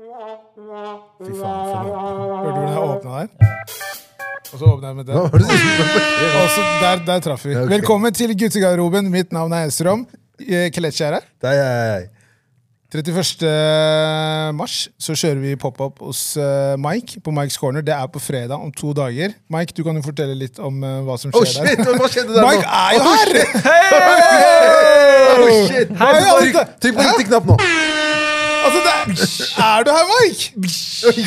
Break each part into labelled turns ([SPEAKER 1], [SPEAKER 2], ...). [SPEAKER 1] Fy faen, for noe.
[SPEAKER 2] Hørte du hvordan jeg åpna der? Og så åpna jeg med
[SPEAKER 3] Hva
[SPEAKER 2] den.
[SPEAKER 3] var det du sa?
[SPEAKER 2] Og så der, der traff vi.
[SPEAKER 3] Ja, ok.
[SPEAKER 2] Velkommen til guttegarderoben. Mitt navn er Eh, Estrom. Kelettskjæret.
[SPEAKER 3] Nei, nei, nei.
[SPEAKER 2] 31. eh, mars så kjører vi pop-up hos eh, Mike på Mikes Corner. Det er på fredag om to dager. Mike, du kan jo fortelle litt om eh, hva som
[SPEAKER 3] Å, Oh,
[SPEAKER 2] skjer
[SPEAKER 3] shit!
[SPEAKER 2] der.
[SPEAKER 3] Hva skjedde der nå?
[SPEAKER 2] Mike er jo her!
[SPEAKER 3] Å, Oh, shit!
[SPEAKER 2] Hei,
[SPEAKER 3] Trykk
[SPEAKER 2] Ante.
[SPEAKER 3] trykk på riktig knapp nå.
[SPEAKER 2] Altså, det er, er du her, Mike?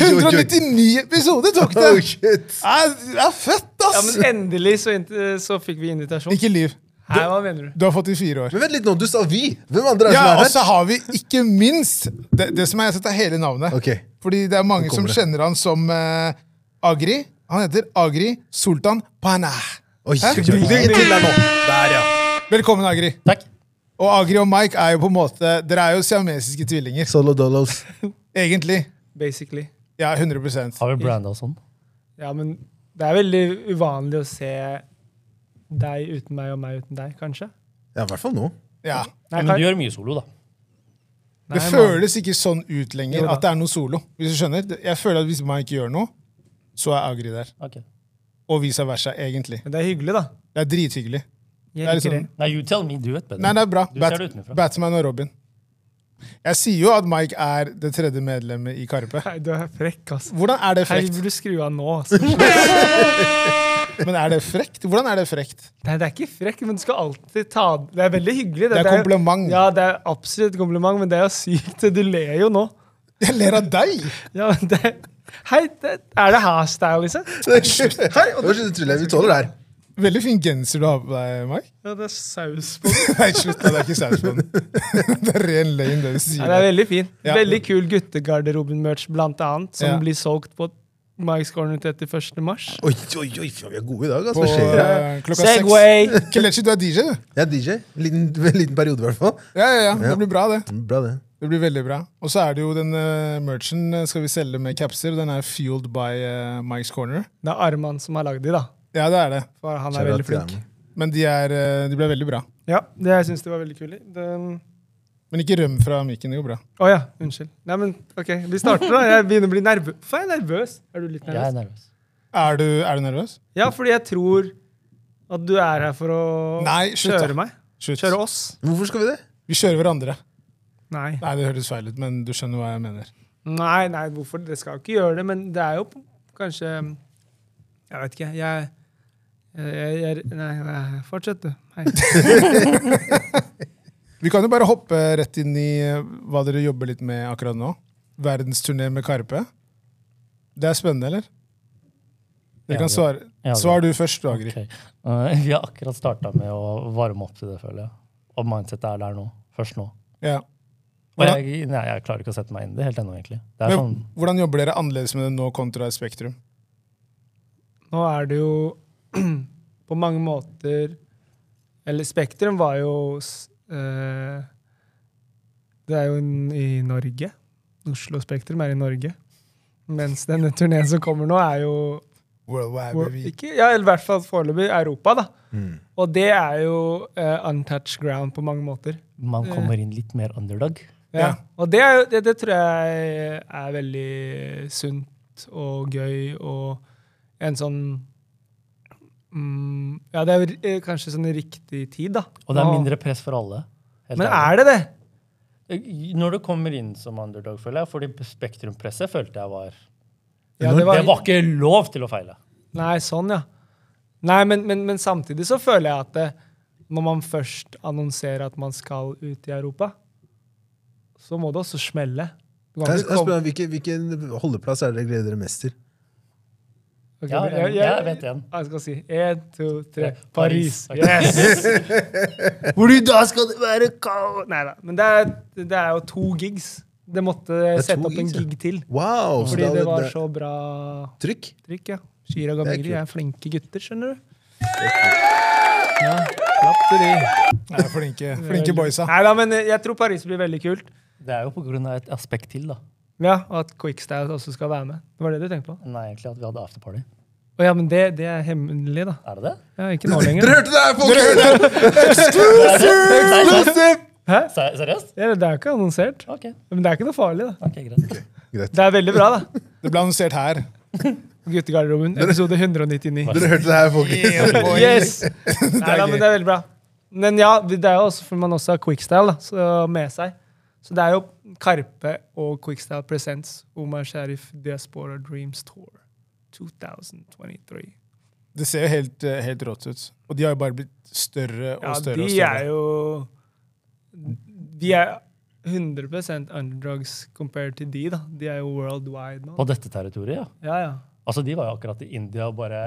[SPEAKER 2] 199 episoder tok det!
[SPEAKER 3] Oh, shit.
[SPEAKER 2] Jeg jeg er født,
[SPEAKER 4] Ja,
[SPEAKER 2] ass!
[SPEAKER 4] men endelig så, int- så fikk vi invitasjon.
[SPEAKER 2] Ikke liv.
[SPEAKER 4] Hei, hva mener du?
[SPEAKER 2] Du har fått i fire år.
[SPEAKER 3] Men vent litt nå, du sa vi. Hvem andre er
[SPEAKER 2] Ja,
[SPEAKER 3] som
[SPEAKER 2] Og
[SPEAKER 3] er
[SPEAKER 2] så
[SPEAKER 3] her?
[SPEAKER 2] har vi ikke minst det, det som er jeg setter hele navnet.
[SPEAKER 3] Ok.
[SPEAKER 2] Fordi det er mange
[SPEAKER 3] Nå
[SPEAKER 2] som
[SPEAKER 3] kommer det.
[SPEAKER 2] kjenner han som eh, Agri. Han heter Agri Sultan Panah.
[SPEAKER 3] Oi,
[SPEAKER 2] Hæ?
[SPEAKER 3] oi, oi.
[SPEAKER 2] Ding, ding.
[SPEAKER 3] Der, ja.
[SPEAKER 2] Velkommen, Agri.
[SPEAKER 4] Takk.
[SPEAKER 2] Og Agri og Mike er jo på en måte Dere er jo siamesiske tvillinger,
[SPEAKER 3] Solo Dolos.
[SPEAKER 2] egentlig.
[SPEAKER 4] Basically.
[SPEAKER 2] Ja, 100
[SPEAKER 5] Har vi branda og sånn?
[SPEAKER 4] Ja, men det er veldig uvanlig å se deg uten meg og meg uten deg, kanskje.
[SPEAKER 3] Ja, i hvert fall nå.
[SPEAKER 2] Ja.
[SPEAKER 4] Nei,
[SPEAKER 5] Men
[SPEAKER 4] kan-
[SPEAKER 5] du gjør mye solo, da.
[SPEAKER 4] Nei,
[SPEAKER 2] Det
[SPEAKER 4] man.
[SPEAKER 2] føles ikke sånn ut lenger
[SPEAKER 4] Jo da.
[SPEAKER 2] at det er noe solo. Hvis du skjønner? Det- Jeg føler at Hvis Mike gjør noe, så er Agri der.
[SPEAKER 5] Ok.
[SPEAKER 2] Og vice versa, egentlig.
[SPEAKER 4] Men det er hyggelig, da.
[SPEAKER 2] Det er drithyggelig.
[SPEAKER 4] Jeg
[SPEAKER 2] Det er
[SPEAKER 4] liker
[SPEAKER 2] liksom-
[SPEAKER 4] det.
[SPEAKER 5] Nei, you tell me. Du vet bedre.
[SPEAKER 2] Nei, det er bra.
[SPEAKER 5] Du
[SPEAKER 2] Bat
[SPEAKER 5] ser det utenfra.
[SPEAKER 2] Batman og Robin. Jeg sier jo at Mike er det tredje medlemmet i Karpe.
[SPEAKER 4] Nei, du er frekk, ass.
[SPEAKER 2] Hvordan er det
[SPEAKER 4] Hei,
[SPEAKER 2] frekt?
[SPEAKER 4] burde du skru av nå? altså. ass.
[SPEAKER 2] Men er det frekt? Hvordan er det frekt?
[SPEAKER 4] Nei, det er ikke frekk, men du skal alltid ta Det er veldig hyggelig.
[SPEAKER 2] Det er
[SPEAKER 4] jo-
[SPEAKER 2] kompliment.
[SPEAKER 4] Ja, det er absolutt et kompliment, men det er jo sykt. Du ler jo nå.
[SPEAKER 2] Jeg ler av deg!
[SPEAKER 4] Ja, men det, hei, det, er det hairstyle, liksom?
[SPEAKER 3] Hei, og du tryller. Vi tåler det her.
[SPEAKER 2] Veldig fin genser du har på deg, Mike.
[SPEAKER 4] Ja, det er saus på
[SPEAKER 2] Nei, slutt. da, Det er ikke saus på den. Det er ren løgn, det du
[SPEAKER 4] Ja, det er
[SPEAKER 2] sier.
[SPEAKER 4] veldig fin.
[SPEAKER 2] Mm. Ja.
[SPEAKER 4] Veldig kul guttegarderoben-merch, blant annet, som
[SPEAKER 2] Ja.
[SPEAKER 4] blir solgt på Mike's Corner 31. mars.
[SPEAKER 3] Oi, oi, oi, faen, vi er gode i dag. Altså.
[SPEAKER 2] På
[SPEAKER 3] Hva skjer her?
[SPEAKER 2] eh, klokka seks.
[SPEAKER 4] Segway!
[SPEAKER 2] Kelechi, du er DJ, du.
[SPEAKER 3] Jeg er DJ. En liten, en liten periode, i hvert fall. Mm,
[SPEAKER 2] Ja, ja, ja. Det blir bra, det.
[SPEAKER 3] Bra, det.
[SPEAKER 2] Det blir veldig bra. Og så er det jo den eh, merchen eh, skal vi selge med capser. og Den er fueled by eh, Mike's Corner.
[SPEAKER 4] Det er Arman som har lagd de, da.
[SPEAKER 2] Ja, det er det.
[SPEAKER 4] For han er
[SPEAKER 3] Kjære
[SPEAKER 4] veldig flink.
[SPEAKER 3] til deg.
[SPEAKER 2] Men de, er, eh, de ble veldig bra.
[SPEAKER 4] Ja, det, jeg syns det var veldig kule. Den-
[SPEAKER 2] Men ikke røm fra mikken. Det går bra.
[SPEAKER 4] Å ja, unnskyld. Nei, men OK, vi starter, da. Jeg begynner å bli nervøs. Hvorfor er jeg nervøs? Er du litt
[SPEAKER 5] Jeg er
[SPEAKER 4] nervøs?
[SPEAKER 5] nervøs.
[SPEAKER 2] Er du, er du nervøs?
[SPEAKER 4] Ja, fordi jeg tror at du er her for å
[SPEAKER 2] Nei, slutt, da.
[SPEAKER 4] kjøre meg.
[SPEAKER 2] Slutt.
[SPEAKER 4] Kjøre oss.
[SPEAKER 3] Hvorfor skal vi det?
[SPEAKER 2] Vi kjører hverandre.
[SPEAKER 4] Nei.
[SPEAKER 2] Nei, det høres feil ut, men du skjønner hva jeg mener.
[SPEAKER 4] Nei, nei, hvorfor? Dere skal jo ikke gjøre det, men det er jo på- kanskje Jeg vet ikke. Jeg, jeg, jeg Nei, nei fortsett, du. Hei.
[SPEAKER 2] Vi kan jo bare hoppe rett inn i eh, hva dere jobber litt med akkurat nå. Verdensturné med Karpe. Det er spennende, eller? Dere
[SPEAKER 5] Ja,
[SPEAKER 2] kan
[SPEAKER 5] det-
[SPEAKER 2] svare.
[SPEAKER 5] ja, det-
[SPEAKER 2] Svar du først, du, Agri.
[SPEAKER 5] Ok. Eh, vi har akkurat starta med å varme opp til det, føler jeg. Og mindsetet er der nå. Først nå.
[SPEAKER 2] Ja.
[SPEAKER 5] Og
[SPEAKER 2] Hvordan-
[SPEAKER 5] jeg, nei, jeg klarer ikke å sette meg inn i det helt ennå, egentlig. Det er
[SPEAKER 2] Men,
[SPEAKER 5] sånn,
[SPEAKER 2] hvordan jobber dere annerledes med det nå kontra Spektrum?
[SPEAKER 4] Nå er det jo på mange måter Eller Spektrum var jo s- eh, Det er jo en, i Norge. Oslo Spektrum er i Norge. Mens denne turneen som kommer nå, er jo
[SPEAKER 2] Worldwide,
[SPEAKER 4] hvor- ikke, ja, eller i hvert fall foreløpig Europa. da. Og det er jo eh, untouched ground på mange måter.
[SPEAKER 5] man kommer inn litt mer underdog.
[SPEAKER 4] Ja.
[SPEAKER 2] Ja.
[SPEAKER 4] Og det, er jo- det, det tror jeg er veldig sunt og gøy og en sånn mm, Ja, det er jo eh, kanskje sånn riktig tid, da.
[SPEAKER 5] Og det er
[SPEAKER 4] Nå-
[SPEAKER 5] mindre press for alle. helt
[SPEAKER 4] Men
[SPEAKER 5] ærlig. Eh,
[SPEAKER 4] er det det?
[SPEAKER 5] Når du kommer inn som underdog, føler jeg, fordi Spektrum-presset følte jeg var
[SPEAKER 4] Ja,
[SPEAKER 5] Det var ikke lov til å feile.
[SPEAKER 4] Nei, sånn, ja. Nei, men, men, men samtidig så føler jeg at det, når man først annonserer at man skal ut i Europa, så må det også smelle. Du kan
[SPEAKER 3] Jeg, jeg
[SPEAKER 4] ikke komme-
[SPEAKER 3] spør, hvilken, hvilken holdeplass er det dere gleder dere mest til?
[SPEAKER 4] Ok,
[SPEAKER 5] Ja,
[SPEAKER 4] men
[SPEAKER 5] jeg, jeg vet en.
[SPEAKER 4] Jeg skal si én, to, tre.
[SPEAKER 5] Paris.
[SPEAKER 4] Paris. Yes! Hvor du da skal det være kaos Nei da. Men det er, det er jo to gigs. Det måtte
[SPEAKER 3] er
[SPEAKER 4] sette
[SPEAKER 3] to
[SPEAKER 4] opp en
[SPEAKER 3] gigs, ja.
[SPEAKER 4] gig til.
[SPEAKER 3] Wow! så
[SPEAKER 4] Fordi
[SPEAKER 3] da-
[SPEAKER 4] det var
[SPEAKER 3] det-
[SPEAKER 4] så bra
[SPEAKER 3] Trykk?
[SPEAKER 4] trykk, ja. Shira og
[SPEAKER 3] Det er
[SPEAKER 4] Gamiri
[SPEAKER 3] kult.
[SPEAKER 4] er flinke gutter, skjønner du. Ja, klapp til de.
[SPEAKER 2] Nei, flinke, flinke boysa.
[SPEAKER 4] Nei da, men jeg tror Paris blir veldig kult.
[SPEAKER 5] Det er jo på grunn av et aspekt til, da.
[SPEAKER 4] Ja, Og at Quickstyle også skal være med. Det var det du tenkte på?
[SPEAKER 5] Nei, egentlig at vi hadde afterparty.
[SPEAKER 4] Å ja, men det, det er hemmelig, da.
[SPEAKER 5] Er det det?
[SPEAKER 4] Ja, ikke nå lenger.
[SPEAKER 3] Dere hørte det her, folkens!
[SPEAKER 5] Nei, det-
[SPEAKER 4] Hæ?
[SPEAKER 5] Se- Seriøst?
[SPEAKER 4] Ja, det er jo ikke annonsert.
[SPEAKER 5] Ok,
[SPEAKER 4] Men det er ikke noe farlig, da.
[SPEAKER 5] ok, greit.
[SPEAKER 3] Greit.
[SPEAKER 4] Det er veldig bra, da.
[SPEAKER 2] Det ble annonsert her.
[SPEAKER 4] Guttegarderoben, episode 199.
[SPEAKER 3] Dere hørte det her, folkens.
[SPEAKER 4] Yes! Nei, da,
[SPEAKER 2] gøy.
[SPEAKER 4] men det er veldig bra. Men ja, det er jo også fordi man også har Quickstyle da, så med seg. Så det er jo Karpe og Quickstyle Presents Omar Sharif Diaspora Dreams Tour 2023.
[SPEAKER 2] Det ser jo helt, eh, helt rått ut. Og de har jo bare blitt større og
[SPEAKER 4] Ja,
[SPEAKER 2] større.
[SPEAKER 4] de
[SPEAKER 2] og større.
[SPEAKER 4] er jo De er 100 underdogs compared til de, da. De er jo worldwide nå.
[SPEAKER 5] På dette territoriet, ja.
[SPEAKER 4] Ja, ja.
[SPEAKER 5] Altså, de var jo akkurat i India og bare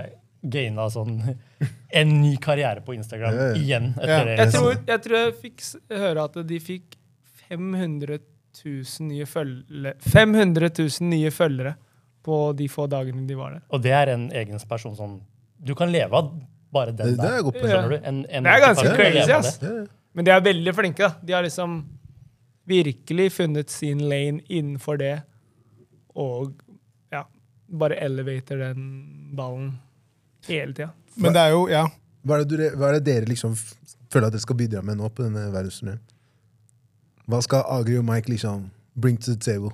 [SPEAKER 5] gaina sånn en ny karriere på Instagram
[SPEAKER 3] Ja, ja.
[SPEAKER 5] igjen.
[SPEAKER 2] Ja.
[SPEAKER 5] etter
[SPEAKER 4] Jeg
[SPEAKER 5] det. liksom.
[SPEAKER 4] tror, jeg tror jeg fikk s- høre at de fikk 500 000 nye følgere 500 000 nye følgere på de få dagene de var der.
[SPEAKER 5] Og det er en egen person som Du kan leve av bare
[SPEAKER 3] Det-
[SPEAKER 5] den
[SPEAKER 3] det er
[SPEAKER 5] der.
[SPEAKER 3] jeg god på.
[SPEAKER 5] Skjønner du? En, en
[SPEAKER 4] Det er ganske
[SPEAKER 5] person kan leve
[SPEAKER 4] crazy,
[SPEAKER 5] av
[SPEAKER 4] ass.
[SPEAKER 5] det.
[SPEAKER 3] Ja, ja.
[SPEAKER 4] Men de er veldig flinke, da. De har liksom virkelig funnet sin lane innenfor det, og ja, bare elevater den ballen hele tida.
[SPEAKER 2] Men det er jo, ja.
[SPEAKER 3] Hva er, det du, hva er det dere liksom f- føler at dere skal bidra med nå på denne verdensturneen? Hva skal Agri og Mike liksom bring to the table?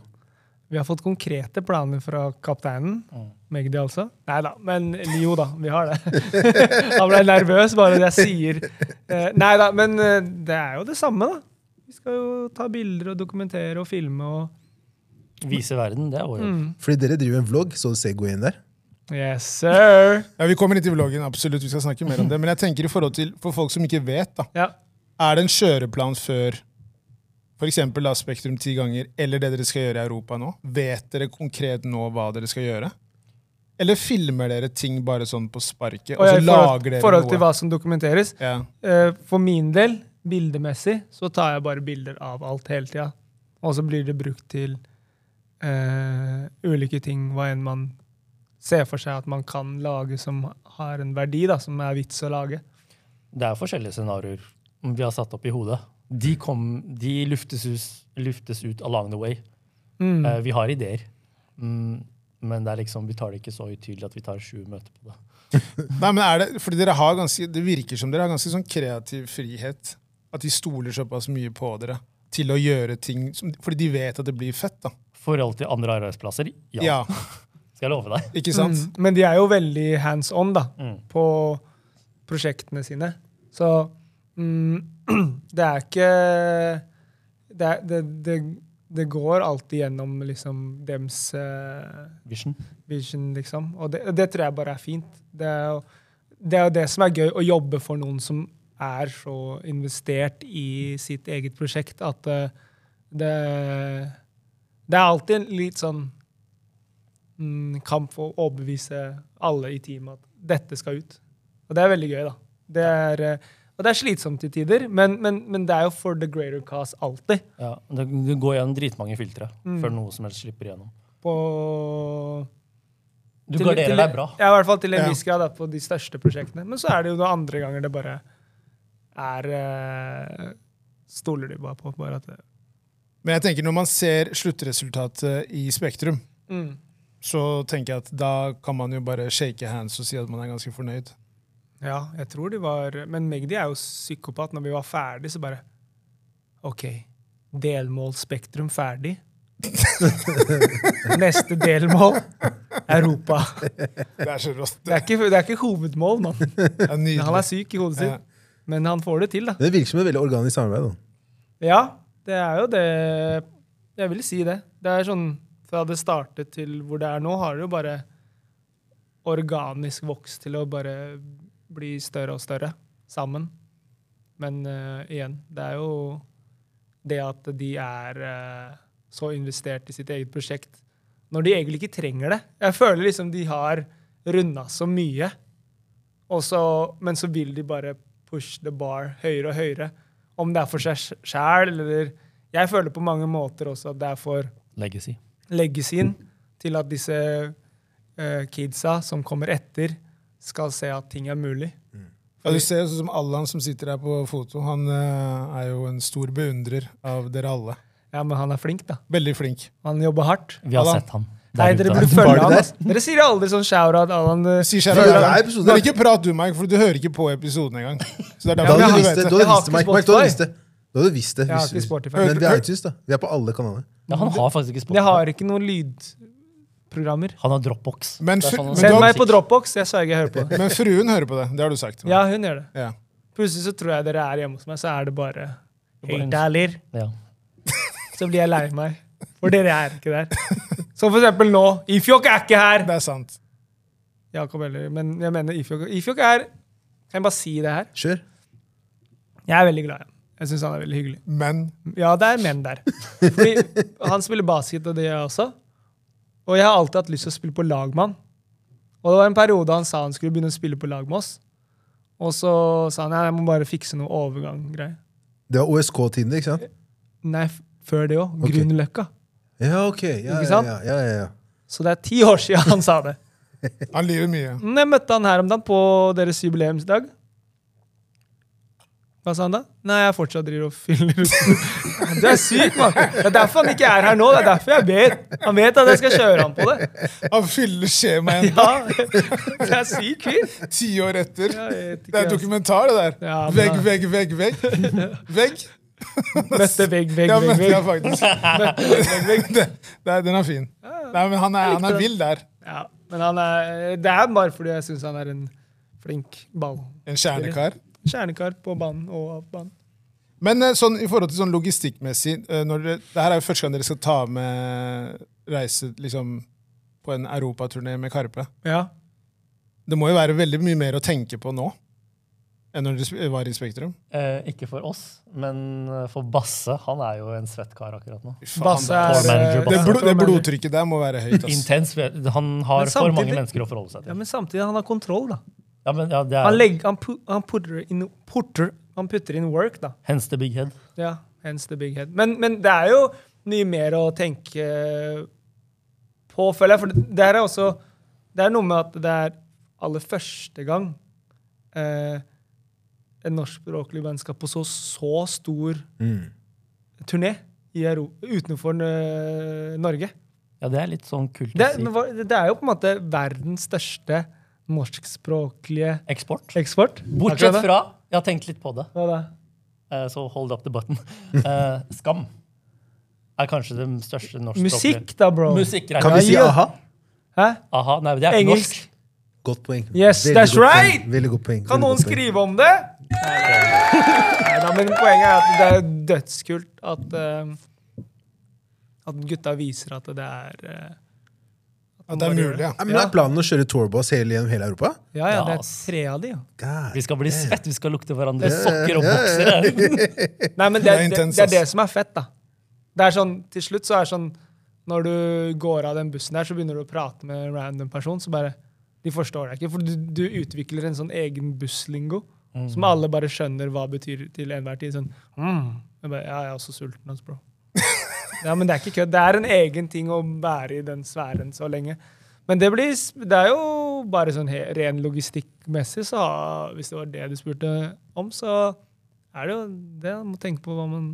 [SPEAKER 4] Vi har fått konkrete planer fra kapteinen.
[SPEAKER 2] Mm.
[SPEAKER 4] Magdi, altså. Nei da, men eller jo da, vi har det. Han ble nervøs bare det jeg sier. Eh, nei da, men eh, det er jo det samme, da. Vi skal jo ta bilder og dokumentere og filme og
[SPEAKER 5] Vise verden, det er vår jobb.
[SPEAKER 4] Mm.
[SPEAKER 3] Fordi dere driver en vlogg, så Segwayen der.
[SPEAKER 4] Yes, sir!
[SPEAKER 2] ja. Vi kommer inn til vloggen, absolutt. Vi skal snakke mer om det. Men jeg tenker i forhold til, for folk som ikke vet, da.
[SPEAKER 4] Ja.
[SPEAKER 2] Er det en kjøreplan før f.eks. Spektrum ti ganger, eller det dere skal gjøre i Europa nå? Vet dere konkret nå hva dere skal gjøre? Eller filmer dere ting bare sånn på sparket, og
[SPEAKER 4] Og
[SPEAKER 2] så
[SPEAKER 4] i forhold,
[SPEAKER 2] lager dere
[SPEAKER 4] forhold til
[SPEAKER 2] noe?
[SPEAKER 4] hva som dokumenteres.
[SPEAKER 2] Ja.
[SPEAKER 4] Eh, for min del, bildemessig, så tar jeg bare bilder av alt hele tida. Og så blir det brukt til eh, ulike ting, hva enn man ser for seg at man kan lage som har en verdi, da, som er vits å lage.
[SPEAKER 5] Det er forskjellige scenarioer vi har satt opp i hodet. De, kom, de luftes, ut, luftes ut along the way.
[SPEAKER 4] Mm.
[SPEAKER 5] Eh, vi har ideer, mm, men det er liksom, vi tar det ikke så utydelig at vi tar sju møter på det.
[SPEAKER 2] Nei, men er det, fordi dere har ganske, det virker som dere har ganske sånn kreativ frihet. At de stoler såpass mye på dere til å gjøre ting som, Fordi de vet at det blir fett, da.
[SPEAKER 5] Forhold til andre arbeidsplasser, ja.
[SPEAKER 2] Ja,
[SPEAKER 5] Skal jeg love deg.
[SPEAKER 2] ikke sant?
[SPEAKER 4] Mm. Men de er jo veldig hands on da,
[SPEAKER 5] Mm.
[SPEAKER 4] på prosjektene sine. Så mm, det er ikke det, er, det, det, det går alltid gjennom liksom dems eh,
[SPEAKER 5] Vision.
[SPEAKER 4] vision, liksom. Og det, og det tror jeg bare er fint. Det er, jo, det er jo det som er gøy, å jobbe for noen som er så investert i sitt eget prosjekt at eh, det Det er alltid en litt sånn mm, kamp for å overbevise alle i teamet at dette skal ut. Og det er veldig gøy, da. Det er, eh, og det er slitsomt til tider, men, men, men det er jo for the greater cause alltid.
[SPEAKER 5] Ja, det, det går gjennom dritmange filtre
[SPEAKER 4] Mm.
[SPEAKER 5] før noe som helst slipper igjennom.
[SPEAKER 4] På
[SPEAKER 5] Du
[SPEAKER 4] Til-
[SPEAKER 5] garderer
[SPEAKER 4] til-
[SPEAKER 5] deg bra.
[SPEAKER 4] Ja, i hvert fall til en
[SPEAKER 2] Ja.
[SPEAKER 4] viss grad da, på de største prosjektene. Men så er det jo noen andre ganger det bare er eh, Stoler de bare på bare at det,
[SPEAKER 2] Men jeg tenker når man ser sluttresultatet i Spektrum,
[SPEAKER 4] mm.
[SPEAKER 2] så tenker jeg at da kan man jo bare shake hands og si at man er ganske fornøyd.
[SPEAKER 4] Ja, jeg tror de var Men Magdi er jo psykopat. Når vi var ferdig, så bare OK. Delmål Spektrum ferdig. Neste delmål Europa.
[SPEAKER 2] Det er så rått.
[SPEAKER 4] Det er ikke, det er ikke hovedmål, mann.
[SPEAKER 2] Det er
[SPEAKER 4] Han er
[SPEAKER 2] nydelig.
[SPEAKER 4] syk i hodet
[SPEAKER 2] Ja.
[SPEAKER 4] sitt. Men han får det til, da.
[SPEAKER 3] Men Det virker som et veldig organisk samarbeid. da.
[SPEAKER 4] Ja, det er jo det Jeg vil si det. Det er sånn Fra det startet til hvor det er nå, har det jo bare organisk vokst til å bare bli større og større sammen. Men eh, igjen, det er jo det at de er eh, så investert i sitt eget prosjekt når de egentlig ikke trenger det. Jeg føler liksom de har runda så mye, og så, men så vil de bare push the bar høyere og høyere. Om det er for seg sjæl eller Jeg føler på mange måter også at det er for
[SPEAKER 5] Legacy.
[SPEAKER 4] legacyen til at disse eh, kidsa som kommer etter, skal se at ting er mulig.
[SPEAKER 2] Ja, du ser jo sånn som Allan som sitter her på foto. Han eh, er jo en stor beundrer av dere alle.
[SPEAKER 4] Ja, men han er flink, da.
[SPEAKER 2] Veldig flink.
[SPEAKER 4] Han jobber hardt.
[SPEAKER 5] Vi har
[SPEAKER 2] Allan.
[SPEAKER 5] sett han.
[SPEAKER 4] Nei,
[SPEAKER 5] der
[SPEAKER 4] dere
[SPEAKER 5] ute.
[SPEAKER 4] burde
[SPEAKER 3] Var
[SPEAKER 4] følge
[SPEAKER 3] det
[SPEAKER 4] han.
[SPEAKER 3] der?
[SPEAKER 4] ass. Dere sier aldri sånn shout-out, Allan. eh,
[SPEAKER 2] Sier
[SPEAKER 3] Ja,
[SPEAKER 2] Sharon,
[SPEAKER 3] det er episoden.
[SPEAKER 2] Men ikke prat du, Mike, for du hører ikke på episoden engang. Så det er
[SPEAKER 3] Da
[SPEAKER 4] Ja,
[SPEAKER 2] derfor
[SPEAKER 4] men
[SPEAKER 3] hadde du
[SPEAKER 2] du
[SPEAKER 4] jeg
[SPEAKER 3] visst
[SPEAKER 2] vet
[SPEAKER 3] det,
[SPEAKER 2] det.
[SPEAKER 3] du hadde
[SPEAKER 4] Jeg har
[SPEAKER 3] visst det,
[SPEAKER 4] ikke
[SPEAKER 3] Mike. Mike, du hadde
[SPEAKER 4] Spotify.
[SPEAKER 3] visst det. Du hadde visst det.
[SPEAKER 4] Jeg har
[SPEAKER 3] hvis-
[SPEAKER 4] ikke Spotify.
[SPEAKER 3] Men vi er iTunes, da. Vi er på alle kanaler.
[SPEAKER 5] Ja, han har faktisk ikke
[SPEAKER 4] Jeg
[SPEAKER 5] Spotify.
[SPEAKER 4] har ikke noen lydprogrammer.
[SPEAKER 5] Han har Dropbox.
[SPEAKER 2] Men
[SPEAKER 5] Det er
[SPEAKER 2] fr-
[SPEAKER 5] sånn han
[SPEAKER 2] men
[SPEAKER 5] ser
[SPEAKER 4] Send
[SPEAKER 2] da-
[SPEAKER 4] meg
[SPEAKER 5] musikk.
[SPEAKER 4] på Dropbox, jeg sverger jeg hører på det.
[SPEAKER 2] Men fruen hører på det. Det har du sagt. til meg.
[SPEAKER 4] Ja, hun gjør det.
[SPEAKER 2] Ja.
[SPEAKER 4] Plutselig så tror jeg dere er hjemme hos meg, så er det bare
[SPEAKER 5] er bare
[SPEAKER 4] Helt ærlig,
[SPEAKER 5] Ja.
[SPEAKER 4] så blir jeg lei meg. For dere er ikke der. Som for eksempel nå. Ifjok er ikke her!
[SPEAKER 2] Det er sant.
[SPEAKER 4] Jakob heller, men jeg mener Ifjok. Ifjok er Kan jeg bare si det her?
[SPEAKER 3] Kjør.
[SPEAKER 4] Jeg er veldig glad i ham. Jeg syns han er veldig hyggelig.
[SPEAKER 2] Men
[SPEAKER 4] Ja, det er menn der. Fordi han spiller basket, og det gjør jeg også. Og jeg har alltid hatt lyst til å spille på lag med han. Og det var en periode han sa han skulle begynne å spille på lag med oss. Og så sa han ja, jeg må bare fikse noe overgang-greier.
[SPEAKER 3] Det var OSK-tiden, ikke sant?
[SPEAKER 4] Nei, f- før det òg.
[SPEAKER 3] Ok.
[SPEAKER 4] Grünerløkka.
[SPEAKER 3] Ja, ok. Ja,
[SPEAKER 4] Ikke sant?
[SPEAKER 3] Ja, ja, ja, ja.
[SPEAKER 4] Så det er ti år siden han sa det.
[SPEAKER 2] han lyver mye.
[SPEAKER 4] Men Jeg møtte han her om dagen på deres jubileumsdag. Hva sa han da? Nei, jeg fortsatt driver og fyller ut. Du er syk, mann! Det er derfor han ikke er her nå. Det er derfor jeg vet. Han vet at jeg skal kjøre ham på det.
[SPEAKER 2] Han fyller skjemaet en
[SPEAKER 4] Ja, det er syk fyr.
[SPEAKER 2] ti år etter.
[SPEAKER 4] Jeg vet
[SPEAKER 2] Det
[SPEAKER 4] ikke.
[SPEAKER 2] er dokumentar, det der.
[SPEAKER 4] Ja, men-
[SPEAKER 2] Vegg, vegg, vegg, vegg. Vegg.
[SPEAKER 4] Møtte vegg, vegg,
[SPEAKER 2] Ja,
[SPEAKER 4] vegg.
[SPEAKER 2] møtte jeg
[SPEAKER 4] vegg.
[SPEAKER 2] faktisk. Det, det, den er fin.
[SPEAKER 4] Ah.
[SPEAKER 2] Nei, men han er, han er vill der.
[SPEAKER 4] Ja, men han er, det er bare fordi jeg syns han er en flink ball.
[SPEAKER 2] En kjernekar.
[SPEAKER 4] Kjernekar på banen og av banen.
[SPEAKER 2] Men eh, sånn, i forhold til sånn logistikkmessig eh, når dere, Det her er jo første gang dere skal ta med reise liksom, på en europaturné med Karpe.
[SPEAKER 4] Ja.
[SPEAKER 2] Det må jo være veldig mye mer å tenke på nå enn når dere sp- var i Spektrum.
[SPEAKER 5] Eh, ikke for oss, men eh, for Basse. Han er jo en svett kar akkurat nå.
[SPEAKER 2] Fy faen,
[SPEAKER 4] Basse
[SPEAKER 2] det-
[SPEAKER 4] er
[SPEAKER 5] Tour manager,
[SPEAKER 2] det,
[SPEAKER 4] eh,
[SPEAKER 5] Basse.
[SPEAKER 2] blod, det
[SPEAKER 4] tour manager.
[SPEAKER 2] blodtrykket der må være høyt. ass.
[SPEAKER 5] Intens. vet- Han har
[SPEAKER 4] Men
[SPEAKER 5] for
[SPEAKER 4] samtidig-
[SPEAKER 5] mange mennesker å forholde seg
[SPEAKER 4] Ja,
[SPEAKER 5] til.
[SPEAKER 4] men samtidig, han har kontroll, da.
[SPEAKER 5] Ja, men, ja, det
[SPEAKER 4] Han,
[SPEAKER 5] er
[SPEAKER 4] legger, han, pu, han, putter inn, putter, han putter inn work, da.
[SPEAKER 5] Hence the big head.
[SPEAKER 4] Ja, hence the big head. Men, men det er jo mye mer å tenke eh, på, føler jeg. For det- det her er også Det er noe med at det er aller første gang eh, en norskspråklig band skal på så, så stor
[SPEAKER 3] Mm.
[SPEAKER 4] turné i Euro utenfor eh, Norge.
[SPEAKER 5] Ja, det er litt sånn kult
[SPEAKER 4] Det,
[SPEAKER 5] å si.
[SPEAKER 4] men hva- det er jo på en måte verdens største norskspråklige
[SPEAKER 5] Eksport.
[SPEAKER 4] eksport.
[SPEAKER 5] Bortsett
[SPEAKER 4] Akkurat det.
[SPEAKER 5] fra Jeg har tenkt litt på det,
[SPEAKER 4] Hva da?
[SPEAKER 5] eh, så hold up the button. Eh, Skam er kanskje det største norskspråklige
[SPEAKER 4] Musikk, da, bro.
[SPEAKER 5] Musikk.
[SPEAKER 3] Kan vi si
[SPEAKER 4] ja.
[SPEAKER 3] aha?
[SPEAKER 4] Hæ?
[SPEAKER 5] Aha, nei, det er ikke norsk.
[SPEAKER 4] Engelsk.
[SPEAKER 3] Godt poeng.
[SPEAKER 4] Yes,
[SPEAKER 3] Veldig
[SPEAKER 4] that's
[SPEAKER 3] godt poeng.
[SPEAKER 4] right!
[SPEAKER 3] Veldig godt poeng. Veldig
[SPEAKER 4] Kan
[SPEAKER 3] godt
[SPEAKER 4] noen
[SPEAKER 3] poeng.
[SPEAKER 4] skrive om det? Nei da, men poenget er at det er dødskult at, eh, at gutta viser at det er eh,
[SPEAKER 2] At det er mulig, ja.
[SPEAKER 3] Ja, men Er planen å kjøre tourbuss hele, gjennom hele Europa?
[SPEAKER 4] Ja, ja, det
[SPEAKER 5] Ja,
[SPEAKER 4] er
[SPEAKER 5] ass.
[SPEAKER 4] tre av de, jo.
[SPEAKER 3] God.
[SPEAKER 5] Vi skal bli svett, vi skal lukte hverandre sokker og boksere.
[SPEAKER 4] Nei, men det,
[SPEAKER 2] Det er
[SPEAKER 4] det, det,
[SPEAKER 2] intens,
[SPEAKER 4] er
[SPEAKER 2] ass.
[SPEAKER 4] det som er fett, da. Det er sånn, Til slutt så er det sånn Når du går av den bussen der, så begynner du å prate med en random person, så bare De forstår deg ikke. For du, du utvikler en sånn egen busslingo
[SPEAKER 2] Mm.
[SPEAKER 4] som alle bare skjønner hva betyr til enhver tid. Sånn mm. jeg, bare, ja, jeg er også sulten, altså, bro. ja, men det er ikke kødd. Det er en egen ting å være i den sfæren så lenge. Men det, blir, s- det er jo bare sånn he, ren logistikkmessig, så ha- hvis det var det du spurte om, så er det jo det man må tenke på hva man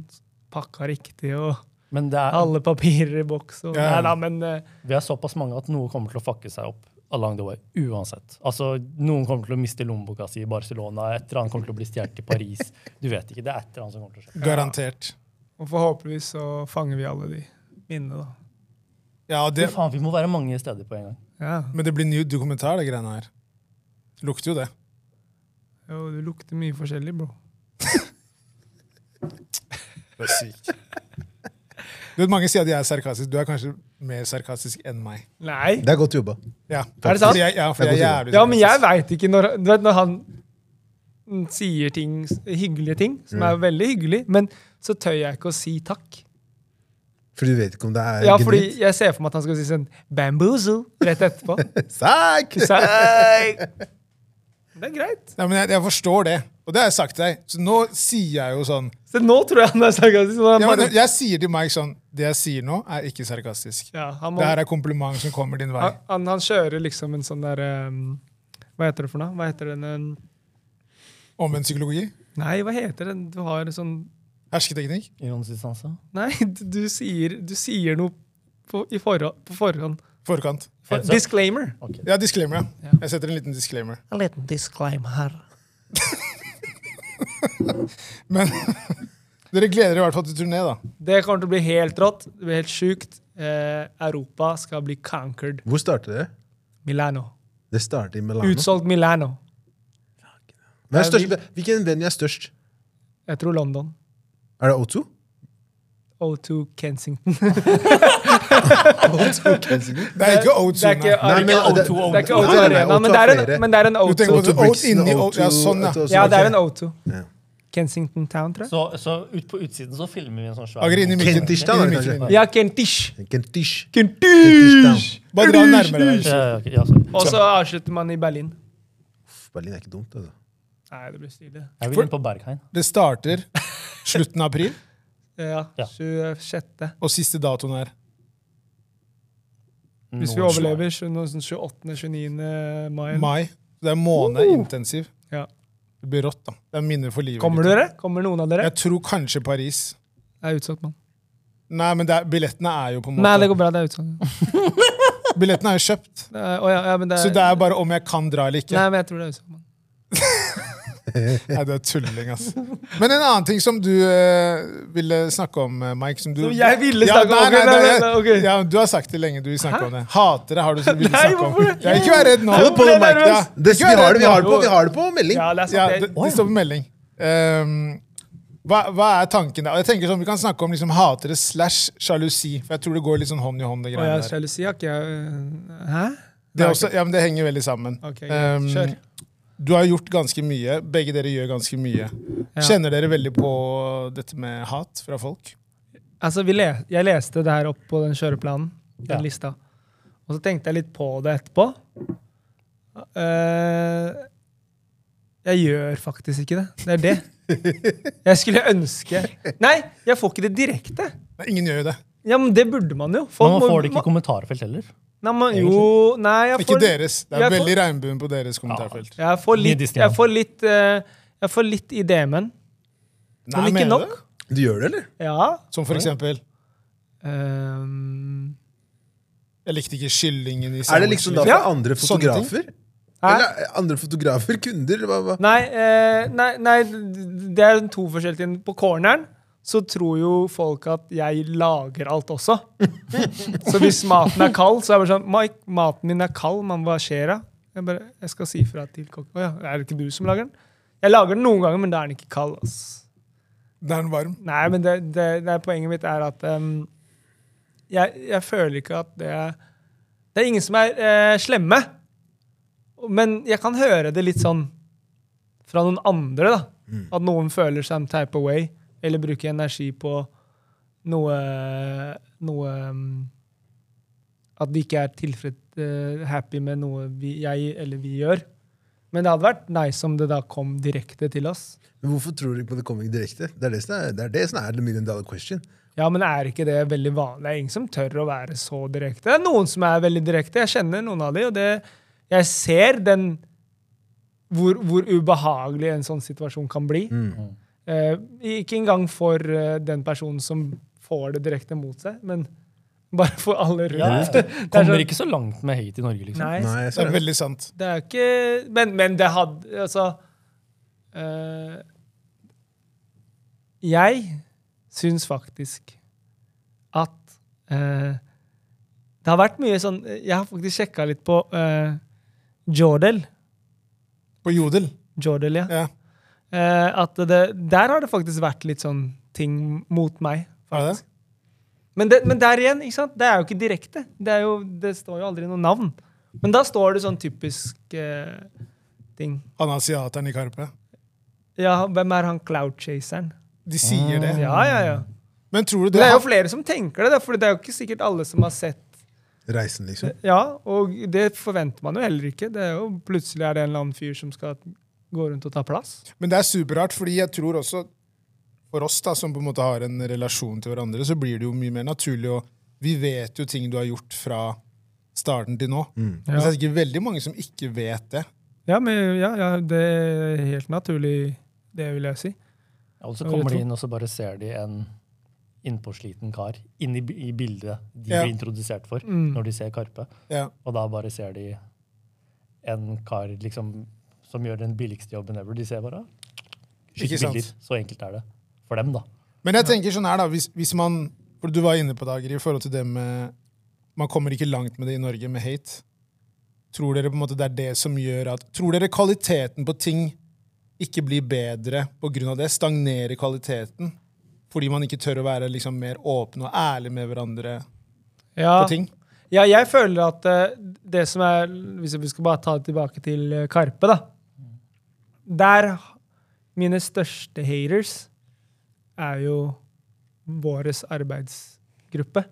[SPEAKER 4] pakker riktig, og
[SPEAKER 5] Men det er,
[SPEAKER 4] alle papirer i boks. Og,
[SPEAKER 2] Ja, ja.
[SPEAKER 4] Nei da, men eh,
[SPEAKER 5] vi er såpass mange at noe kommer til å fucke seg opp along the way. Uansett. Altså, Noen kommer til å miste lommeboka si i Barcelona, et eller annet kommer til å bli stjålet i Paris. Du vet ikke. Det er et eller annet som kommer til å skje.
[SPEAKER 2] Garantert.
[SPEAKER 4] og forhåpentligvis så fanger vi alle de minnene, da.
[SPEAKER 2] Ja,
[SPEAKER 5] Fy
[SPEAKER 2] det,
[SPEAKER 5] faen, vi må være mange steder på en gang.
[SPEAKER 4] Ja.
[SPEAKER 2] men det blir ny dokumentar, det greiene her. Lukter jo det.
[SPEAKER 4] Jo, du lukter mye forskjellig, bro.
[SPEAKER 2] Du er syk. Du vet, mange sier at jeg er sarkastisk. Du er kanskje mer sarkastisk enn meg.
[SPEAKER 4] Nei!
[SPEAKER 3] Det er godt jobba.
[SPEAKER 2] Ja.
[SPEAKER 4] Er det sant?
[SPEAKER 2] Fordi jeg, ja, fordi
[SPEAKER 3] Det er
[SPEAKER 2] jeg er
[SPEAKER 3] godt
[SPEAKER 2] jævlig
[SPEAKER 4] Ja, men jeg
[SPEAKER 2] sarkastisk.
[SPEAKER 4] veit ikke når Du vet når han mm, sier ting, s- hyggelige ting, som er veldig hyggelig, men så tør jeg ikke å si takk.
[SPEAKER 3] For
[SPEAKER 4] for
[SPEAKER 3] du vet ikke om det er
[SPEAKER 4] Ja, fordi jeg ser for meg at han skal si sånn 'bamboozle' rett etterpå.
[SPEAKER 3] Psyk!
[SPEAKER 4] Så jeg, det er greit.
[SPEAKER 2] Nei, men jeg, jeg forstår det, og det har jeg sagt til deg. Så nå sier jeg jo sånn
[SPEAKER 4] Så nå tror jeg han er sarkastisk. så han
[SPEAKER 2] ja,
[SPEAKER 4] bare-
[SPEAKER 2] men Jeg sier til Mike sånn Det jeg sier nå, er ikke sarkastisk.
[SPEAKER 4] Ja, han, må,
[SPEAKER 2] Det her er kompliment som kommer din vei.
[SPEAKER 4] han, han, han kjører liksom en sånn der um, Hva heter det for noe? Hva heter den um,
[SPEAKER 2] Omvendt psykologi.
[SPEAKER 4] Nei, hva heter den? Du har en sånn
[SPEAKER 2] Hersketeknikk.
[SPEAKER 5] Ironisk
[SPEAKER 4] Nei, du, du sier, du sier noe på, i forhå- på forhånd.
[SPEAKER 2] Forkant.
[SPEAKER 4] For,
[SPEAKER 5] Heads up.
[SPEAKER 4] disclaimer.
[SPEAKER 2] Ja, disclaimer.
[SPEAKER 4] Ja.
[SPEAKER 2] ja. Jeg setter en liten disclaimer.
[SPEAKER 4] En liten disclaimer.
[SPEAKER 2] Men Dere gleder dere i hvert fall til turné, da.
[SPEAKER 4] Det kommer til å bli helt rått. Det blir helt sjukt. Eh, Europa skal bli conquered.
[SPEAKER 3] Hvor startet det?
[SPEAKER 4] Milano.
[SPEAKER 3] Det startet i Milano.
[SPEAKER 4] Utsolgt Milano.
[SPEAKER 3] Hvem er størst, hvilken venue er størst?
[SPEAKER 4] Jeg tror London.
[SPEAKER 3] Er det O2?
[SPEAKER 4] O2 Kensington.
[SPEAKER 2] Det er ikke
[SPEAKER 4] Det er ikke
[SPEAKER 2] Oats-sonen.
[SPEAKER 3] Nei, men-
[SPEAKER 4] O2
[SPEAKER 3] det-
[SPEAKER 4] Det er ikke
[SPEAKER 3] Nei,
[SPEAKER 4] O2
[SPEAKER 3] nei, nei,
[SPEAKER 4] Arena,
[SPEAKER 3] O2
[SPEAKER 4] men det
[SPEAKER 3] er
[SPEAKER 4] er
[SPEAKER 3] flere.
[SPEAKER 4] en, men det er en
[SPEAKER 2] Du tenker på det
[SPEAKER 4] O2.
[SPEAKER 2] Oats
[SPEAKER 3] Brixton,
[SPEAKER 2] inni
[SPEAKER 3] O2,
[SPEAKER 2] Oats. Ja, sånn, ja.
[SPEAKER 3] O2,
[SPEAKER 4] Ja, det er en
[SPEAKER 3] ok.
[SPEAKER 4] O2.
[SPEAKER 3] Ja.
[SPEAKER 4] Kensington Town, tror jeg.
[SPEAKER 5] Så, så ut på utsiden så filmer vi en sånn svær
[SPEAKER 2] Ager inn i mikken.
[SPEAKER 3] Kentish, da,
[SPEAKER 2] Inn i
[SPEAKER 3] kanskje?
[SPEAKER 2] mikken.
[SPEAKER 4] Ja, Kentish.
[SPEAKER 3] Kentish.
[SPEAKER 4] Kentish!
[SPEAKER 2] Bare dra nærmere deg.
[SPEAKER 5] Ja, ja, ok, ja, sorry.
[SPEAKER 4] Og så avslutter man i Berlin.
[SPEAKER 3] Uff, Berlin er ikke dumt, altså.
[SPEAKER 4] Nei, det blir stilig.
[SPEAKER 5] Jeg vil inn på Berghain.
[SPEAKER 2] Det starter slutten av april,
[SPEAKER 4] Ja,
[SPEAKER 5] Ja.
[SPEAKER 4] 26.
[SPEAKER 2] og siste datoen er
[SPEAKER 4] Hvis vi overlever 28.-29. mai.
[SPEAKER 2] mai. Det er en måned intensiv.
[SPEAKER 4] Uh! Ja.
[SPEAKER 2] Det blir rått, da. Det er minner for livet.
[SPEAKER 4] Kommer
[SPEAKER 2] gutta.
[SPEAKER 4] dere? Kommer noen av dere?
[SPEAKER 2] Jeg tror kanskje Paris.
[SPEAKER 4] Det er utsolgt, mann.
[SPEAKER 2] Nei, men det er, billettene er jo på en
[SPEAKER 4] Nei, det
[SPEAKER 2] måte
[SPEAKER 4] går bra. Det er utsolgt.
[SPEAKER 2] Billettene er jo kjøpt.
[SPEAKER 4] Det er- Å ja, ja, men det er,
[SPEAKER 2] Så det er bare om jeg kan dra eller ikke.
[SPEAKER 4] Nei, men jeg tror det er utsolgt, mann.
[SPEAKER 2] Nei, det er tulling, ass. Men en annen ting som du eh, ville snakke om, eh, Mike som du,
[SPEAKER 4] Som jeg ville snakke om, ok,
[SPEAKER 2] Nei, nei,
[SPEAKER 4] nei,
[SPEAKER 2] nei,
[SPEAKER 4] nei, ok.
[SPEAKER 2] Ja, du har sagt det lenge, du vil snakke om det. Hatere har du som du ville
[SPEAKER 4] Nei,
[SPEAKER 2] snakke om.
[SPEAKER 4] hvorfor det?
[SPEAKER 2] Ja, ikke vær redd nå.
[SPEAKER 3] Hold på
[SPEAKER 4] ble
[SPEAKER 3] nå, Mike.
[SPEAKER 4] nervøs.
[SPEAKER 3] Ja, det, vi, har det, vi, har det på,
[SPEAKER 4] Jo.
[SPEAKER 3] vi har det på melding.
[SPEAKER 4] Ja, det er
[SPEAKER 2] Ja,
[SPEAKER 4] sant.
[SPEAKER 2] det,
[SPEAKER 4] det-
[SPEAKER 2] det står på melding. Ehm, hva, hva er tanken der? Og Jeg tenker sånn, Vi kan snakke om liksom hatere slash sjalusi. For jeg tror det går litt sånn hånd i hånd. Det,
[SPEAKER 4] Å ja,
[SPEAKER 2] greiene der.
[SPEAKER 4] sjalusi har ikke jeg øh, Hæ?
[SPEAKER 2] det, er også, ja, men det henger veldig sammen.
[SPEAKER 4] Ok, greit.
[SPEAKER 2] Ehm,
[SPEAKER 4] Kjør.
[SPEAKER 2] du har gjort ganske mye. Begge dere gjør ganske mye.
[SPEAKER 4] Ja.
[SPEAKER 2] Kjenner dere veldig på dette med hat fra folk?
[SPEAKER 4] Altså, vi le jeg leste det her opp på den kjøreplanen, den
[SPEAKER 5] Ja.
[SPEAKER 4] lista. Og så tenkte jeg litt på det etterpå. Eh, jeg gjør faktisk ikke det. Det er det. Jeg skulle ønske Nei, jeg får ikke det direkte.
[SPEAKER 2] Nei, ingen gjør jo det.
[SPEAKER 4] Ja, men det burde man jo. Folk
[SPEAKER 5] Men man får det ikke
[SPEAKER 4] må-
[SPEAKER 5] i kommentarfelt heller.
[SPEAKER 4] Nei, men, jo, nei, jeg
[SPEAKER 2] Ikke
[SPEAKER 4] får,
[SPEAKER 2] deres. Det er
[SPEAKER 4] jeg får-
[SPEAKER 2] veldig regnbuen på deres kommentarfelt.
[SPEAKER 4] Jeg får litt,
[SPEAKER 5] Nidistia.
[SPEAKER 4] jeg får litt, eh, jeg får litt i DM-en.
[SPEAKER 2] Nei,
[SPEAKER 4] Men ikke
[SPEAKER 2] mener du
[SPEAKER 4] nok.
[SPEAKER 2] det?
[SPEAKER 3] Du gjør det, eller?
[SPEAKER 4] Ja.
[SPEAKER 2] Som for eksempel
[SPEAKER 4] Ehm,
[SPEAKER 2] Jeg likte ikke kyllingen i
[SPEAKER 3] Er det liksom da
[SPEAKER 2] sandwichen.
[SPEAKER 3] fra
[SPEAKER 4] Ja.
[SPEAKER 3] andre
[SPEAKER 2] Sånne ting.
[SPEAKER 3] fotografer?
[SPEAKER 4] Hæ?
[SPEAKER 3] Eller eh, andre fotografer? Kunder? Hva, hva?
[SPEAKER 4] Nei, eh, nei, nei, det er to forskjellige ting. På corneren så tror jo folk at jeg lager alt også. så hvis maten er kald, så er det bare sånn Mike, maten min er kald, men hva skjer da? Jeg bare, jeg skal si fra til kokken. Å ja, er det ikke du som lager den? Jeg lager den noen ganger, men da er den ikke kald. ass.
[SPEAKER 2] Da er den varm.
[SPEAKER 4] Nei, men det, det, det er poenget mitt er at em, jeg, jeg føler ikke at det er Det er ingen som er eh, slemme. Men jeg kan høre det litt sånn fra noen andre, da. At noen føler seg en type away, eller bruker energi på noe Noe em, At de ikke er tilfreds eh, happy med noe vi, jeg eller vi gjør. Men det hadde vært nice om det da kom direkte til oss.
[SPEAKER 3] Men hvorfor tror du ikke på det kommer direkte? Det er det som er det, er det, som er the million dollar question.
[SPEAKER 4] Ja, men er ikke det veldig vanlig? Det er ingen som tør å være så direkte. Det er noen som er veldig direkte. Jeg kjenner noen av de, og det, jeg ser den hvor, hvor ubehagelig en sånn situasjon kan bli. Eh, ikke engang for eh, den personen som får det direkte mot seg, men bare for alle
[SPEAKER 5] Ja,
[SPEAKER 4] rundt.
[SPEAKER 5] ja. Kommer
[SPEAKER 4] sånn-
[SPEAKER 5] ikke så langt med hate i Norge, liksom.
[SPEAKER 4] Nei,
[SPEAKER 3] Nei, jeg
[SPEAKER 2] Det
[SPEAKER 3] ser
[SPEAKER 2] er
[SPEAKER 3] det.
[SPEAKER 2] veldig sant.
[SPEAKER 4] det er ikke Men, men det hadde Altså eh, Jeg syns faktisk at eh, det har vært mye sånn Jeg har faktisk sjekka litt på eh, Jordal.
[SPEAKER 2] På Jodel.
[SPEAKER 4] Jordal, ja.
[SPEAKER 2] Ja.
[SPEAKER 4] Eh, at det, der har det faktisk vært litt sånn ting mot meg.
[SPEAKER 2] Er det?
[SPEAKER 4] faktisk. Men, det, men der igjen, ikke sant? det er jo ikke direkte. Det, er jo, det står jo aldri noe navn. Men da står det sånn typisk eh, ting.
[SPEAKER 2] Han asiateren i Karpe.
[SPEAKER 4] Ja, hvem er han cloud-chaseren?
[SPEAKER 2] De sier det.
[SPEAKER 4] Mm, Ja, ja, ja.
[SPEAKER 2] Men tror du
[SPEAKER 4] Det
[SPEAKER 2] det
[SPEAKER 4] er jo flere som tenker det, da, for det er jo ikke sikkert alle som har sett
[SPEAKER 3] Reisen, liksom.
[SPEAKER 4] Ja, og det forventer man jo heller ikke. Det er jo Plutselig er det en eller annen fyr som skal gå rundt og ta plass.
[SPEAKER 2] Men det er superrart, fordi jeg tror også for oss da, som på en måte har en relasjon til hverandre, så blir det jo mye mer naturlig. Og vi vet jo ting du har gjort fra starten til nå. Men
[SPEAKER 4] Ja.
[SPEAKER 2] det er sikkert veldig mange som ikke vet det.
[SPEAKER 4] Ja, men ja, ja, det er helt naturlig, det vil jeg si.
[SPEAKER 5] Og så
[SPEAKER 4] Ja,
[SPEAKER 5] kommer
[SPEAKER 4] jeg
[SPEAKER 5] de
[SPEAKER 4] tror-
[SPEAKER 5] inn, og så bare ser de en innpåsliten kar inn i, i bildet de
[SPEAKER 2] Ja.
[SPEAKER 5] blir introdusert for
[SPEAKER 4] Mm.
[SPEAKER 5] når de ser Karpe.
[SPEAKER 2] Ja.
[SPEAKER 5] Og da bare ser de en kar liksom, som gjør den billigste jobben ever. De ser bare
[SPEAKER 2] Ikke
[SPEAKER 5] skyter
[SPEAKER 2] sant.
[SPEAKER 5] bilder. Så enkelt er det for dem, da.
[SPEAKER 2] Men jeg tenker sånn her da, hvis, hvis man, for du var inne på dager i forhold til det med, man kommer ikke langt med det i Norge med hate. Tror dere på en måte det er det som gjør at, tror dere kvaliteten på ting ikke blir bedre på grunn av det, stagnerer kvaliteten, fordi man ikke tør å være liksom mer åpen og ærlig med hverandre
[SPEAKER 4] Ja.
[SPEAKER 2] på ting?
[SPEAKER 4] Ja, jeg føler at eh, det som er Hvis vi skal bare ta det tilbake til eh, Karpe, da. Der mine største haters er jo våres arbeidsgruppe.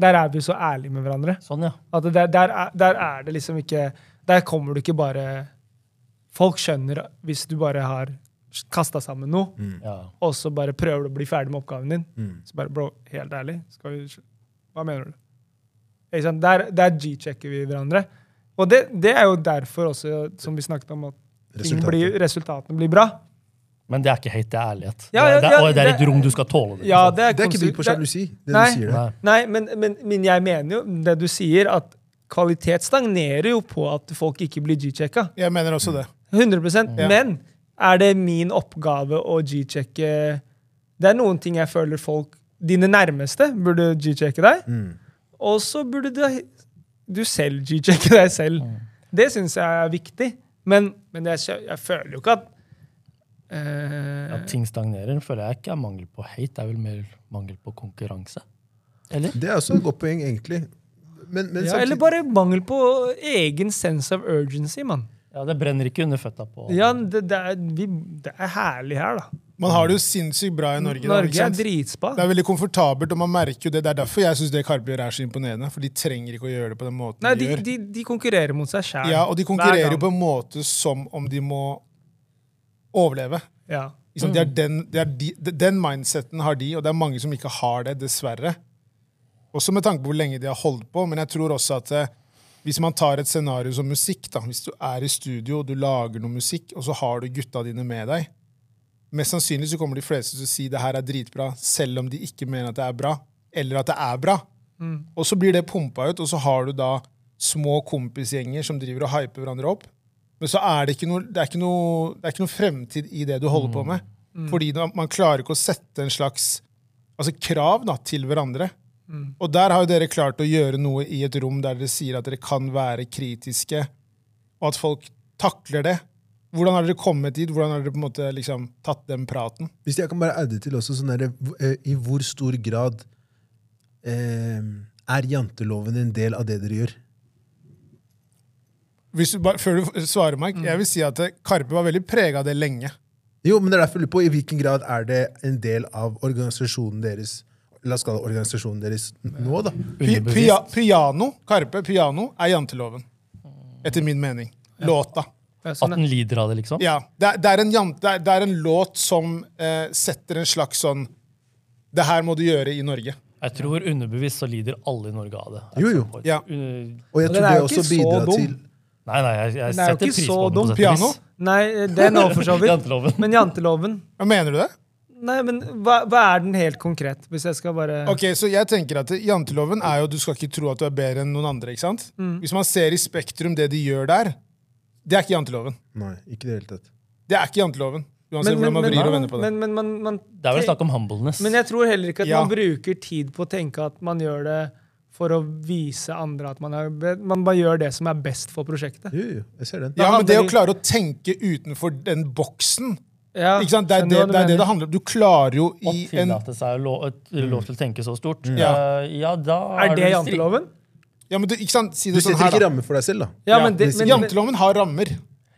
[SPEAKER 4] Der er vi så ærlige med hverandre.
[SPEAKER 5] Sånn, ja.
[SPEAKER 4] At det- der, der, er, der er det liksom ikke Der kommer du ikke bare Folk skjønner hvis du bare har kasta sammen noe,
[SPEAKER 5] ja.
[SPEAKER 4] og så bare prøver du å bli ferdig med oppgaven din.
[SPEAKER 3] Mm.
[SPEAKER 4] Så bare, bro, helt ærlig, skal vi, sl- hva mener du? Ikke sant? Der, der G-checker vi hverandre. Og det, det er jo derfor også, som vi snakket om, at ting blir, resultatene blir bra.
[SPEAKER 5] Men det er ikke hate, det er ærlighet.
[SPEAKER 4] Ja,
[SPEAKER 5] det,
[SPEAKER 4] ja,
[SPEAKER 5] er, det, er,
[SPEAKER 4] ja,
[SPEAKER 5] og det er et
[SPEAKER 4] det-
[SPEAKER 5] rom du skal tåle. Det,
[SPEAKER 4] Ja, det, er
[SPEAKER 3] Det er ikke
[SPEAKER 4] konstru-
[SPEAKER 3] bygd på
[SPEAKER 4] det-
[SPEAKER 3] sjalusi, det
[SPEAKER 4] Nei.
[SPEAKER 3] du sier.
[SPEAKER 5] Nei.
[SPEAKER 3] der.
[SPEAKER 4] Nei, men, men, men jeg mener jo det du sier, at kvalitet stagnerer jo på at folk ikke blir G-checka.
[SPEAKER 2] Jeg mener også det.
[SPEAKER 4] 100
[SPEAKER 2] Ja.
[SPEAKER 4] Men er det min oppgave å G-sjekke Det er noen ting jeg føler folk Dine nærmeste burde G-sjekke deg.
[SPEAKER 3] Mm.
[SPEAKER 4] Og så burde du, du selv G-sjekke deg selv. Det syns jeg er viktig. Men, men jeg, skjø- jeg føler jo ikke at eh,
[SPEAKER 5] At ting stagnerer, føler jeg ikke er mangel på hate, det er vel mer mangel på konkurranse. Eller?
[SPEAKER 3] Det er også et godt poeng, egentlig. Men, men
[SPEAKER 4] ja,
[SPEAKER 3] samtidig-
[SPEAKER 4] Eller bare mangel på egen sense of urgency, mann.
[SPEAKER 5] Ja, det brenner ikke under føtta på
[SPEAKER 4] Ja, det, det, er- vi- det er herlig her, da.
[SPEAKER 2] Man har det jo sinnssykt bra i Norge. da, ikke
[SPEAKER 4] Norge
[SPEAKER 2] sant?
[SPEAKER 4] er dritspa.
[SPEAKER 2] Det er veldig komfortabelt, og man merker jo det. Det er derfor jeg syns det Karpe gjør er så imponerende. For de trenger ikke å gjøre det på den måten
[SPEAKER 4] Nei,
[SPEAKER 2] de,
[SPEAKER 4] de,
[SPEAKER 2] gjør.
[SPEAKER 4] de, de konkurrerer mot seg sjæl.
[SPEAKER 2] ja, og de konkurrerer jo på en måte som om de må overleve.
[SPEAKER 4] ja.
[SPEAKER 2] Ikke sant? Det er den, det er de, de- den mindseten har de, og det er mange som ikke har det, dessverre. Også med tanke på hvor lenge de har holdt på, men jeg tror også at eh, hvis man tar et scenario som musikk, da, hvis du er i studio og du lager noe musikk, og så har du gutta dine med deg, mest sannsynlig så kommer de fleste til å si det her er dritbra, selv om de ikke mener at det er bra, eller at det er bra. Og så blir det pumpa ut, og så har du da små kompisgjenger som driver og hyper hverandre opp. Men så er det ikke noe, det er ikke noe, det er ikke noe fremtid i det du holder på med. Fordi da, man klarer ikke å sette en slags altså krav da, til hverandre. Og der har jo dere klart å gjøre noe i et rom der dere sier at dere kan være kritiske, og at folk takler det. Hvordan har dere kommet dit? Hvordan har dere på en måte liksom tatt den praten?
[SPEAKER 3] Hvis jeg kan bare adde til også, sånn derre, hvor- eh, i hvor stor grad eh, er janteloven en del av det dere gjør?
[SPEAKER 2] Hvis du, bare- før du svarer, Mike, jeg vil si at eh, Karpe var veldig prega av det lenge.
[SPEAKER 3] Jo, men det er derfor jeg lurer på i hvilken grad er det en del av organisasjonen deres La oss kalle det organisasjonen deres nå, da.
[SPEAKER 2] Pi,
[SPEAKER 5] Underbevisst.
[SPEAKER 2] pia, piano, Karpe, piano er janteloven. Etter min mening. Låta.
[SPEAKER 4] Ja, sånn
[SPEAKER 5] At den lider av det, liksom.
[SPEAKER 2] Ja, det, er- det, er en jan- det, er, det er en låt som eh, setter en slags sånn Det her må du gjøre i Norge.
[SPEAKER 5] Jeg tror underbevisst så lider alle i Norge av det.
[SPEAKER 3] Jo, jo.
[SPEAKER 2] Ja.
[SPEAKER 5] Uh,
[SPEAKER 3] Og jeg tror
[SPEAKER 4] Men den er
[SPEAKER 3] det
[SPEAKER 4] jo
[SPEAKER 3] også
[SPEAKER 4] ikke så
[SPEAKER 3] bidrar
[SPEAKER 4] dum.
[SPEAKER 3] til
[SPEAKER 5] Nei, nei, jeg, jeg
[SPEAKER 4] Den er jo
[SPEAKER 5] setter
[SPEAKER 4] ikke
[SPEAKER 5] pris
[SPEAKER 4] så
[SPEAKER 5] på den.
[SPEAKER 4] dum.
[SPEAKER 5] på sett og
[SPEAKER 2] Piano?
[SPEAKER 5] vis.
[SPEAKER 4] Nei, den òg, for så vidt.
[SPEAKER 5] Janteloven.
[SPEAKER 4] Men janteloven
[SPEAKER 2] Ja, Mener du det?
[SPEAKER 4] Nei, men hva, hva er den helt konkret? Hvis jeg skal bare
[SPEAKER 2] Ok, så jeg tenker at Janteloven er jo du skal ikke tro at du er bedre enn noen andre. ikke sant?
[SPEAKER 4] Mm.
[SPEAKER 2] Hvis man ser i Spektrum det de gjør der, det er ikke janteloven.
[SPEAKER 3] Nei, ikke i det hele tatt.
[SPEAKER 2] Det er ikke janteloven. Uansett
[SPEAKER 4] Men, men,
[SPEAKER 2] hvordan man
[SPEAKER 4] men,
[SPEAKER 2] vrir og
[SPEAKER 4] men,
[SPEAKER 2] vender på det.
[SPEAKER 4] men, men, man- man,
[SPEAKER 5] Det er vel snakk om humbleness.
[SPEAKER 4] men jeg tror heller ikke at
[SPEAKER 2] Ja.
[SPEAKER 4] man bruker tid på å tenke at man gjør det for å vise andre at man er be- Man bare gjør det som er best for prosjektet.
[SPEAKER 3] Jo, jo, jeg ser den.
[SPEAKER 2] Ja, men
[SPEAKER 4] handler
[SPEAKER 2] det å
[SPEAKER 4] det-
[SPEAKER 2] klare å tenke utenfor den boksen
[SPEAKER 4] Ja,
[SPEAKER 2] ikke sant? Det er
[SPEAKER 4] skjønner
[SPEAKER 2] det det, er
[SPEAKER 4] hva du
[SPEAKER 2] det,
[SPEAKER 4] mener.
[SPEAKER 2] det handler om. Du klarer jo
[SPEAKER 5] Å
[SPEAKER 2] i en
[SPEAKER 5] tillate seg å lov, lov til å tenke så stort.
[SPEAKER 2] Ja.
[SPEAKER 5] Eh, ja, da
[SPEAKER 4] Mm. Er det
[SPEAKER 5] du stri-
[SPEAKER 4] janteloven?
[SPEAKER 2] Ja, men du, ikke sant? Si
[SPEAKER 3] Du
[SPEAKER 2] det sånn
[SPEAKER 3] setter
[SPEAKER 2] her,
[SPEAKER 3] ikke
[SPEAKER 2] da.
[SPEAKER 3] rammer for deg selv, da.
[SPEAKER 4] Ja,
[SPEAKER 2] Ja,
[SPEAKER 4] men det, men, men,
[SPEAKER 2] Janteloven har rammer.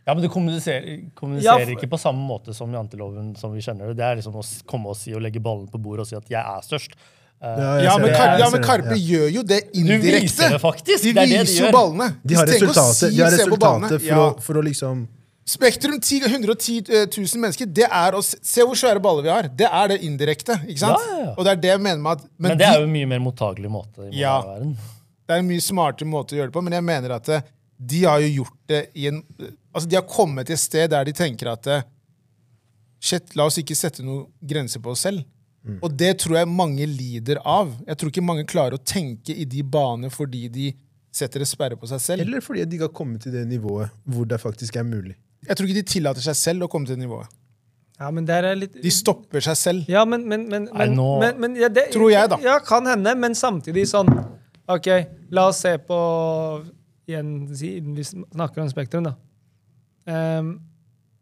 [SPEAKER 5] Ja, men du kommuniserer, kommuniserer
[SPEAKER 4] Ja, for-
[SPEAKER 5] ikke på samme måte som janteloven som vi kjenner det. Det er liksom å s- komme og si og legge ballen på bordet og si at 'jeg er størst'. Eh,
[SPEAKER 2] Ja, men, Kar
[SPEAKER 3] jeg
[SPEAKER 2] ja,
[SPEAKER 3] ser
[SPEAKER 2] men
[SPEAKER 3] den.
[SPEAKER 2] Karpe
[SPEAKER 3] Ja.
[SPEAKER 2] gjør jo det
[SPEAKER 5] Du viser
[SPEAKER 2] indirekte.
[SPEAKER 5] det faktisk.
[SPEAKER 2] De
[SPEAKER 5] Det er det de
[SPEAKER 2] viser jo
[SPEAKER 5] gjør.
[SPEAKER 2] ballene.
[SPEAKER 3] De har
[SPEAKER 2] De trenger ikke å
[SPEAKER 3] resultatet,
[SPEAKER 2] si
[SPEAKER 3] de har
[SPEAKER 2] 'se på ballene'.
[SPEAKER 3] resultatet for,
[SPEAKER 2] Ja.
[SPEAKER 3] å, for å liksom
[SPEAKER 2] Spektrum 10 110 000 mennesker, det er å se, se hvor svære baller vi har. Det er det indirekte. ikke sant?
[SPEAKER 5] Ja, ja, ja.
[SPEAKER 2] Og det er det jeg mener med at
[SPEAKER 5] men,
[SPEAKER 2] men
[SPEAKER 5] det er jo
[SPEAKER 2] de,
[SPEAKER 5] en mye mer mottagelig måte i
[SPEAKER 2] Ja.
[SPEAKER 5] verden.
[SPEAKER 2] det er en mye smartere måte å gjøre det på, men jeg mener at eh, de har jo gjort det i en Altså, de har kommet til et sted der de tenker at eh, Shit, la oss ikke sette noen grenser på oss selv. Og det tror jeg mange lider av. Jeg tror ikke mange klarer å tenke i de baner fordi de setter en sperre på seg selv.
[SPEAKER 3] Eller fordi de ikke har kommet til det nivået hvor det faktisk er mulig.
[SPEAKER 2] Jeg tror ikke de tillater seg selv å komme til det nivået.
[SPEAKER 4] Ja, men der er litt...
[SPEAKER 2] De stopper seg selv.
[SPEAKER 4] Ja, men, men, men,
[SPEAKER 5] Nei,
[SPEAKER 4] men,
[SPEAKER 5] nå-
[SPEAKER 4] men, men ja, det,
[SPEAKER 2] Tror jeg, da.
[SPEAKER 4] Ja, kan hende, men samtidig sånn OK, la oss se på igjen, si, Hvis vi snakker om Spektrum, da. Ehm,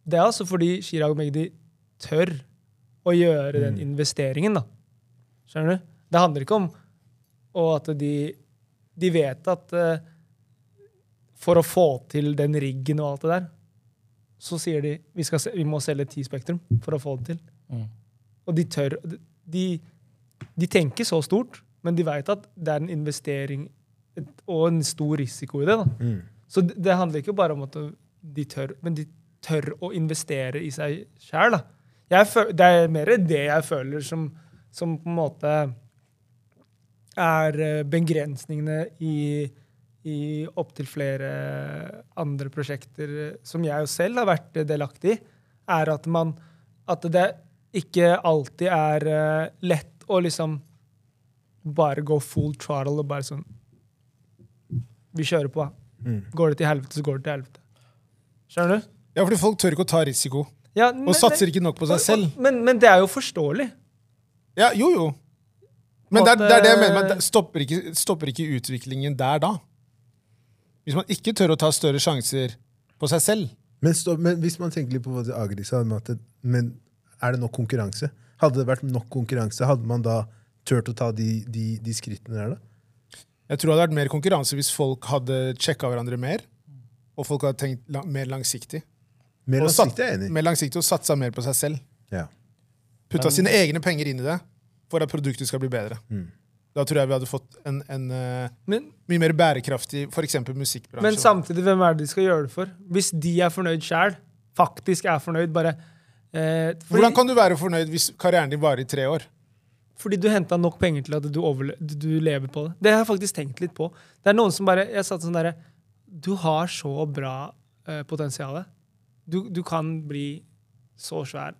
[SPEAKER 4] det er altså fordi Chirag Magdi tør å gjøre den
[SPEAKER 2] Mm.
[SPEAKER 4] investeringen, da. Skjønner du? Det handler ikke om og at de, de vet at eh, for å få til den riggen og alt det der, så sier de vi, skal, se- vi må selge ti Spektrum for å få det til.
[SPEAKER 5] Mm.
[SPEAKER 4] Og de tør de, de tenker så stort, men de veit at det er en investering et- og en stor risiko i det. Da.
[SPEAKER 3] Mm.
[SPEAKER 4] Så det, det handler ikke bare om at de tør, men de tør å investere i seg sjæl. Det er mer det jeg føler som, som på en måte er eh, begrensningene i, i opptil flere eh, andre prosjekter eh, som jeg jo selv har vært eh, delaktig i, er at man at det ikke alltid er eh, lett å liksom bare gå full trial og bare sånn Vi kjører på.
[SPEAKER 3] Mm.
[SPEAKER 4] Går det til helvete, så går det til helvete. Skjønner du?
[SPEAKER 2] Ja, fordi folk tør ikke å ta risiko.
[SPEAKER 4] Ja,
[SPEAKER 2] Og satser ikke nok på seg selv.
[SPEAKER 4] Men, men det er jo forståelig.
[SPEAKER 2] Ja, jo, jo. Men det
[SPEAKER 4] På
[SPEAKER 2] er,
[SPEAKER 4] eh, en måte-
[SPEAKER 2] det er det jeg mener. men det Stopper ikke, stopper ikke utviklingen der da? Hvis man ikke tør å ta større sjanser på seg selv.
[SPEAKER 3] Men, stå, men hvis man tenker litt på hva det Agri sa, med at det, men er det nok konkurranse? Hadde det vært nok konkurranse, hadde man da turt å ta de, de, de skrittene der, da?
[SPEAKER 2] Jeg tror det hadde vært mer konkurranse hvis folk hadde sjekka hverandre mer. Og folk hadde tenkt la mer langsiktig.
[SPEAKER 3] Mer
[SPEAKER 2] Og
[SPEAKER 3] langsiktig er jeg enig i.
[SPEAKER 2] Mer langsiktig og satsa mer på seg selv.
[SPEAKER 3] Ja.
[SPEAKER 2] Putta sine egne penger inn i det for at produktet skal bli bedre.
[SPEAKER 3] Mm.
[SPEAKER 2] Da tror jeg vi hadde fått en, en eh,
[SPEAKER 4] Men,
[SPEAKER 2] mye mer bærekraftig f.eks. musikkbransje.
[SPEAKER 4] men samtidig, hvem er det de skal gjøre det for? Hvis de er fornøyd sjæl, faktisk er fornøyd, bare eh, fordi,
[SPEAKER 2] Hvordan kan du være fornøyd hvis karrieren din varer i tre år?
[SPEAKER 4] fordi du henta nok penger til at du, overle du du lever på det. Det har jeg faktisk tenkt litt på. Det er noen som bare Jeg satt sånn derre Du har så bra eh, potensial. Du, du kan bli så svær.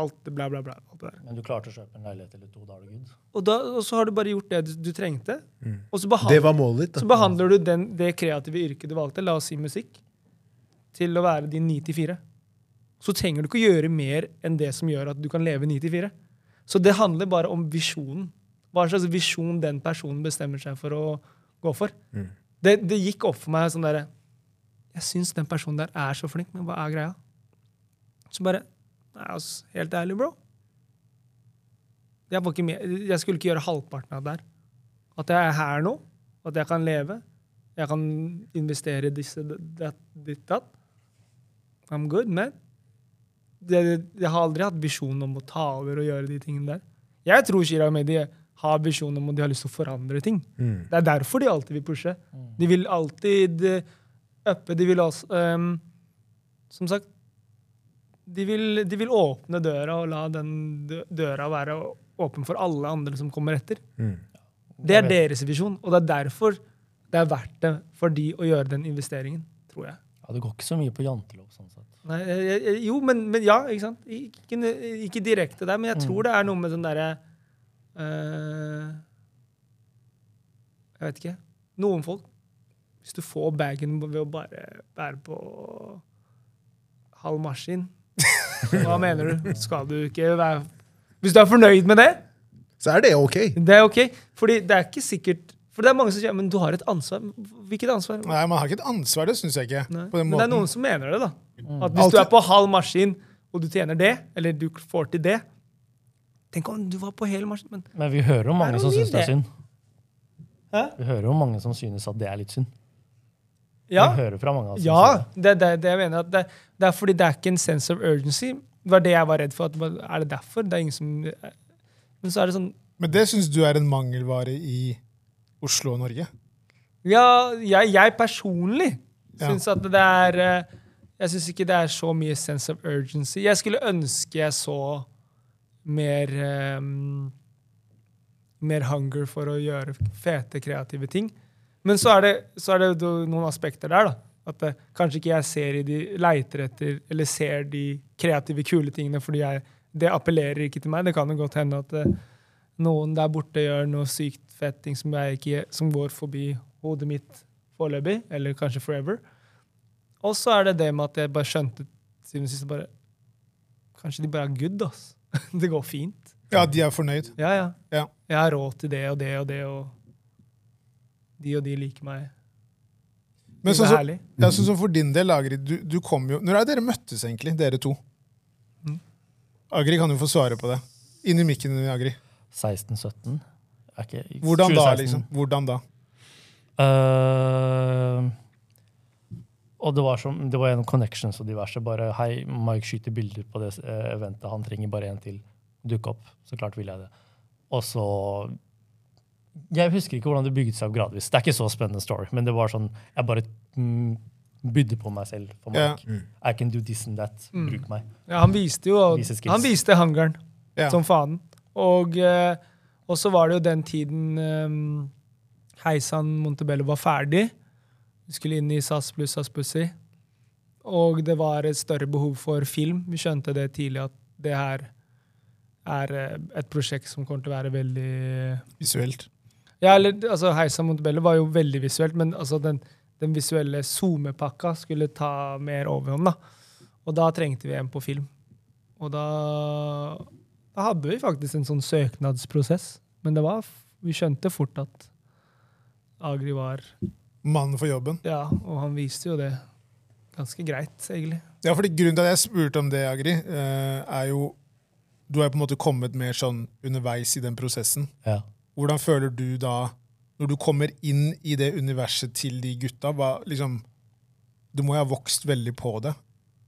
[SPEAKER 4] Alt det bla, bla, bla. Alt det der.
[SPEAKER 5] Men du klarte å kjøpe en leilighet eller to, da er det good.
[SPEAKER 4] Og, da, og så har du bare gjort det du, du trengte. Og så
[SPEAKER 3] Det
[SPEAKER 4] behandler
[SPEAKER 3] var målet ditt,
[SPEAKER 4] Så
[SPEAKER 3] da.
[SPEAKER 4] behandler du den, det kreative yrket du valgte, la oss si musikk, til å være din 9-4. Så trenger du ikke gjøre mer enn det som gjør at du kan leve 9-4. Så det handler bare om visjonen. Hva slags visjon den personen bestemmer seg for å gå for. Det, det gikk opp for meg sånn derre Jeg syns den personen der er så flink, men hva er greia? Så bare Nei, altså, helt ærlig, bro. Jeg, var ikke med, jeg skulle ikke gjøre halvparten av det her. At jeg er her nå, at jeg kan leve. Jeg kan investere i disse datt, ditt, datt. I'm good, man. Det, jeg har aldri hatt visjon om å ta over og gjøre de tingene der. Jeg tror Chirag Mehdi har visjon om at de har lyst til å forandre ting.
[SPEAKER 3] Mm.
[SPEAKER 4] Det er derfor de alltid vil pushe. De vil alltid eh, uppe. De vil også ehm, Som sagt de vil, de vil åpne døra og la den dø- døra være å- åpen for alle andre som kommer etter.
[SPEAKER 3] Mm.
[SPEAKER 4] Det er deres visjon, og det er derfor det er verdt det for de å gjøre den investeringen, tror jeg.
[SPEAKER 5] Ja, det går ikke så mye på jantelov, sånn sett.
[SPEAKER 4] Nei, jeg- jeg- jo, men, men ja, ikke sant? Ikke, ikke direkte der, men jeg tror det er noe med den derre eh, Jeg vet ikke. Noen folk Hvis du får bagen ved å bare bære på halv maskin, hva mener du? Skal du ikke være Hvis du er fornøyd med det?
[SPEAKER 3] Så er det ok.
[SPEAKER 4] Det er ok, fordi det er ikke sikkert For det er mange som sier, men du har et ansvar. Hvilket ansvar?
[SPEAKER 2] Nei, Man har ikke et ansvar, det syns jeg ikke.
[SPEAKER 4] Nei.
[SPEAKER 2] På den
[SPEAKER 4] Men det er
[SPEAKER 2] måten.
[SPEAKER 4] noen som mener det, da. At hvis du er på halv maskin, og du tjener det, eller du får til det Tenk om du var på hel maskin, men
[SPEAKER 5] Men vi hører om mange
[SPEAKER 4] det
[SPEAKER 5] som
[SPEAKER 4] mye
[SPEAKER 5] syns det
[SPEAKER 4] det?
[SPEAKER 5] er synd.
[SPEAKER 4] Hæ?
[SPEAKER 5] Vi hører om mange som synes at det er litt synd.
[SPEAKER 4] Ja,
[SPEAKER 5] Vi hører fra mange av oss.
[SPEAKER 4] ja det, er det, det jeg mener at det, det er fordi det er ikke en sense of urgency. Det var det jeg var redd for. At, bare, er det derfor? Det er ingen som Men så er det sånn
[SPEAKER 2] Men det syns du er en mangelvare i Oslo og Norge?
[SPEAKER 4] Ja, jeg, jeg personlig
[SPEAKER 2] Ja.
[SPEAKER 4] syns at det er eh, Jeg syns ikke det er så mye sense of urgency. Jeg skulle ønske jeg så mer eh, Mer hunger for å gjøre fete, kreative ting. Men så er det, så er det jo noen aspekter der, da. At eh, kanskje ikke jeg ser i de leiter etter eller ser de kreative, kule tingene fordi jeg, det appellerer ikke til meg. Det kan jo godt hende at eh, noen der borte gjør noe sykt fett ting som, jeg ikke, som går forbi hodet mitt foreløpig, eller kanskje forever. Og så er det det med at jeg bare skjønte til syvende og sist bare Kanskje de bare er good, ass. Det går fint.
[SPEAKER 2] Ja, de er fornøyd.
[SPEAKER 4] Ja, ja.
[SPEAKER 2] Ja.
[SPEAKER 4] Jeg har råd til det og det og det, og de og de liker meg.
[SPEAKER 2] Men sånn
[SPEAKER 4] det er
[SPEAKER 2] som
[SPEAKER 4] herlig.
[SPEAKER 2] ja, sånn som for din del, Agri, du, du kom jo Når er dere møttes, egentlig, dere to?
[SPEAKER 4] Mm.
[SPEAKER 2] Agri kan jo få svare på det. Inn i mikken, Agri.
[SPEAKER 5] 16-17. Er ikke-
[SPEAKER 2] Hvordan da,
[SPEAKER 5] 2016.
[SPEAKER 2] liksom? Hvordan da?
[SPEAKER 5] Eh, og det var, som, det var gjennom connections og diverse. Bare 'hei, Mike skyter bilder på det eh, eventet, han trenger bare en til'. Dukke opp. Så klart ville jeg det. Og så Jeg husker ikke hvordan det bygde seg opp gradvis. Det er ikke så spennende story, men det var sånn Jeg bare mm, bydde på meg selv. For
[SPEAKER 2] Ja.
[SPEAKER 5] Mike. I can do this and that. Bruk meg.
[SPEAKER 4] Ja, han viste jo
[SPEAKER 5] Vise skills.
[SPEAKER 4] Han viste hangaren
[SPEAKER 2] Ja.
[SPEAKER 4] som faen. Og, eh, og så var det jo den tiden um, Heisan Montebello var ferdig. Vi skulle inn i SAS pluss SAS Pussy. Og det var et større behov for film. Vi skjønte det tidlig at det her er eh, et prosjekt som kommer til å være veldig
[SPEAKER 2] Visuelt.
[SPEAKER 4] ja, eller altså, Heisa Montebello var jo veldig visuelt, men altså, den, den visuelle zoomepakka skulle ta mer overhånd. da. Og da trengte vi en på film. Og da, da hadde vi faktisk en sånn søknadsprosess. Men det var, f- vi skjønte fort at Agri var
[SPEAKER 2] Mannen for jobben.
[SPEAKER 4] Ja, og han viste jo det ganske greit, egentlig.
[SPEAKER 2] Ja, fordi Grunnen til at jeg spurte om det, Agri, eh, er jo Du har jo på en måte kommet mer sånn underveis i den prosessen.
[SPEAKER 5] Ja.
[SPEAKER 2] Hvordan føler du da, når du kommer inn i det universet til de gutta hva, liksom, Du må jo ha vokst veldig på det.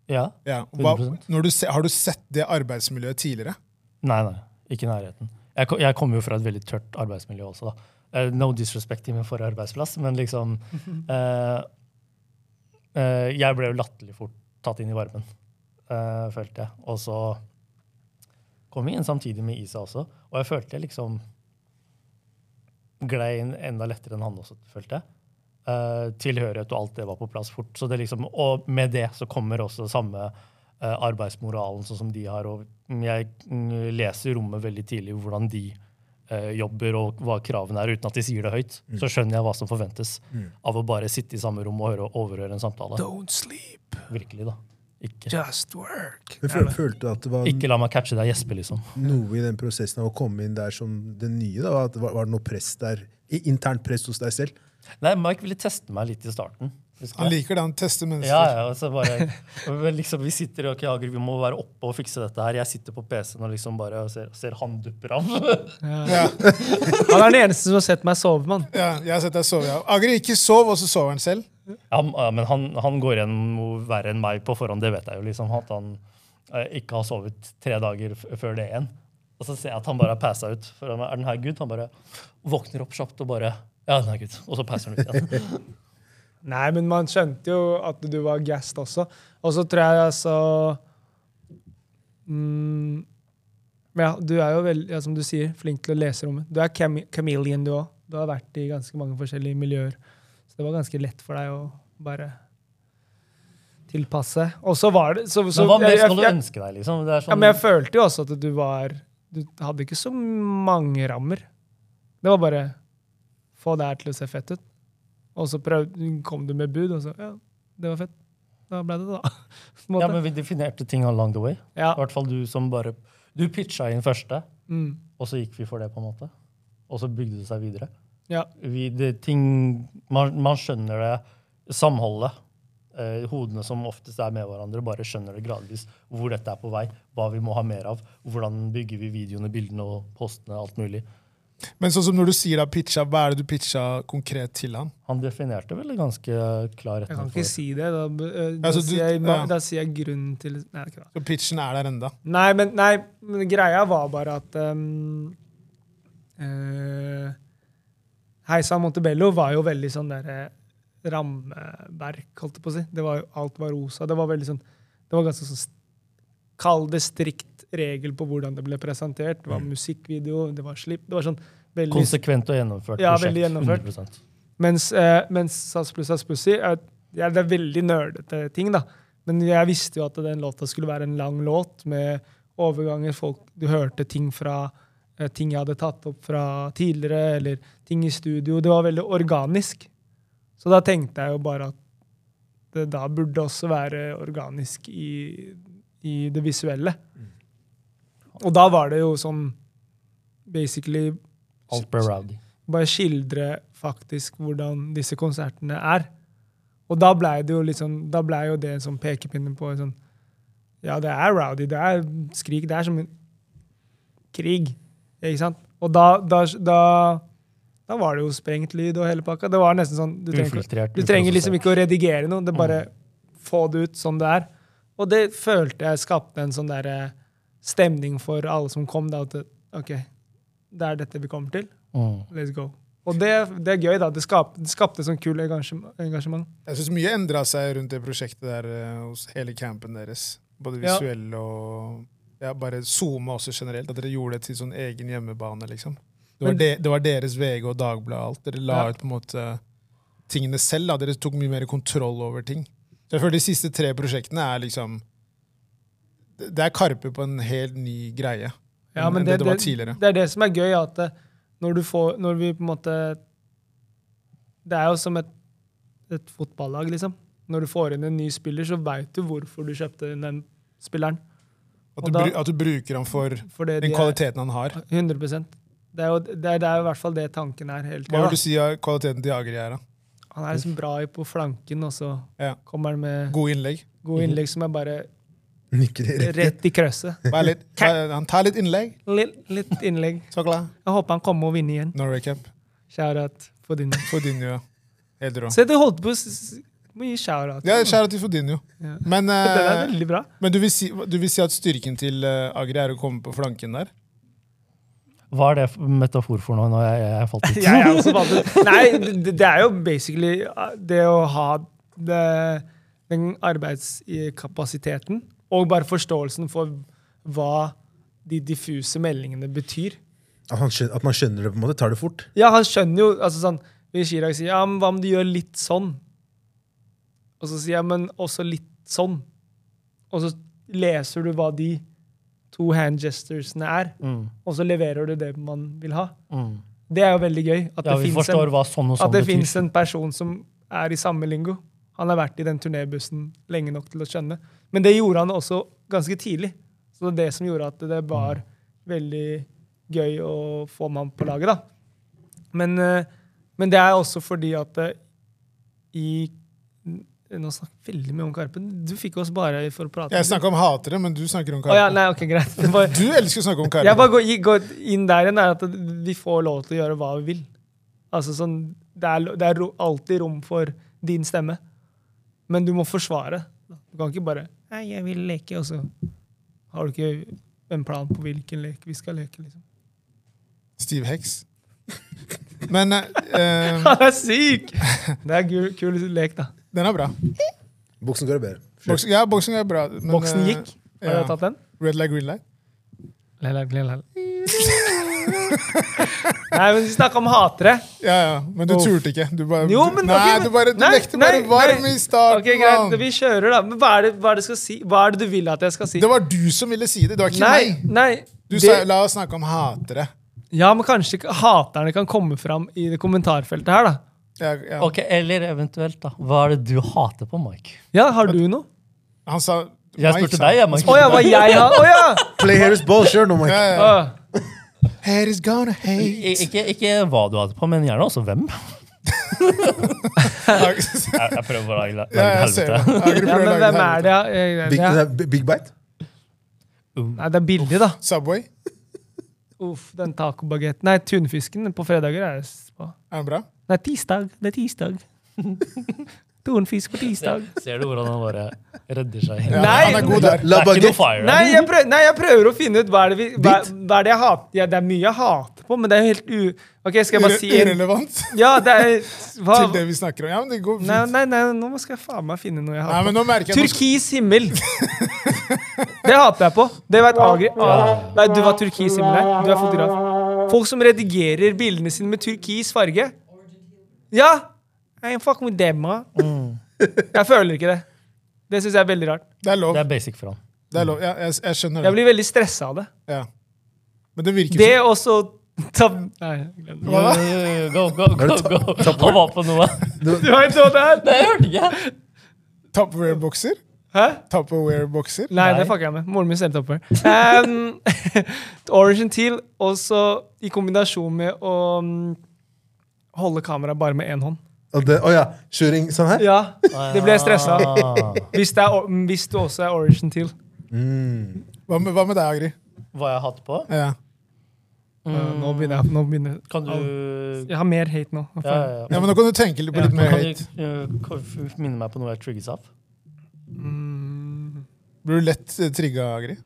[SPEAKER 5] ja.
[SPEAKER 2] Ja. Hva,
[SPEAKER 5] 100%.
[SPEAKER 2] når du se, har du sett det arbeidsmiljøet tidligere?
[SPEAKER 5] Nei, nei. Ikke i nærheten. Jeg, ko- jeg kommer jo fra et veldig tørt arbeidsmiljø også, da. Eh, no disrespect til min forrige arbeidsplass, men liksom eh, eh, Jeg ble jo latterlig fort tatt inn i varmen, eh, følte jeg. Og så kom jeg inn samtidig med Isa også, og jeg følte jeg liksom glei inn enda lettere enn han også, følte jeg. Eh, tilhørighet og alt det var på plass fort. Så det liksom, og med det så kommer også samme eh, arbeidsmoralen sånn som de har. Og jeg mm, leser i rommet veldig tidlig hvordan de eh, jobber og hva kravene er, uten at de sier det høyt. Så skjønner jeg hva som forventes av å bare sitte i samme rom og høre, overhøre en samtale.
[SPEAKER 4] Don't sleep,
[SPEAKER 5] Virkelig, da. Ikke,
[SPEAKER 4] just work.
[SPEAKER 3] Men føl, følte du at det var
[SPEAKER 5] ikke la meg catche deg og gjespe, liksom.
[SPEAKER 3] noe i den prosessen av å komme inn der som det nye? da? At det var, var det noe press der? i- Internt press hos deg selv?
[SPEAKER 5] Nei, Mike ville teste meg litt i starten. husker
[SPEAKER 2] Han
[SPEAKER 5] jeg.
[SPEAKER 2] liker det, han tester mennesker.
[SPEAKER 5] Ja, ja, og så bare, og vel, liksom, vi sitter ok, Agri, vi må være oppe og fikse dette her. Jeg sitter på PC-en og liksom bare ser, ser han dupper av.
[SPEAKER 4] Han er den eneste som har sett meg sove, mann.
[SPEAKER 2] Ja, jeg har sett deg sove. Ja. Agri ikke sov, og så sover han selv.
[SPEAKER 5] Ja, m- ja, men han, han går gjennom noe verre enn meg på forhånd, det vet jeg jo. liksom, At han eh, ikke har sovet tre dager f før det igjen. Og så ser jeg at han bare har passa ut. For han er er den her gutt? Han bare våkner opp kjapt og bare Ja, den er gutt. Og så passer han ut igjen.
[SPEAKER 4] Nei, men man skjønte jo at du var gassed også. Og så tror jeg altså mm, Ja, du er jo veldig, ja, som du sier, flink til å lese rommet. Du er chame chameleon, du òg. Du har vært i ganske mange forskjellige miljøer. Så det var ganske lett for deg å bare tilpasse. Og så var det så, så,
[SPEAKER 5] Men hva mer
[SPEAKER 4] jeg-
[SPEAKER 5] skal du
[SPEAKER 4] jeg-
[SPEAKER 5] ønske deg, liksom? Det er
[SPEAKER 4] ja,
[SPEAKER 5] sånn,
[SPEAKER 4] men jeg følte jo også at du var Du hadde ikke så mange rammer. Det var bare få det her til å se fett ut. Og så prøv, kom du med bud, og så Ja, det var fett. Da ble det det, da. På en
[SPEAKER 5] ja,
[SPEAKER 4] måte.
[SPEAKER 5] men vi definerte ting along the way.
[SPEAKER 4] Ja.
[SPEAKER 5] I hvert fall du som bare Du pitcha inn første,
[SPEAKER 4] Mm.
[SPEAKER 5] og så gikk vi for det, på en måte. Og så bygde det seg videre.
[SPEAKER 4] ja.
[SPEAKER 5] vi, det, ting, man, man skjønner det samholdet. Eh, hodene som oftest er med hverandre, bare skjønner det gradvis hvor dette er på vei, hva vi må ha mer av, hvordan bygger vi videoene, bildene og postene, alt mulig.
[SPEAKER 2] Men sånn som når du sier da pitcha, hva er det du pitcha konkret til han?
[SPEAKER 5] Han definerte vel en ganske klar
[SPEAKER 4] Jeg kan
[SPEAKER 5] retning
[SPEAKER 4] ikke
[SPEAKER 5] for
[SPEAKER 4] si det. Da, b- eh, da,
[SPEAKER 2] Altså, du-
[SPEAKER 4] sier, jeg,
[SPEAKER 2] ja.
[SPEAKER 4] da sier jeg grunnen til Nei, ikke da.
[SPEAKER 2] Så pitchen er der enda.
[SPEAKER 4] Nei, men, nei, men greia var bare at um, eh, Heisan Montebello var jo veldig sånn der eh, rammeverk, holdt jeg på å si. Det var, jo- alt var rosa. Det var veldig sånn, det var ganske sånn st- Kall det strikt regel på hvordan det ble presentert. Det var musikkvideo, det var slipp. det var sånn veldig...
[SPEAKER 5] konsekvent og gjennomført
[SPEAKER 4] Ja,
[SPEAKER 5] prosjekt.
[SPEAKER 4] veldig gjennomført.
[SPEAKER 5] 100%.
[SPEAKER 4] Mens, eh, mens SAS pluss SAS Pussy er, ja, Det er veldig nerdete ting, da. Men jeg visste jo at den låta skulle være en lang låt med overganger. folk, Du hørte ting fra eh, ting jeg hadde tatt opp fra tidligere, eller ting i studio. Det var veldig organisk. Så da tenkte jeg jo bare at det da burde også være organisk i, i det visuelle. Og da var det jo sånn basically
[SPEAKER 5] Alt ble rowdy.
[SPEAKER 4] bare skildre faktisk hvordan disse konsertene er. Og da blei det jo litt sånn, da ble jo det en sånn pekepinne på en sånn Ja, det er rowdy, det er skrik, det er som en krig. Ikke sant? Og da, da, da, da var det jo sprengt lyd og hele pakka. Det var nesten sånn Du trenger, ikke-
[SPEAKER 5] Ufiltrert.
[SPEAKER 4] du trenger liksom ikke
[SPEAKER 5] uprosessert.
[SPEAKER 4] å redigere noe, det er bare få det ut som det er. Og det følte jeg skapte en sånn der eh, stemning for alle som kom. da, at det- OK, det er dette vi kommer til.
[SPEAKER 5] Mm.
[SPEAKER 4] Let's go. Og det, det er gøy, da. Det, skap, det skapte sånn kul engasjem- engasjement.
[SPEAKER 2] Jeg syns mye endra seg rundt det prosjektet der eh, hos hele campen deres. Både
[SPEAKER 4] Ja.
[SPEAKER 2] visuelle og ja, bare SoMe også generelt. At dere gjorde det til sånn egen hjemmebane, liksom. Det var,
[SPEAKER 4] Men-
[SPEAKER 2] de, det var deres VG og Dagbladet og alt. Dere la
[SPEAKER 4] Ja.
[SPEAKER 2] ut på en måte tingene selv. da. Dere tok mye mer kontroll over ting. Så jeg føler de siste tre prosjektene er liksom Det det er Karpe på en helt ny greie
[SPEAKER 4] Ja,
[SPEAKER 2] enn-
[SPEAKER 4] men
[SPEAKER 2] Mm, enn det, det var tidligere.
[SPEAKER 4] Det er det som er gøy, at det, når, du får, når vi på en måte Det er jo som et, et fotballag, liksom. Når du får inn en ny spiller, så veit du hvorfor du kjøpte inn den spilleren.
[SPEAKER 2] At
[SPEAKER 4] og
[SPEAKER 2] du,
[SPEAKER 4] da-
[SPEAKER 2] bru- at du bruker ham for
[SPEAKER 4] Fordi de
[SPEAKER 2] den
[SPEAKER 4] er
[SPEAKER 2] kvaliteten han har.
[SPEAKER 4] 100 Det er jo det er, det er i hvert fall det tanken er hele
[SPEAKER 2] Hva
[SPEAKER 4] tida.
[SPEAKER 2] vil du si av kvaliteten til Agri er? da?
[SPEAKER 4] Han er liksom bra i på flanken, og så
[SPEAKER 2] Ja.
[SPEAKER 4] kommer han med
[SPEAKER 2] Gode innlegg?
[SPEAKER 4] gode innlegg som er bare
[SPEAKER 3] Nikker i rekke.
[SPEAKER 4] rett i krøsset.
[SPEAKER 2] Bare litt, bare, han tar litt innlegg,
[SPEAKER 4] Litt, litt innlegg.
[SPEAKER 2] så glad.
[SPEAKER 4] Jeg håper han kommer og vinner igjen.
[SPEAKER 2] Norway Cup.
[SPEAKER 4] Shout-out Fodinho.
[SPEAKER 2] Fodinho, ja. Helt rå.
[SPEAKER 4] Se, du holdt på å s- s- Mye shout-out.
[SPEAKER 2] Ja, skjæra til Fodinho.
[SPEAKER 4] Ja.
[SPEAKER 2] Men,
[SPEAKER 4] Det er
[SPEAKER 2] eh,
[SPEAKER 4] veldig bra.
[SPEAKER 2] men du, vil si, du vil si at styrken til eh, Agri er å komme på flanken der?
[SPEAKER 5] Hva er det for metafor for noe? Nå jeg, jeg, jeg falt ut.
[SPEAKER 4] Jeg er også vant til Nei, det, det er jo basically uh, det å ha det, den arbeidskapasiteten og bare forståelsen for hva de diffuse meldingene betyr.
[SPEAKER 3] At, han skjønner, at man skjønner det, på en måte. Tar det fort.
[SPEAKER 4] Ja, han skjønner jo altså sånn, Hvis Chirag sier ja, men hva om du gjør litt sånn? Og så sier jeg men også litt sånn. Og så leser du hva de to hand gesturesene er,
[SPEAKER 5] Mm,
[SPEAKER 4] og så leverer du det man vil ha.
[SPEAKER 5] mm.
[SPEAKER 4] Det er jo veldig gøy. At det
[SPEAKER 5] Ja, vi
[SPEAKER 4] finnes
[SPEAKER 5] forstår
[SPEAKER 4] en,
[SPEAKER 5] hva sånn og
[SPEAKER 4] at
[SPEAKER 5] sånn
[SPEAKER 4] det
[SPEAKER 5] betyr.
[SPEAKER 4] finnes en person som er i samme lingo. Han har vært i den turnébussen lenge nok til å skjønne. Men det gjorde han også ganske tidlig. Så det er det som gjorde at det var
[SPEAKER 2] Mm.
[SPEAKER 4] veldig gøy å få med ham på laget, da. Men, eh, men det er også fordi at eh, i Nå snakker jeg veldig mye om Karpe. Du fikk oss bare for å prate.
[SPEAKER 2] Jeg snakker om hatere, men du snakker om
[SPEAKER 4] Å ja,
[SPEAKER 2] Karpe.
[SPEAKER 4] nei, ok, greit. Det var,
[SPEAKER 2] Du elsker å snakke om
[SPEAKER 4] jeg
[SPEAKER 2] Karpe.
[SPEAKER 4] bare går, går inn der igjen, er at vi får lov til å gjøre hva vi vil. Altså sånn, Det er, lo- det er ro, alltid rom for din stemme, men du må forsvare. Du kan ikke bare 'Nei, jeg vil leke', og så har du ikke en plan på hvilken lek vi skal leke. liksom.
[SPEAKER 2] Steve Hex. Men eh, eh,
[SPEAKER 4] Han er syk! Det er kul, kul lek, da.
[SPEAKER 2] den er bra.
[SPEAKER 3] Boksen går bedre. Sure.
[SPEAKER 2] Boksing, ja, boksing er bra. men,
[SPEAKER 4] Boksen
[SPEAKER 2] eh,
[SPEAKER 4] gikk. Har
[SPEAKER 2] ja.
[SPEAKER 4] du tatt den?
[SPEAKER 2] Red light, green light.
[SPEAKER 4] Lel, lel, lel. Nei, men vi snakka om hatere.
[SPEAKER 2] Ja, ja, men du
[SPEAKER 4] Uff.
[SPEAKER 2] turte ikke. Du bare,
[SPEAKER 4] Jo, men
[SPEAKER 2] nei,
[SPEAKER 4] ok, men-
[SPEAKER 2] du, bare, du
[SPEAKER 4] nei,
[SPEAKER 2] lekte bare
[SPEAKER 4] nei,
[SPEAKER 2] varm
[SPEAKER 4] nei.
[SPEAKER 2] i starten.
[SPEAKER 4] Ok, greit,
[SPEAKER 2] mann.
[SPEAKER 4] Vi kjører, da. Men hva er, det, hva er det skal si? Hva er det du vil at jeg skal si?
[SPEAKER 2] Det var du som ville si det, det var ikke
[SPEAKER 4] Nei,
[SPEAKER 2] meg.
[SPEAKER 4] nei.
[SPEAKER 2] Du
[SPEAKER 4] det-
[SPEAKER 2] sa la oss snakke om hatere.
[SPEAKER 4] ja, men kanskje ikke- haterne kan komme fram i det kommentarfeltet her, da.
[SPEAKER 2] Ja, ja.
[SPEAKER 5] Ok, Eller eventuelt, da. Hva er det du hater på Mike?
[SPEAKER 4] Ja, har du noe?
[SPEAKER 2] Han sa
[SPEAKER 5] Jeg
[SPEAKER 2] Mike
[SPEAKER 5] spurte
[SPEAKER 2] sa-
[SPEAKER 5] deg, jeg, Mike.
[SPEAKER 4] Å ja, hva jeg har? Å ja!
[SPEAKER 3] Play Harris ball, sure, no, Mike.
[SPEAKER 2] Ja, ja.
[SPEAKER 4] Å,
[SPEAKER 2] Haters gonna
[SPEAKER 5] I-
[SPEAKER 2] hate.
[SPEAKER 5] Ikke, ikke hva du hater på, men gjerne også hvem.
[SPEAKER 2] ja,
[SPEAKER 5] Jeg, jeg prøver å lage, lage
[SPEAKER 2] jeg ser det. Agri prøver
[SPEAKER 4] ja,
[SPEAKER 2] å lage
[SPEAKER 4] men hvem er
[SPEAKER 2] helvete.
[SPEAKER 4] det? ja? Eh,
[SPEAKER 3] Big,
[SPEAKER 4] det er-
[SPEAKER 3] nei, big Bite?
[SPEAKER 4] Nei, det er billig, da.
[SPEAKER 2] Subway,
[SPEAKER 4] Uff, den tacobagetten. Nei, tunfisken på fredager er jeg s- på.
[SPEAKER 2] er den bra?
[SPEAKER 4] Nei, tirsdag. Det er tirsdag. Tunfisk på tirsdag.
[SPEAKER 5] Ser du hvordan han bare redder seg?
[SPEAKER 2] Ja,
[SPEAKER 4] Nei!
[SPEAKER 2] han er god
[SPEAKER 3] La,
[SPEAKER 2] der.
[SPEAKER 5] Det
[SPEAKER 3] la
[SPEAKER 5] er ikke noe
[SPEAKER 3] baguette.
[SPEAKER 5] fire.
[SPEAKER 4] Nei jeg, prøver, nei, jeg prøver å finne ut hva er det, vi, hva, hva er det jeg hater. Ja, det er mye jeg hater på, men det er jo helt u... Ok, skal jeg bare
[SPEAKER 2] Ure
[SPEAKER 4] si en
[SPEAKER 2] irrelevant
[SPEAKER 4] Ja, det er hva,
[SPEAKER 2] til det vi snakker om. Ja, men det går fint.
[SPEAKER 4] nei,
[SPEAKER 2] Nei,
[SPEAKER 4] nei, nei, nå må skal jeg faen meg finne noe jeg hater.
[SPEAKER 2] men nå merker jeg at
[SPEAKER 4] Turkis himmel! Det hater jeg på. Det vet Agri. Ah, nei, du var turkis himmel her. Du er fotograf. Folk som redigerer bildene sine med turkis farge. Ja! I fuck with them, ah.
[SPEAKER 2] Mm.
[SPEAKER 4] Jeg føler ikke det. Det syns jeg er veldig rart.
[SPEAKER 2] det er lov.
[SPEAKER 5] Det er basic for han.
[SPEAKER 2] Det er lov. Ja, jeg, jeg skjønner
[SPEAKER 4] Jeg
[SPEAKER 2] det.
[SPEAKER 4] blir veldig stressa av det.
[SPEAKER 2] Ja. Men det virker
[SPEAKER 4] Det
[SPEAKER 2] som
[SPEAKER 4] og så ta Nei, glem det.
[SPEAKER 2] Hva da?
[SPEAKER 5] Go, go, go, go. Han var på noe.
[SPEAKER 4] Du vet hva det er?
[SPEAKER 5] Jeg hørte ikke.
[SPEAKER 2] Tupperware-bokser.
[SPEAKER 4] Hæ?
[SPEAKER 2] Tupperware-bokser?
[SPEAKER 4] Nei,
[SPEAKER 5] Nei.
[SPEAKER 4] det fucker jeg med. Moren min selger topper. Um, Origin Teal, også i kombinasjon med å mm, holde kameraet bare med én hånd.
[SPEAKER 3] Og det, å ja, kjøring sånn her?
[SPEAKER 4] Ja, det ble jeg stressa av.
[SPEAKER 5] Ah,
[SPEAKER 4] Hvis, det er, or- hvis du også er Origin Teal.
[SPEAKER 3] Mm.
[SPEAKER 2] Hva med, hva med deg, Agri?
[SPEAKER 5] hva jeg har hatt på?
[SPEAKER 2] Ja.
[SPEAKER 4] Ja, Eh, nå begynner jeg. Nå begynner.
[SPEAKER 5] Mm. Kan du
[SPEAKER 4] Jeg har mer hate nå. Hva
[SPEAKER 5] Ja,
[SPEAKER 4] faen?
[SPEAKER 5] ja,
[SPEAKER 2] ja, men Nå kan du tenke litt på
[SPEAKER 5] Ja,
[SPEAKER 2] litt mer
[SPEAKER 5] kan
[SPEAKER 2] høyt.
[SPEAKER 5] du, eh, kan du minne meg på noe jeg trigges av?
[SPEAKER 4] Mm,
[SPEAKER 2] Blir du lett eh, trigga, Agri?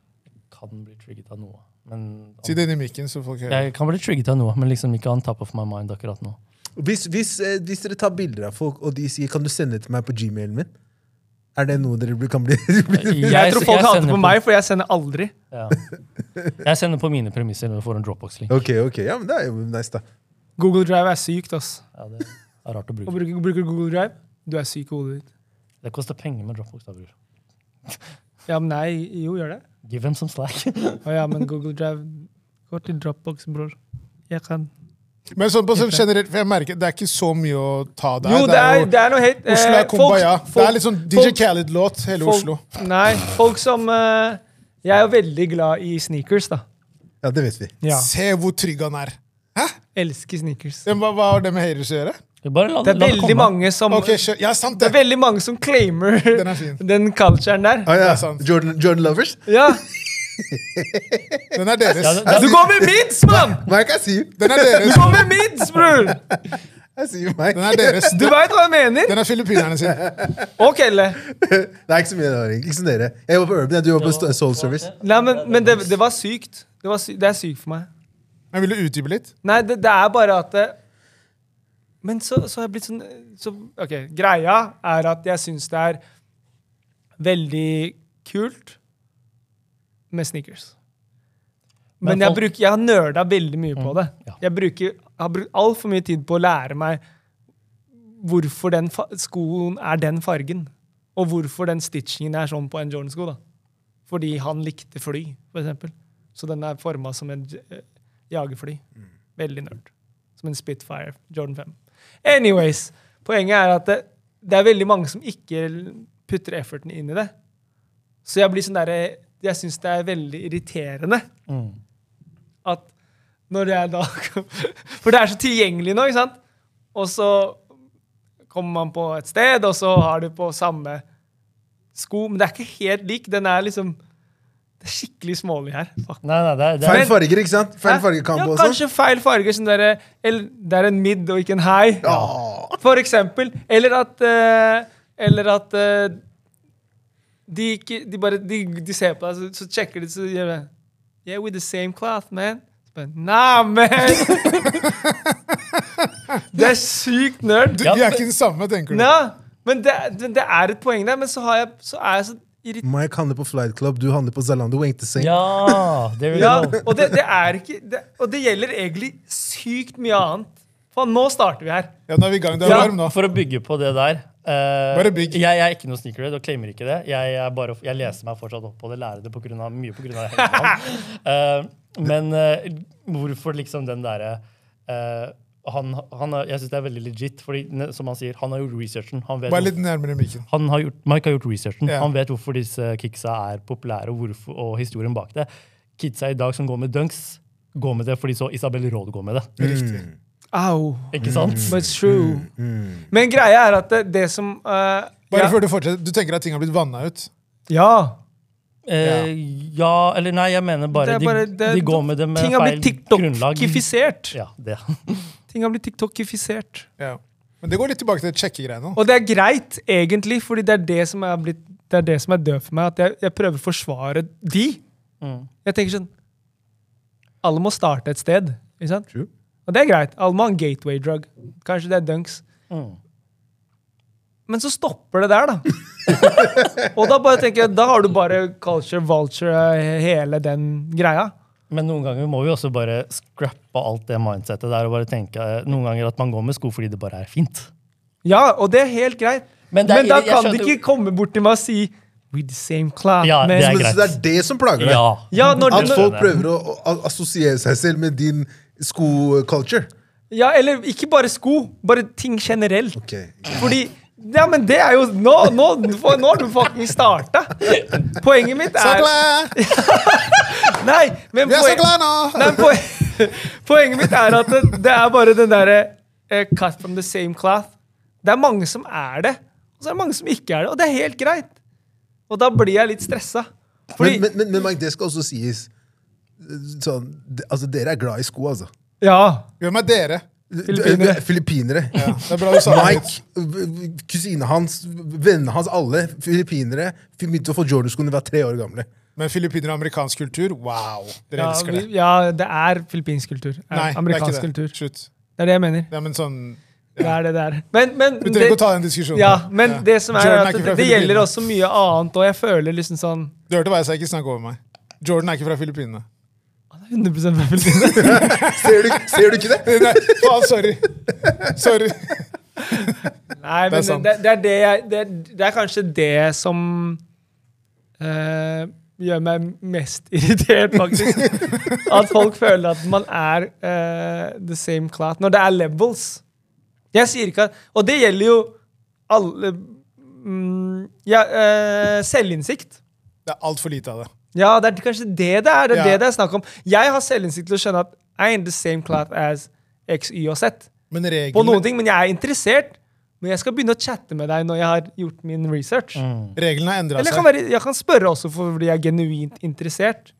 [SPEAKER 5] Kan bli trigget av noe. Men
[SPEAKER 2] Si det inn i mikken, så folk hører.
[SPEAKER 5] Jeg kan bli trigget av noe, men liksom ikke on top of my mind akkurat nå.
[SPEAKER 3] Hvis, hvis, eh, hvis dere tar bilder av folk, og de sier 'kan du sende det til meg på gmailen min', er det noe dere blir- kan bli
[SPEAKER 5] Jeg,
[SPEAKER 4] Jeg tror folk hater
[SPEAKER 5] sender
[SPEAKER 4] på meg, for jeg sender aldri.
[SPEAKER 5] Ja. Jeg sender på mine premisser når jeg får en Dropbox-link.
[SPEAKER 3] Ok, ok, ja, men det er jo nice, da.
[SPEAKER 4] Google Drive er sykt, ass.
[SPEAKER 5] Ja, det er rart å
[SPEAKER 4] Og
[SPEAKER 5] bruke.
[SPEAKER 4] bruker, bruker du Google Drive, du er syk i hodet ditt.
[SPEAKER 5] Det koster penger med Dropbox. da, bror.
[SPEAKER 4] Ja, men nei, jo, gjør det.
[SPEAKER 5] Give them some slack.
[SPEAKER 4] Å ja, men Google Drive går til Dropbox, bror. Jeg kan
[SPEAKER 2] Men sånn på sånn generelt, for jeg merker det er ikke så mye å ta der.
[SPEAKER 4] Jo, det er, det er noe hate.
[SPEAKER 2] jo Oslo
[SPEAKER 4] Eh,
[SPEAKER 2] er kumbaya.
[SPEAKER 4] folk-
[SPEAKER 2] Det er litt sånn DJ
[SPEAKER 4] folk-
[SPEAKER 2] Khaled-låt, hele
[SPEAKER 4] folk-
[SPEAKER 2] Oslo.
[SPEAKER 4] Nei, folk som eh, Jeg er jo veldig glad i sneakers, da.
[SPEAKER 3] Ja, det vet vi.
[SPEAKER 4] Ja.
[SPEAKER 2] Se hvor trygg han er.
[SPEAKER 4] Elsker sneakers.
[SPEAKER 2] Men Hva, hva har det med haters å gjøre?
[SPEAKER 5] Bare la,
[SPEAKER 4] Det er
[SPEAKER 5] la
[SPEAKER 4] veldig
[SPEAKER 5] komme.
[SPEAKER 4] mange som
[SPEAKER 2] Ok, skjø- Ja, sant
[SPEAKER 4] Mm. Det
[SPEAKER 2] det!
[SPEAKER 4] er veldig mange som claimer
[SPEAKER 2] Den er fin.
[SPEAKER 4] den culturen der.
[SPEAKER 3] Ah,
[SPEAKER 2] Det
[SPEAKER 3] ja.
[SPEAKER 2] er sant.
[SPEAKER 3] Jordan, Jordan Lovers?
[SPEAKER 4] Ja,
[SPEAKER 2] Den er deres.
[SPEAKER 5] Ja, det, det,
[SPEAKER 4] Du går med mids, mann!
[SPEAKER 3] Mike, I see you.
[SPEAKER 2] Den er
[SPEAKER 4] Du
[SPEAKER 2] deres.
[SPEAKER 4] går med mids, bror!
[SPEAKER 3] I see you, Mike.
[SPEAKER 2] Den er deres.
[SPEAKER 4] Du veit hva jeg mener?
[SPEAKER 2] Den er filippinerne sin.
[SPEAKER 4] Å, Kelle.
[SPEAKER 3] Det er ikke så mye det var, egentlig. Ikke som dere. Jeg var på Urban, du var på Sto- Soul Service.
[SPEAKER 4] Nei, men, men det, det var sykt. Det, var sy det er sykt for meg.
[SPEAKER 2] Men vil du utdype litt?
[SPEAKER 4] Nei, det, det er bare at det, Men så, så har jeg blitt sånn så, Ok, greia er at jeg syns det er veldig kult med sneakers. Men,
[SPEAKER 5] Men
[SPEAKER 4] jeg,
[SPEAKER 5] folk- Mm,
[SPEAKER 4] bruker, jeg har nerda veldig mye på det.
[SPEAKER 5] ja.
[SPEAKER 4] Jeg bruker, jeg har brukt altfor mye tid på å lære meg hvorfor den fa skoen er den fargen. Og hvorfor den stitchingen er sånn på en Jordan-sko. da. Fordi han likte fly, for eksempel. Så den er forma som en j- eh, jagerfly. Veldig nerd. Som en Spitfire Jordan 5. Anyways, poenget er at det, det er veldig mange som ikke putter efforten inn i det. Så jeg blir sånn der, eh, jeg syns det er veldig irriterende
[SPEAKER 5] mm.
[SPEAKER 4] at når jeg da For det er så tilgjengelig nå, ikke sant? Og så kommer man på et sted, og så har du på samme sko. Men det er ikke helt lik. Den er liksom Det er skikkelig smålig her. Fuck.
[SPEAKER 5] Nei, nei, det er, det
[SPEAKER 3] Feil
[SPEAKER 5] er,
[SPEAKER 3] farger, ikke sant? Feil
[SPEAKER 4] Hæ?
[SPEAKER 3] fargekamp
[SPEAKER 4] ja,
[SPEAKER 3] og sånn.
[SPEAKER 4] Kanskje feil farger. Sånn derre eller Det er en midd og ikke en hei.
[SPEAKER 3] Ja.
[SPEAKER 4] For eksempel. Eller at eh, Eller at eh, de, ikke, de bare de, de ser på deg, så, så sjekker de, så gjør de Yeah, with the same cloth, man. Så bare, Nah, man! det er sykt nerd.
[SPEAKER 2] Du,
[SPEAKER 5] Ja,
[SPEAKER 2] vi er
[SPEAKER 5] men-
[SPEAKER 2] ikke den samme, tenker du.
[SPEAKER 4] Ja, men det, det, det er et poeng der, men så, har jeg, så er jeg så irritert
[SPEAKER 3] Mike handler på Flight Club, du handler på Zalando. Ain't the same.
[SPEAKER 5] ja, there we
[SPEAKER 4] Ja,
[SPEAKER 5] go.
[SPEAKER 4] og det, det er ikke det, Og det gjelder egentlig sykt mye annet. Faen, nå starter vi her.
[SPEAKER 2] Ja, nå er vi i gang. Det er
[SPEAKER 4] Ja.
[SPEAKER 2] varm nå.
[SPEAKER 5] For å bygge på det der eh,
[SPEAKER 2] Bare bygg.
[SPEAKER 5] Jeg, jeg er ikke noe sneakerhead og claimer ikke det. Jeg, er bare, jeg leser meg fortsatt opp på det, lærer det på grunn av, mye pga. uh, men eh, hvorfor liksom den derre eh, han, han, er- Jeg syns det er veldig legit, fordi ne- som han sier, han har gjort researchen. Han vet
[SPEAKER 2] Bare
[SPEAKER 5] hvorfor-
[SPEAKER 2] litt nærmere mikken.
[SPEAKER 5] han har gjort, Mike har gjort researchen.
[SPEAKER 2] Ja.
[SPEAKER 5] Han vet hvorfor disse kicksa er populære, og, hvorfor, og historien bak det. Kidsa i dag som går med dunks, går med det fordi så Isabel Råd går med det.
[SPEAKER 2] Riktig.
[SPEAKER 4] Au. Mm,
[SPEAKER 5] Ikke sant?
[SPEAKER 4] But it's true. Men greia er at det, det som eh,
[SPEAKER 2] Bare
[SPEAKER 4] ja,
[SPEAKER 2] før du fortsetter, du tenker at ting har blitt vanna ut?
[SPEAKER 4] ja.
[SPEAKER 5] Eh, ja, eller nei, jeg mener bare,
[SPEAKER 4] Det er bare-
[SPEAKER 5] de,
[SPEAKER 4] det-
[SPEAKER 5] de går med det med
[SPEAKER 4] Ting har blitt
[SPEAKER 5] feil grunnlag.
[SPEAKER 4] TikTok-ifisert.
[SPEAKER 5] Ja, det.
[SPEAKER 4] Ting har blitt TikTok-ifisert.
[SPEAKER 2] Ja. Men det går litt tilbake til sjekkegreiene.
[SPEAKER 4] Og det er greit, egentlig, fordi det er det som er, blitt, det er, det som er død for meg. At jeg, jeg prøver å forsvare de.
[SPEAKER 5] Mm.
[SPEAKER 4] Jeg tenker sånn Alle må starte et sted. Ikke sant?
[SPEAKER 3] True.
[SPEAKER 4] Og det er greit. Alle må ha en gateway drug. Kanskje det er dunks.
[SPEAKER 5] Mm.
[SPEAKER 4] Men så stopper det der, da. og da bare tenker jeg, da har du bare culture, vulture, hele den greia.
[SPEAKER 5] Men noen ganger må vi også bare scrappe alt det mindsettet der og bare tenke eh, noen ganger at man går med sko fordi det bare er fint.
[SPEAKER 4] Ja, og det er helt greit.
[SPEAKER 5] Men
[SPEAKER 4] Men,
[SPEAKER 5] det er-
[SPEAKER 4] da
[SPEAKER 5] jeg
[SPEAKER 4] kan
[SPEAKER 5] skjønte
[SPEAKER 4] du ikke komme bort til meg og si With the same cloud.
[SPEAKER 5] Ja,
[SPEAKER 4] man."
[SPEAKER 5] det er
[SPEAKER 3] Men, så det er
[SPEAKER 5] greit.
[SPEAKER 3] det som plager deg?
[SPEAKER 5] Ja.
[SPEAKER 4] ja, når
[SPEAKER 3] At
[SPEAKER 4] du,
[SPEAKER 3] folk prøver å å- å assosiere seg selv med din sko-culture?
[SPEAKER 4] ja, eller ikke bare sko, bare ting generelt.
[SPEAKER 3] Ok.
[SPEAKER 4] Fordi Ja, men det er jo Nå, nå, for, nå har du fucking starta! Poenget mitt
[SPEAKER 2] Så
[SPEAKER 4] er
[SPEAKER 2] glad! Jeg
[SPEAKER 4] Nei, men
[SPEAKER 2] er så
[SPEAKER 4] poen,
[SPEAKER 2] glad nå!
[SPEAKER 4] nei, poen, poenget mitt er at det, det er bare den derre eh, Cut from the same cloth. Det er mange som er det, og så er det mange som ikke er det. Og det er helt greit. Og da blir jeg litt stressa.
[SPEAKER 3] Men,
[SPEAKER 4] Fordi
[SPEAKER 3] men, men, men Mike, det skal også sies sånn, det- altså, Dere er glad i sko, altså.
[SPEAKER 4] Ja.
[SPEAKER 2] Hvem er dere?
[SPEAKER 4] Filippinere.
[SPEAKER 3] Eh, Filippinere.
[SPEAKER 2] Det er bra du sa det.
[SPEAKER 3] Mike, v- v- kusina hans, vennene hans, alle filippinere f- begynte å få Jordan-skoene da de var tre år gamle.
[SPEAKER 2] Men filippinere og amerikansk kultur, wow! Dere
[SPEAKER 4] Ja,
[SPEAKER 2] elsker
[SPEAKER 4] vi,
[SPEAKER 2] det.
[SPEAKER 4] ja, det er filippinsk kultur. Er
[SPEAKER 2] Nei,
[SPEAKER 4] amerikansk
[SPEAKER 2] det er ikke det.
[SPEAKER 4] kultur.
[SPEAKER 2] Slutt.
[SPEAKER 4] Det er det jeg mener.
[SPEAKER 2] Ja, men sånn,
[SPEAKER 4] Det er det det er. Men, men
[SPEAKER 2] du trenger ikke
[SPEAKER 4] det-
[SPEAKER 2] å ta den diskusjonen.
[SPEAKER 4] Ja, men
[SPEAKER 2] Ja.
[SPEAKER 4] det som er,
[SPEAKER 2] Jordan
[SPEAKER 4] at
[SPEAKER 2] er ikke
[SPEAKER 4] det,
[SPEAKER 2] fra
[SPEAKER 4] det gjelder
[SPEAKER 2] Filippinene.
[SPEAKER 4] også mye annet, og jeg føler liksom sånn
[SPEAKER 2] Du hørte hva jeg sa, ikke snakk over meg. Jordan er ikke fra Filippinene.
[SPEAKER 4] 100 fra Filippinene.
[SPEAKER 3] Ser du, ser du ikke det?
[SPEAKER 2] Nei, faen, sorry. Sorry. Det er
[SPEAKER 4] Nei, men det,
[SPEAKER 2] sant.
[SPEAKER 4] det, det, er det, jeg, det, er- det er kanskje det som eh, gjør meg mest irritert, faktisk. At folk føler at man er eh, the same class. Når det er levels. Jeg sier ikke at Og det gjelder jo alle mm, ja, eh, Selvinnsikt.
[SPEAKER 2] Det er altfor lite av det.
[SPEAKER 4] Ja, det er kanskje det det er. Det er
[SPEAKER 2] Ja.
[SPEAKER 4] det det er snakk om. Jeg har selvinnsikt til å skjønne at I am the same class as X, Y og Z.
[SPEAKER 2] Men
[SPEAKER 4] På noen
[SPEAKER 2] reglene,
[SPEAKER 4] ting, Men jeg er interessert. Men jeg skal begynne å chatte med deg når jeg har gjort min research.
[SPEAKER 2] Mm,
[SPEAKER 5] Mm.
[SPEAKER 2] reglene har endra
[SPEAKER 4] Eller jeg kan,
[SPEAKER 2] seg.
[SPEAKER 4] være, jeg kan spørre også fordi jeg er genuint interessert.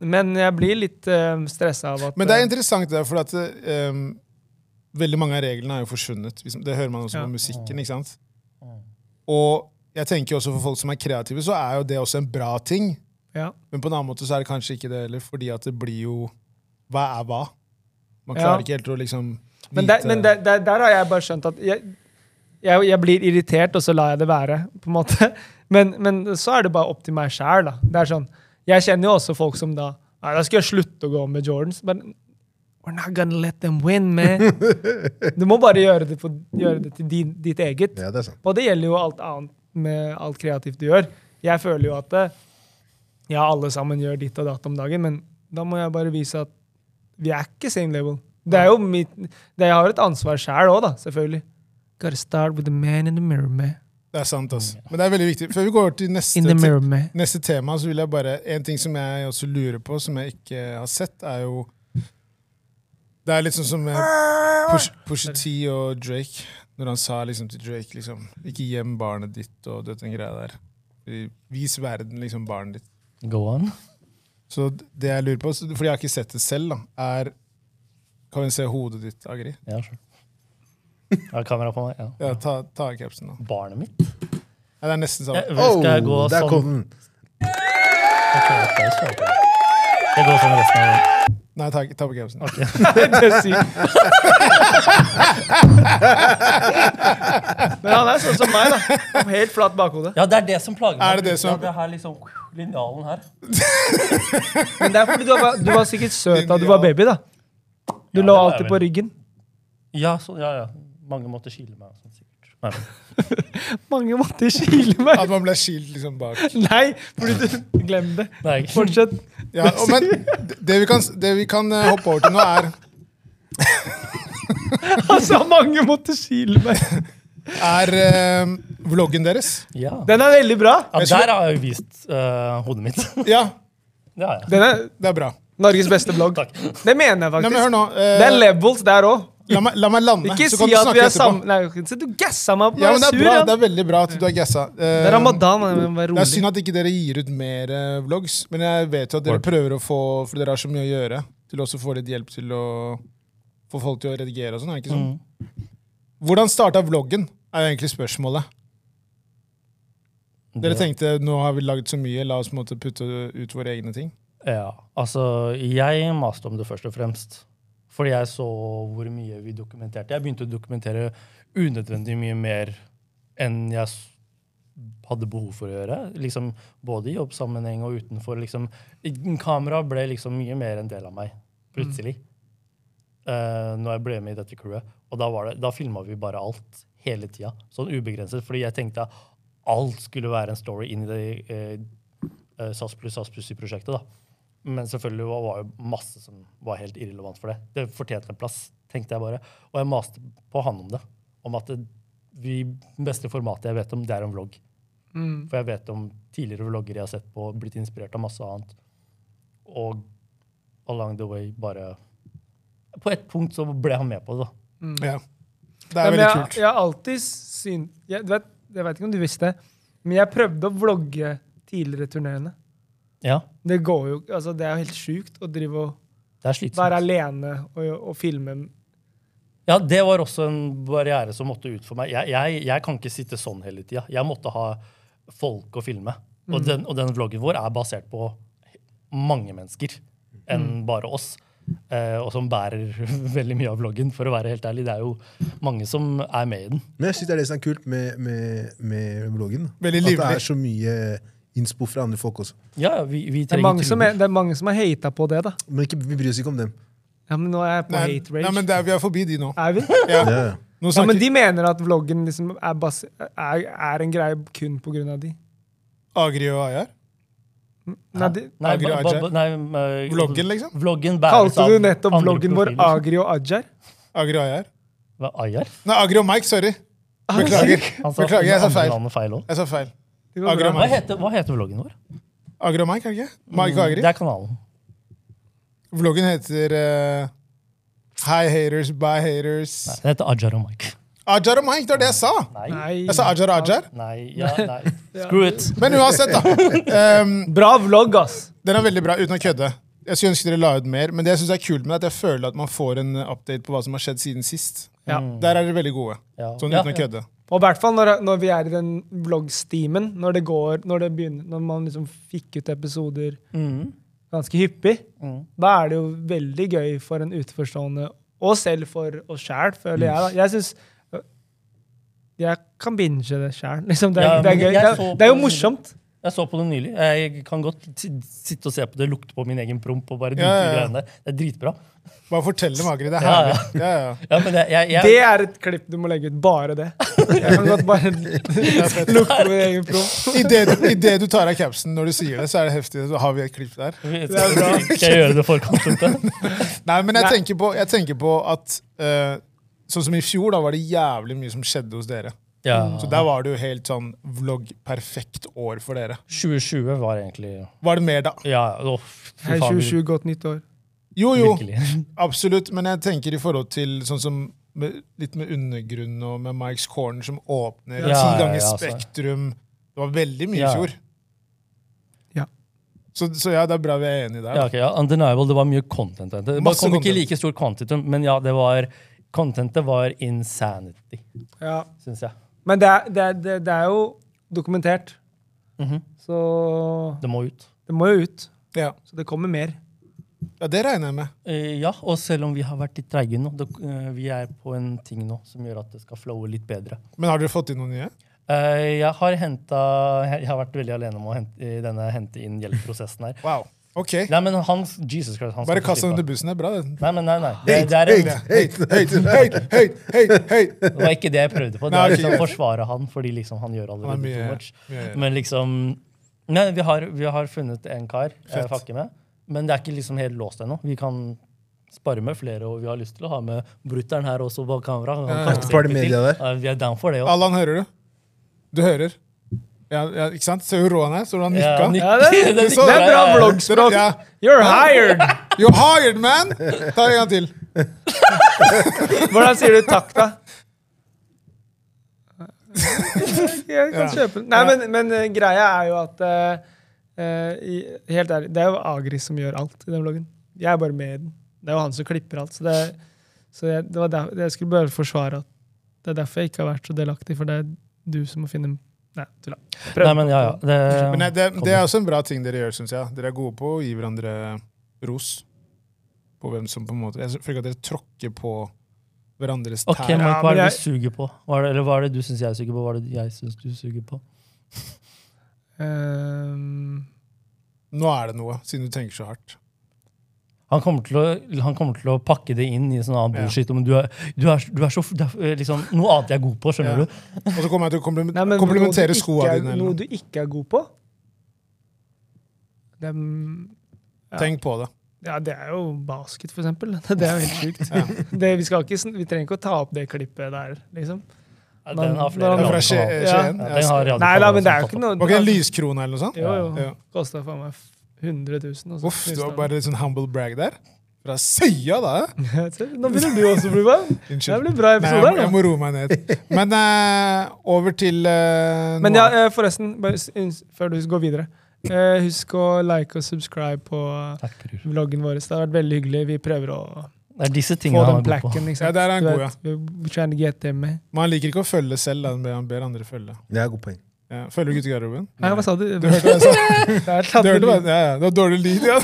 [SPEAKER 4] Men jeg blir litt uh, stressa av at
[SPEAKER 2] Men det er
[SPEAKER 4] eh,
[SPEAKER 2] interessant, det, for at eh, um, veldig mange av reglene er jo forsvunnet. Liksom. Det hører man også
[SPEAKER 4] Ja.
[SPEAKER 2] på musikken. ikke sant? Og jeg tenker jo også for folk som er kreative, så er jo det også en bra ting.
[SPEAKER 4] ja.
[SPEAKER 2] Men på en annen måte så er det kanskje ikke det heller, fordi at det blir jo Hva er hva? Man
[SPEAKER 4] Ja.
[SPEAKER 2] klarer ikke helt å liksom vite
[SPEAKER 4] Men, der, men der, der, der har jeg bare skjønt at jeg, jeg, jeg blir irritert, og så lar jeg det være. på en måte. Men, men så er det bare opp til meg sjæl. Sånn, jeg kjenner jo også folk som da Nei, da skal jeg slutte å gå med Jordans. Men we're not gonna let them win, man. Du må bare gjøre det, på, gjøre det til din, ditt eget.
[SPEAKER 3] Ja, det er sant.
[SPEAKER 4] Og det gjelder jo alt annet med alt kreativt du gjør. Jeg føler jo at eh, ja, alle sammen gjør ditt og datt om dagen, men da må jeg bare vise at vi er ikke same level. Det er jo mitt, det Jeg har et ansvar sjæl òg, da, selvfølgelig. Gotta start with the man in the mirror, man.
[SPEAKER 2] Det er sant, ass. Men det er veldig viktig. Før vi går til neste,
[SPEAKER 4] In the
[SPEAKER 2] te-
[SPEAKER 4] mirror, man.
[SPEAKER 2] neste tema, så vil jeg bare En ting som jeg også lurer på, som jeg ikke har sett, er jo Det er litt sånn som med Push- Pusha T og Drake. Når han sa liksom til Drake liksom Ikke gjem barnet ditt og det, den greia der. Vis verden liksom barnet ditt.
[SPEAKER 5] Go on.
[SPEAKER 2] Så det jeg lurer på, så- fordi jeg har ikke sett det selv, da, er Kan vi se hodet ditt, Agri?
[SPEAKER 5] Ja, sure. Har jeg kamera på meg? Ja.
[SPEAKER 2] Ja, ta, ta av capsen, da.
[SPEAKER 5] Barnet mitt?
[SPEAKER 2] Ja, det er nesten sånn.
[SPEAKER 5] Jeg,
[SPEAKER 2] samme.
[SPEAKER 5] vel, skal jeg gå
[SPEAKER 3] Oh, der
[SPEAKER 5] sånn?
[SPEAKER 3] kom den.
[SPEAKER 5] Ok, ok, jeg skal gå. Jeg går sånn resten av
[SPEAKER 2] Nei, ta, ta på capsen.
[SPEAKER 4] Det er sykt. Men han er sånn som meg, da. Helt flatt bakhode.
[SPEAKER 5] Ja, det er det som plager meg.
[SPEAKER 2] Er det det som-
[SPEAKER 5] Ja, det her liksom, linjalen her.
[SPEAKER 4] Men det er fordi du var, du var sikkert søt da du var baby, da. Du
[SPEAKER 5] Ja, det
[SPEAKER 4] lå
[SPEAKER 5] var jeg
[SPEAKER 4] alltid
[SPEAKER 5] vel.
[SPEAKER 4] på ryggen.
[SPEAKER 5] Ja, så, ja, ja. Mange måtte skille meg. og Sånn, sikkert. Nei, men-
[SPEAKER 4] Mange måtte kile meg.
[SPEAKER 2] At man ble skilt liksom bak.
[SPEAKER 4] Nei, fordi du Glem det.
[SPEAKER 5] Nei,
[SPEAKER 4] Fortsett.
[SPEAKER 2] Ja, og, men det- det vi kan, det vi kan eh, hoppe over til nå, er,
[SPEAKER 4] Altså, mange måtte kile meg.
[SPEAKER 2] er eh, vloggen deres.
[SPEAKER 5] ja.
[SPEAKER 4] Den er veldig bra.
[SPEAKER 5] ja
[SPEAKER 2] Jeg skulle-
[SPEAKER 5] der har jeg jo vist eh, hodet mitt.
[SPEAKER 2] Ja,
[SPEAKER 5] det har jeg.
[SPEAKER 4] Den er
[SPEAKER 2] det er bra.
[SPEAKER 4] Norges beste blogg.
[SPEAKER 5] Takk.
[SPEAKER 4] Det mener jeg
[SPEAKER 2] Nei, men
[SPEAKER 4] faktisk.
[SPEAKER 2] hør nå. eh,
[SPEAKER 4] Det er levels der òg.
[SPEAKER 2] la, meg, la meg lande,
[SPEAKER 4] Ikke
[SPEAKER 2] så kan
[SPEAKER 4] si
[SPEAKER 2] du
[SPEAKER 4] at vi
[SPEAKER 2] snakke
[SPEAKER 4] er sammen.
[SPEAKER 2] etterpå.
[SPEAKER 4] Nei, ikke si- du gassa meg på
[SPEAKER 2] Ja, men
[SPEAKER 4] meg.
[SPEAKER 2] det er
[SPEAKER 4] Sur,
[SPEAKER 2] bra.
[SPEAKER 4] ja.
[SPEAKER 2] Det er veldig bra at du har gassa. Eh,
[SPEAKER 4] Det er ramadan. Man må være
[SPEAKER 2] Det er
[SPEAKER 4] rolig.
[SPEAKER 2] synd at ikke dere gir ut mer eh, vlogs, men jeg vet jo at dere
[SPEAKER 5] Word.
[SPEAKER 2] prøver å få For dere har så mye å gjøre, til også å få litt hjelp til å få folk til å redigere og sånn. er det ikke sånn? Hvordan starta vloggen, er jo egentlig spørsmålet. Dere tenkte nå har vi lagd så mye, la oss på en måte putte ut våre egne ting.
[SPEAKER 5] Ja, altså jeg maste om det først og fremst. Fordi jeg så hvor mye vi dokumenterte. Jeg begynte å dokumentere unødvendig mye mer enn jeg s- hadde behov for å gjøre. Liksom, både i jobbsammenheng og utenfor. Liksom. Kamera ble liksom mye mer en del av meg, plutselig. Eh, når jeg ble med i dette crewet. Og da, var det- da filma vi bare alt, hele tida. Sånn ubegrenset. Fordi jeg tenkte at alt skulle være en story inn i det eh, eh, SAS pluss SAS pluss i prosjektet. da. Men selvfølgelig var, var jo masse som var helt irrelevant for det. Det fortjente en plass, tenkte jeg bare. Og jeg maste på han om det. Om at det, de beste formatet jeg vet om, det er en vlogg.
[SPEAKER 4] Mm.
[SPEAKER 5] For jeg vet om tidligere vlogger jeg har sett på, blitt inspirert av masse annet. Og along the way bare På et punkt så ble han med på det, da.
[SPEAKER 2] Ja. Det
[SPEAKER 4] Ja,
[SPEAKER 2] er
[SPEAKER 4] men
[SPEAKER 2] veldig
[SPEAKER 4] jeg,
[SPEAKER 2] kult.
[SPEAKER 4] Jeg har alltid syn... Jeg, du vet, jeg vet ikke om du visste det, men jeg prøvde å vlogge tidligere turneene.
[SPEAKER 5] Ja,
[SPEAKER 4] Det går jo altså Det er jo helt sjukt å drive og
[SPEAKER 5] det er
[SPEAKER 4] være
[SPEAKER 5] slitsomt.
[SPEAKER 4] alene og, og filme.
[SPEAKER 5] Ja, Det var også en barriere som måtte ut for meg. Jeg, jeg, jeg kan ikke sitte sånn hele tida. Jeg måtte ha folk å filme. Og,
[SPEAKER 4] Mm.
[SPEAKER 5] den, og den vloggen vår er basert på mange mennesker enn
[SPEAKER 4] Mm.
[SPEAKER 5] bare oss. Eh, og som bærer veldig mye av vloggen, for å være helt ærlig. Det er jo mange som er med i den.
[SPEAKER 3] Men jeg syns det er det som er kult med, med, med vloggen. da.
[SPEAKER 2] Veldig
[SPEAKER 3] At det
[SPEAKER 2] livlig.
[SPEAKER 3] er så mye innspo fra andre folk også.
[SPEAKER 5] Ja, ja, vi, vi
[SPEAKER 4] Det er,
[SPEAKER 5] trenger
[SPEAKER 4] mange som,
[SPEAKER 5] truer.
[SPEAKER 4] er, det er mange som har hata på det, da.
[SPEAKER 3] Men ikke, vi bryr oss ikke om dem.
[SPEAKER 4] Ja, men nå er jeg på
[SPEAKER 2] Nei,
[SPEAKER 4] hate
[SPEAKER 2] nei,
[SPEAKER 4] rage.
[SPEAKER 2] men det er, vi er forbi de nå.
[SPEAKER 4] Er vi?
[SPEAKER 2] Ja.
[SPEAKER 3] Ja, ja.
[SPEAKER 2] Nå
[SPEAKER 4] Ja, men
[SPEAKER 2] snakker
[SPEAKER 4] de mener at vloggen liksom er, bas er, er en greie kun på grunn av de.
[SPEAKER 2] Agri og Ayar.
[SPEAKER 4] Nei, de
[SPEAKER 5] Nei,
[SPEAKER 2] Agri
[SPEAKER 5] ba-
[SPEAKER 2] og
[SPEAKER 5] ba-
[SPEAKER 2] Ajay.
[SPEAKER 5] ba- nei, eh,
[SPEAKER 2] Vloggen, liksom?
[SPEAKER 5] Vloggen bæres
[SPEAKER 4] Kalte du
[SPEAKER 5] av
[SPEAKER 4] nettopp
[SPEAKER 5] andre
[SPEAKER 4] vloggen vår
[SPEAKER 5] profiler.
[SPEAKER 4] Agri og Ajar?
[SPEAKER 2] Agri og Ayar.
[SPEAKER 5] Hva, Ajar?
[SPEAKER 2] Nei, Agri og Mike, sorry.
[SPEAKER 4] Ah,
[SPEAKER 2] Beklager.
[SPEAKER 5] Han sa
[SPEAKER 2] Beklager, jeg sa
[SPEAKER 5] andre
[SPEAKER 2] feil.
[SPEAKER 5] navnet feil også.
[SPEAKER 2] Jeg sa feil.
[SPEAKER 4] Det går
[SPEAKER 2] Agri og
[SPEAKER 4] bra.
[SPEAKER 5] Hva heter, hva heter vloggen vår?
[SPEAKER 2] Agri og Mike, er det ikke? Mike og
[SPEAKER 5] Det
[SPEAKER 2] Agri.
[SPEAKER 5] er kanalen.
[SPEAKER 2] Vloggen heter eh, Hi haters, bye haters.
[SPEAKER 5] Nei, det heter Ajar og Mike.
[SPEAKER 2] Ajar og Mike, det var det jeg sa!
[SPEAKER 5] Nei.
[SPEAKER 4] Nei.
[SPEAKER 2] Jeg sa Ajar og Ajar.
[SPEAKER 5] Nei, ja, nei. Screw it.
[SPEAKER 2] Men uansett, da. Um,
[SPEAKER 4] Bra vlogg, ass!
[SPEAKER 2] Den er veldig bra, uten å kødde. Jeg skulle ønske dere la ut mer, men det jeg synes er kult med det, er at jeg føler at man får en update på hva som har skjedd siden sist.
[SPEAKER 4] Ja.
[SPEAKER 2] Der er dere veldig gode.
[SPEAKER 5] Ja.
[SPEAKER 2] Sånn
[SPEAKER 5] Ja,
[SPEAKER 2] uten å
[SPEAKER 5] ja.
[SPEAKER 2] kødde.
[SPEAKER 4] Og i hvert fall når, når vi er i den vloggstimen, når det går, når det begynner, når man liksom fikk ut episoder
[SPEAKER 5] Mm.
[SPEAKER 4] ganske hyppig,
[SPEAKER 5] Mm.
[SPEAKER 4] da er det jo veldig gøy for en utenforstående, og selv for oss sjæl, føler jeg. da. Jeg synes, øh, jeg kan binge det sjæl. Liksom, det, er-
[SPEAKER 5] Ja,
[SPEAKER 4] det er
[SPEAKER 5] men
[SPEAKER 4] gøy.
[SPEAKER 5] jeg
[SPEAKER 4] Det, er-
[SPEAKER 5] så på-
[SPEAKER 4] det er jo morsomt.
[SPEAKER 5] Jeg så på det nylig. Jeg kan godt si- sitte og se på det, lukte på min egen promp og bare drite
[SPEAKER 2] Ja, ja,
[SPEAKER 5] i
[SPEAKER 2] ja.
[SPEAKER 5] greiene der. Det er dritbra.
[SPEAKER 2] Bare fortell dem, Agri. Det er
[SPEAKER 5] Ja,
[SPEAKER 2] herlig. Ja, ja.
[SPEAKER 5] Ja, men jeg, jeg, jeg,
[SPEAKER 4] Det er et klipp du må legge ut. Bare det. Jeg kan godt bare lukte på min egen promp.
[SPEAKER 2] Idet du, i det du tar av capsen når du sier det, så er det heftig. Så har vi et klipp der.
[SPEAKER 4] det er bra.
[SPEAKER 5] Skal jeg gjøre det for contentet?
[SPEAKER 2] Nei, men jeg
[SPEAKER 4] Nei.
[SPEAKER 2] tenker på, jeg tenker på at eh, Sånn som i fjor, da var det jævlig mye som skjedde hos dere.
[SPEAKER 5] Ja.
[SPEAKER 2] Så der var det jo helt sånn vlogg-perfekt år for dere.
[SPEAKER 5] 2020 var egentlig
[SPEAKER 2] Var det mer da?
[SPEAKER 5] Ja, å, fy
[SPEAKER 4] Hei,
[SPEAKER 5] faen.
[SPEAKER 4] 27, godt nytt år.
[SPEAKER 2] Jo, jo.
[SPEAKER 5] Virkelig.
[SPEAKER 2] Absolutt, men jeg tenker i forhold til sånn som med, litt med undergrunnen og med Mikes Corner som åpner, ti
[SPEAKER 5] Ja, ja,
[SPEAKER 2] ganger
[SPEAKER 5] ja, altså.
[SPEAKER 2] Spektrum Det var veldig mye
[SPEAKER 5] Ja.
[SPEAKER 2] i fjor.
[SPEAKER 4] Ja.
[SPEAKER 2] Så, så ja, det er bra vi er enige der.
[SPEAKER 5] Ja,
[SPEAKER 2] da.
[SPEAKER 5] ok, ja, Undeniable, det var mye content. Det det
[SPEAKER 2] Masse
[SPEAKER 5] kom ikke
[SPEAKER 2] content.
[SPEAKER 5] like stor kvantitum, men ja, det var Contentet var insanity,
[SPEAKER 4] Ja.
[SPEAKER 5] syns jeg.
[SPEAKER 4] Men det er, det, er, det, det er jo dokumentert.
[SPEAKER 5] Mhm.
[SPEAKER 4] Så
[SPEAKER 5] Det må ut.
[SPEAKER 4] det må jo ut.
[SPEAKER 2] Ja.
[SPEAKER 4] Så det kommer mer.
[SPEAKER 2] ja, det regner jeg med.
[SPEAKER 5] Eh, ja, og selv om vi har vært litt treige nå, det, eh, vi er på en ting nå som gjør at det skal flowe litt bedre.
[SPEAKER 2] Men har dere fått inn noen nye?
[SPEAKER 5] Eh, jeg har hentet- jeg har vært veldig alene om å hente, i denne hente inn hjelp-prosessen her.
[SPEAKER 2] Wow. OK.
[SPEAKER 5] Nei, men hans Jesus Christ, han skal
[SPEAKER 2] Bare
[SPEAKER 5] få
[SPEAKER 2] kast dem
[SPEAKER 5] slippe.
[SPEAKER 2] under bussen. Det er bra, det.
[SPEAKER 5] Nei, men nei, nei. Det, det, er en, det
[SPEAKER 2] Hate, hate, hate, hate, hate, hate.
[SPEAKER 5] var ikke det jeg prøvde på. Det
[SPEAKER 2] Nei,
[SPEAKER 5] var
[SPEAKER 2] ok,
[SPEAKER 5] liksom
[SPEAKER 2] greit.
[SPEAKER 5] forsvare han fordi liksom han gjør allerede
[SPEAKER 2] Han er mye-
[SPEAKER 5] too much.
[SPEAKER 2] mye å gjøre.
[SPEAKER 5] Men liksom Nei, vi har, vi har funnet en kar jeg
[SPEAKER 2] Fett.
[SPEAKER 5] fucker med, men det er ikke liksom helt låst ennå. Vi kan spare med flere, og vi har lyst til å ha med brutter'n her også bak kamera. Han kan
[SPEAKER 2] ja.
[SPEAKER 5] også
[SPEAKER 3] Spare
[SPEAKER 5] hjelpe til.
[SPEAKER 3] media der.
[SPEAKER 5] Ja, vi er down for det òg.
[SPEAKER 2] Allan, hører du? Du hører? Ja, ja ikke sant? Ser du rå han er? Så du han nikka?
[SPEAKER 4] Ja, det, det,
[SPEAKER 2] Så-
[SPEAKER 4] er bra vloggspråk!
[SPEAKER 2] Ja.
[SPEAKER 4] You're hired!
[SPEAKER 2] You're hired, man! Ta en gang til.
[SPEAKER 4] Hvordan sier du takk, da? Jeg kan
[SPEAKER 2] Ja.
[SPEAKER 4] kjøpe den. Nei, men, men eh, greia er jo at eh, eh, i- Helt ærlig, det er jo Agri som gjør alt i den vloggen. Jeg er bare med i den. Det er jo han som klipper alt. Så, det, så jeg, det var der, jeg skulle bare forsvare at det er derfor jeg ikke har vært så delaktig, for det er du som må finne Nei, tulla.
[SPEAKER 5] Nei, men ja, ja. Det,
[SPEAKER 2] Men eh, det, det, det er også en bra ting dere gjør, syns jeg. Dere er gode på å gi hverandre ros. På hvem som på en måte Jeg føler ikke at dere tråkker på hverandres tær.
[SPEAKER 5] OK, Mark, hva er det
[SPEAKER 4] men
[SPEAKER 5] du suger på? Hva er det, eller hva er det du syns jeg suger på? Hva er det jeg syns du suger på?
[SPEAKER 4] Ehm,
[SPEAKER 2] Nå er det noe, siden du tenker så hardt.
[SPEAKER 5] Han kommer, til å, han kommer til å pakke det inn i sånn annen
[SPEAKER 2] Ja.
[SPEAKER 5] bullshit. om Du er, du er, du er så, det er, liksom, noe annet jeg er god på, skjønner
[SPEAKER 2] Ja.
[SPEAKER 5] du?
[SPEAKER 2] Og så kommer jeg til å kompliment-
[SPEAKER 4] Nei, men
[SPEAKER 2] komplimentere
[SPEAKER 4] noe du
[SPEAKER 2] skoa
[SPEAKER 4] ikke er-
[SPEAKER 2] dine. eller
[SPEAKER 4] Noe
[SPEAKER 2] noe.
[SPEAKER 4] du ikke er god på? Det er, ja.
[SPEAKER 2] Tenk på det.
[SPEAKER 4] ja, det er jo basket, for eksempel. Det er jo helt sjukt. det, vi, skal ikke, sn- vi trenger ikke å ta opp det klippet der, liksom.
[SPEAKER 5] Ja, Den har flere
[SPEAKER 4] Når han-
[SPEAKER 2] Fra Skje-
[SPEAKER 5] radiokanaler.
[SPEAKER 2] Skien?
[SPEAKER 5] Ja, den har sånn
[SPEAKER 2] Ja,
[SPEAKER 4] Nei da, men det er jo
[SPEAKER 5] radiokanaler som
[SPEAKER 4] ikke noe
[SPEAKER 5] tar
[SPEAKER 2] Var ikke det en lyskrone eller noe sånt?
[SPEAKER 4] Jo, jo.
[SPEAKER 2] Ja.
[SPEAKER 4] Kosta faen meg 100 000. og så
[SPEAKER 2] Uff, du
[SPEAKER 4] knuste
[SPEAKER 2] var
[SPEAKER 4] han.
[SPEAKER 2] bare litt sånn humble brag der. Fra Søya, da!
[SPEAKER 4] Se, Nå begynner du også å bli varm. Det
[SPEAKER 2] Unnskyld.
[SPEAKER 4] blir bra
[SPEAKER 2] Nei, jeg,
[SPEAKER 4] episode
[SPEAKER 2] må- jeg
[SPEAKER 4] her nå.
[SPEAKER 2] må roe meg ned. Men eh, over til eh,
[SPEAKER 4] Men
[SPEAKER 2] noe
[SPEAKER 4] ja,
[SPEAKER 2] annet.
[SPEAKER 4] eh, forresten, bare s- inns- før du går videre eh, Husk å like og subscribe på
[SPEAKER 5] på. Takk, bror.
[SPEAKER 4] vloggen vår. Det har vært veldig hyggelig. Vi prøver å
[SPEAKER 5] Det er disse
[SPEAKER 4] få
[SPEAKER 5] tingene
[SPEAKER 4] den
[SPEAKER 5] han er god på.
[SPEAKER 4] plakken. Ikke
[SPEAKER 2] Ja,
[SPEAKER 4] sant?
[SPEAKER 2] der er han
[SPEAKER 4] Du
[SPEAKER 2] god,
[SPEAKER 4] vet, We're trying to get them. eh.
[SPEAKER 2] Man liker ikke å følge selv, da. men han ber andre følge.
[SPEAKER 3] Det er godt poeng.
[SPEAKER 2] Ja. Følger
[SPEAKER 4] Mm.
[SPEAKER 2] du guttegarderoben?
[SPEAKER 4] Nei, hva sa du?
[SPEAKER 2] Du hørte hva jeg sa?
[SPEAKER 4] Det er
[SPEAKER 2] Du hørte hva?
[SPEAKER 4] tatt-
[SPEAKER 2] Ja, ja. Det var dårlig lyd, ja.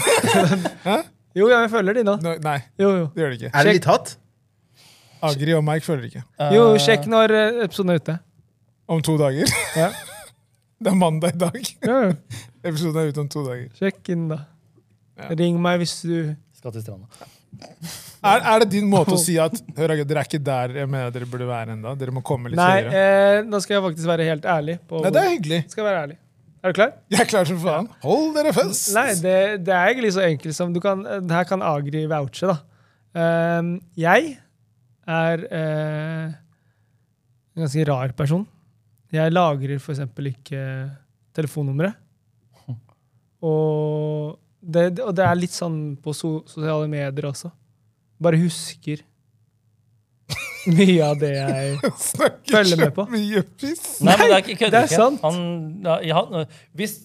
[SPEAKER 4] Jo, ja, jeg følger de nå.
[SPEAKER 2] Nå- Nei,
[SPEAKER 4] Jo, jo.
[SPEAKER 2] det gjør det ikke.
[SPEAKER 3] Er det
[SPEAKER 4] Sjekk.
[SPEAKER 3] litt hatt?
[SPEAKER 2] Agri og Mike følger ikke.
[SPEAKER 4] Jo,
[SPEAKER 5] Eh,
[SPEAKER 4] sjekk når eh, episoden er ute.
[SPEAKER 2] Om to dager.
[SPEAKER 4] Ja.
[SPEAKER 2] Det er mandag i dag.
[SPEAKER 4] Jo, jo.
[SPEAKER 2] Episoden er ute om to dager.
[SPEAKER 4] Sjekk inn, da.
[SPEAKER 2] Ja.
[SPEAKER 4] Ring meg hvis du
[SPEAKER 5] Skal til stranda.
[SPEAKER 2] Er, er det din måte å si at Hør, dere er ikke der jeg mener dere burde være ennå? Dere må komme litt
[SPEAKER 4] Nei,
[SPEAKER 2] høyere?
[SPEAKER 4] eh, nå skal jeg faktisk være helt ærlig. På,
[SPEAKER 2] Nei, det er hyggelig.
[SPEAKER 4] Skal være ærlig. Er du klar?
[SPEAKER 2] Jeg er klar som faen. Hold dere fast!
[SPEAKER 4] Nei, det, det er egentlig så enkelt som du kan Det her kan Agri vouche, da. Ehm, jeg er eh, en ganske rar person. Jeg lagrer for eksempel ikke telefonnumre. Og det, og det er litt sånn på so sosiale medier også. Bare husker mye av det jeg
[SPEAKER 2] Snakker
[SPEAKER 4] Følger
[SPEAKER 2] så
[SPEAKER 4] med på.
[SPEAKER 2] mye piss.
[SPEAKER 5] Nei, men det er ikke kødder
[SPEAKER 4] det er
[SPEAKER 5] ikke.
[SPEAKER 4] sant.
[SPEAKER 5] Han- ja, ja, han- hvis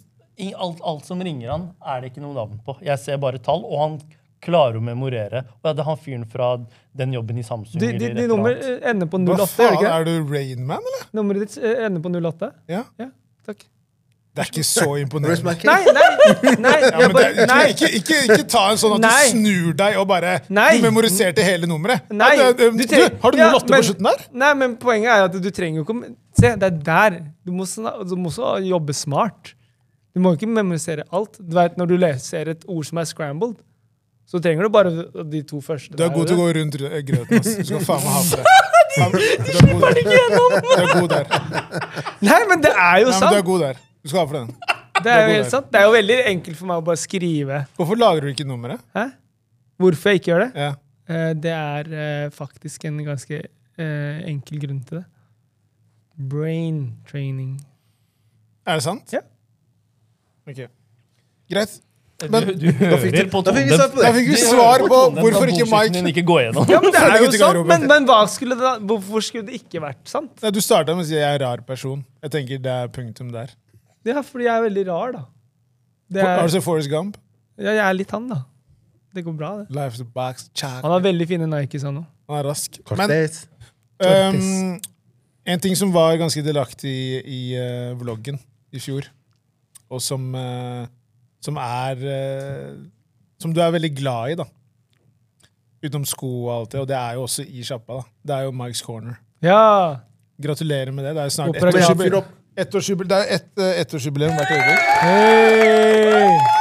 [SPEAKER 5] i alt, alt som ringer han, er det ikke noe navn på. Jeg ser bare tall, og han klarer å memorere. Og ja, det er han fyren fra den jobben i Samsung.
[SPEAKER 4] De, de,
[SPEAKER 5] eller et
[SPEAKER 4] de
[SPEAKER 5] eller
[SPEAKER 4] nummer
[SPEAKER 5] annet.
[SPEAKER 4] eh, ender på
[SPEAKER 2] Hva
[SPEAKER 4] 08, gjør det
[SPEAKER 2] faen,
[SPEAKER 4] ikke?
[SPEAKER 2] er du Rainman, eller?
[SPEAKER 4] det? Nummeret ditt eh, ender på 08?
[SPEAKER 2] Ja.
[SPEAKER 4] Ja, takk.
[SPEAKER 2] Det er ikke så
[SPEAKER 3] Where's my
[SPEAKER 2] imponerende.
[SPEAKER 3] cake?
[SPEAKER 4] Nei, nei! Nei!
[SPEAKER 2] Ja, men det,
[SPEAKER 4] bare-
[SPEAKER 2] ikke,
[SPEAKER 4] nei.
[SPEAKER 2] ikke, ikke, ikke ta en sånn at
[SPEAKER 4] Nei.
[SPEAKER 2] du snur deg og bare
[SPEAKER 4] Nei.
[SPEAKER 2] Du memoriserte hele nummeret.
[SPEAKER 4] Nei.
[SPEAKER 2] Ja, det-
[SPEAKER 4] Du
[SPEAKER 2] det-
[SPEAKER 4] tenk-
[SPEAKER 2] du, har du
[SPEAKER 4] Ja,
[SPEAKER 2] 08
[SPEAKER 4] men-
[SPEAKER 2] på slutten der?
[SPEAKER 4] Nei, men poenget er at du trenger jo ikke å- Se, det er der. Du må, sna- du må også jobbe smart. Du må ikke memorisere alt. Du vet, Når du leser et ord som er scrambled, så trenger du bare de to første.
[SPEAKER 2] Du er
[SPEAKER 4] der,
[SPEAKER 2] god til å
[SPEAKER 4] eller?
[SPEAKER 2] gå rundt rø- grøten. ass. Du skal faen meg ha for det. Faen, Du er god der. Du er god der.
[SPEAKER 4] Nei, men det er jo
[SPEAKER 2] Nei, men du er
[SPEAKER 4] sant!
[SPEAKER 2] god der. Du skal ha for den.
[SPEAKER 4] Det er
[SPEAKER 2] god
[SPEAKER 4] jo
[SPEAKER 2] der.
[SPEAKER 4] helt sant. Det er jo veldig enkelt for meg å bare skrive
[SPEAKER 2] Hvorfor lagrer du ikke nummeret?
[SPEAKER 4] Hæ? Hvorfor jeg ikke gjør det?
[SPEAKER 2] Ja.
[SPEAKER 4] Eh, Det er eh, faktisk en ganske eh, enkel grunn til det. Brain training.
[SPEAKER 2] Er det sant?
[SPEAKER 4] Ja.
[SPEAKER 2] Ok. Greit. Men-
[SPEAKER 5] Du, du
[SPEAKER 3] fikk
[SPEAKER 5] hører
[SPEAKER 3] du-
[SPEAKER 5] på
[SPEAKER 3] da fikk vi svar på
[SPEAKER 5] tonen.
[SPEAKER 2] Da
[SPEAKER 3] det.
[SPEAKER 2] fikk vi svar på hvorfor ikke
[SPEAKER 5] Din
[SPEAKER 2] Mike
[SPEAKER 5] ikke går gjennom.
[SPEAKER 4] Ja, men det er
[SPEAKER 2] Følger
[SPEAKER 4] jo
[SPEAKER 2] til
[SPEAKER 4] sant,
[SPEAKER 2] garderoben.
[SPEAKER 4] men, men hva skulle det da, hvorfor skulle det ikke vært sant?
[SPEAKER 2] Nei, Du starta med å si jeg er en rar person. Jeg tenker det er punktum der.
[SPEAKER 4] Det er fordi jeg er veldig rar, da. Det
[SPEAKER 2] Har du
[SPEAKER 4] er,
[SPEAKER 2] sett Forrest Gump?
[SPEAKER 4] ja, jeg er litt han, da. Det går bra, det.
[SPEAKER 2] Life is a box. Check.
[SPEAKER 4] Han har veldig fine Nikes, han òg.
[SPEAKER 2] Han er rask. Men
[SPEAKER 3] Cortez.
[SPEAKER 2] Ehm, en ting som var ganske delaktig i, i eh, vloggen i fjor, og som, eh, som er eh, Som du er veldig glad i, da. Utenom sko og alt det, og det er jo også i sjappa. da. Det er jo Mike's Corner.
[SPEAKER 4] Ja!
[SPEAKER 2] Gratulerer med det. Det er jo snart
[SPEAKER 4] Håper det er
[SPEAKER 2] ettårsjubileum.
[SPEAKER 3] bra. Fyr opp.
[SPEAKER 2] Ettårsjubil- Det er ett, eh, ettårsjubileum hvert øyeblikk.
[SPEAKER 4] Hey!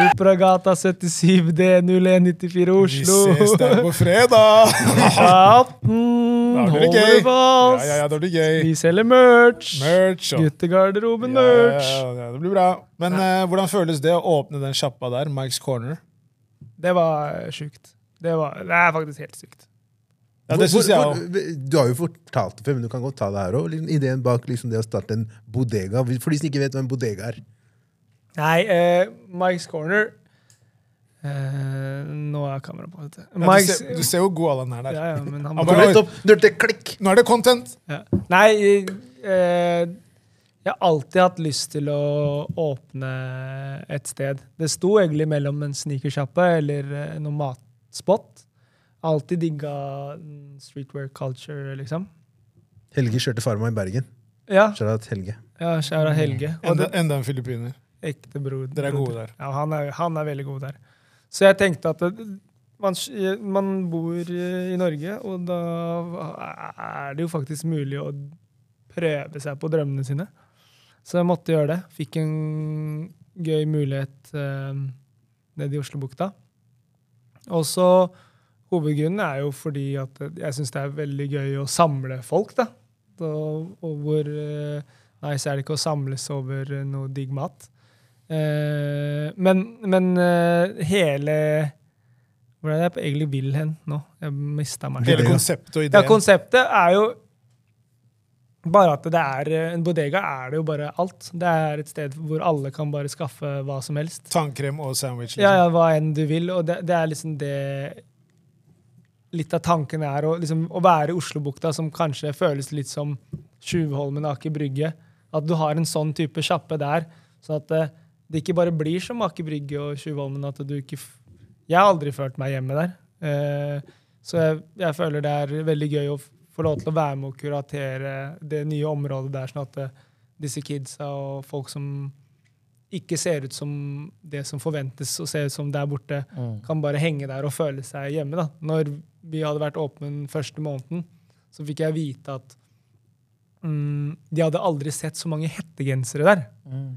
[SPEAKER 4] Operagata 77D0194
[SPEAKER 2] Vi
[SPEAKER 4] Oslo.
[SPEAKER 2] ses der på fredag!
[SPEAKER 4] 18!
[SPEAKER 2] Da blir
[SPEAKER 4] Hold
[SPEAKER 2] det
[SPEAKER 4] dere
[SPEAKER 2] gøy. Ja,
[SPEAKER 4] fast!
[SPEAKER 2] ja, ja, det blir gøy.
[SPEAKER 4] Vi selger merch!
[SPEAKER 2] Merch og
[SPEAKER 4] Guttegarderoben-merch.
[SPEAKER 2] Ja, ja, ja, det blir bra. Men eh, hvordan føles det å åpne den sjappa der, Mike's Corner?
[SPEAKER 4] Det var sjukt. Det, var, det er faktisk helt sykt.
[SPEAKER 2] Ja, det
[SPEAKER 3] Hvor-
[SPEAKER 2] synes jeg
[SPEAKER 3] hvor-
[SPEAKER 2] også.
[SPEAKER 3] Du har jo fortalt det før, men du kan godt ta det her òg. Liksom, ideen bak liksom, det å starte en bodega. For de som ikke vet hva en bodega er.
[SPEAKER 4] Nei, eh, Mike's Corner eh, Nå er kameraet på. Vet du.
[SPEAKER 2] Ja, du,
[SPEAKER 4] Mike's,
[SPEAKER 2] ser, du ser hvor god Allan er der.
[SPEAKER 4] ja, ja, men han
[SPEAKER 2] Han
[SPEAKER 4] må,
[SPEAKER 2] bare-
[SPEAKER 3] Rett opp, når det klikk!
[SPEAKER 2] Nå er det content!
[SPEAKER 4] ja. Nei, eh, jeg har alltid hatt lyst til å åpne et sted. Det sto egentlig mellom en sneakersjappe eller eh, noen matspot. Alltid digga mm, streetwear culture, liksom.
[SPEAKER 3] Helge kjørte farma i Bergen.
[SPEAKER 4] Ja,
[SPEAKER 3] Shout out Helge.
[SPEAKER 4] ja kjære Helge. Og
[SPEAKER 2] Enda,
[SPEAKER 4] det,
[SPEAKER 2] enda en filippiner.
[SPEAKER 4] ekte bror.
[SPEAKER 2] Dere er gode der.
[SPEAKER 4] Ja, han er, han er veldig god der. Så jeg tenkte at det, man, man bor eh, i Norge, og da er det jo faktisk mulig å prøve seg på drømmene sine. Så jeg måtte gjøre det. Fikk en gøy mulighet eh, nede i Oslobukta. Og så hovedgrunnen er jo fordi at jeg syns det er veldig gøy å samle folk, da. Og, og hvor eh, nice er det ikke å samles over eh, noe digg mat? Eh, men men eh, hele Hvor er det jeg egentlig vil hen nå? Jeg mista meg.
[SPEAKER 2] Hele
[SPEAKER 4] selv.
[SPEAKER 2] konseptet og
[SPEAKER 4] Ja,
[SPEAKER 2] ideen.
[SPEAKER 4] konseptet er jo Bare at det er eh, en bodega, er det jo bare alt. Det er et sted hvor alle kan bare skaffe hva som helst.
[SPEAKER 2] Tannkrem og sandwich.
[SPEAKER 4] Ja,
[SPEAKER 2] Liksom.
[SPEAKER 4] ja, hva enn du vil. Og det, det er liksom det Litt av tanken er å, liksom, å være i Oslobukta, som kanskje føles litt som Tjuvholmen, Aker Brygge. At du har en sånn type sjappe der, sånn at eh, det ikke bare blir som Aker Brygge og Tjuvholmen. at du ikke... F jeg har aldri følt meg hjemme der. Eh, så jeg, jeg føler det er veldig gøy å f- få lov til å være med og kuratere det nye området der, sånn at eh, disse kidsa og folk som ikke ser ut som det som forventes å se ut som der borte,
[SPEAKER 5] Mm.
[SPEAKER 4] kan bare henge der og føle seg hjemme. da. Når vi hadde vært åpne den første måneden, så fikk jeg vite at mm, de hadde aldri sett så mange hettegensere der.
[SPEAKER 5] Mm.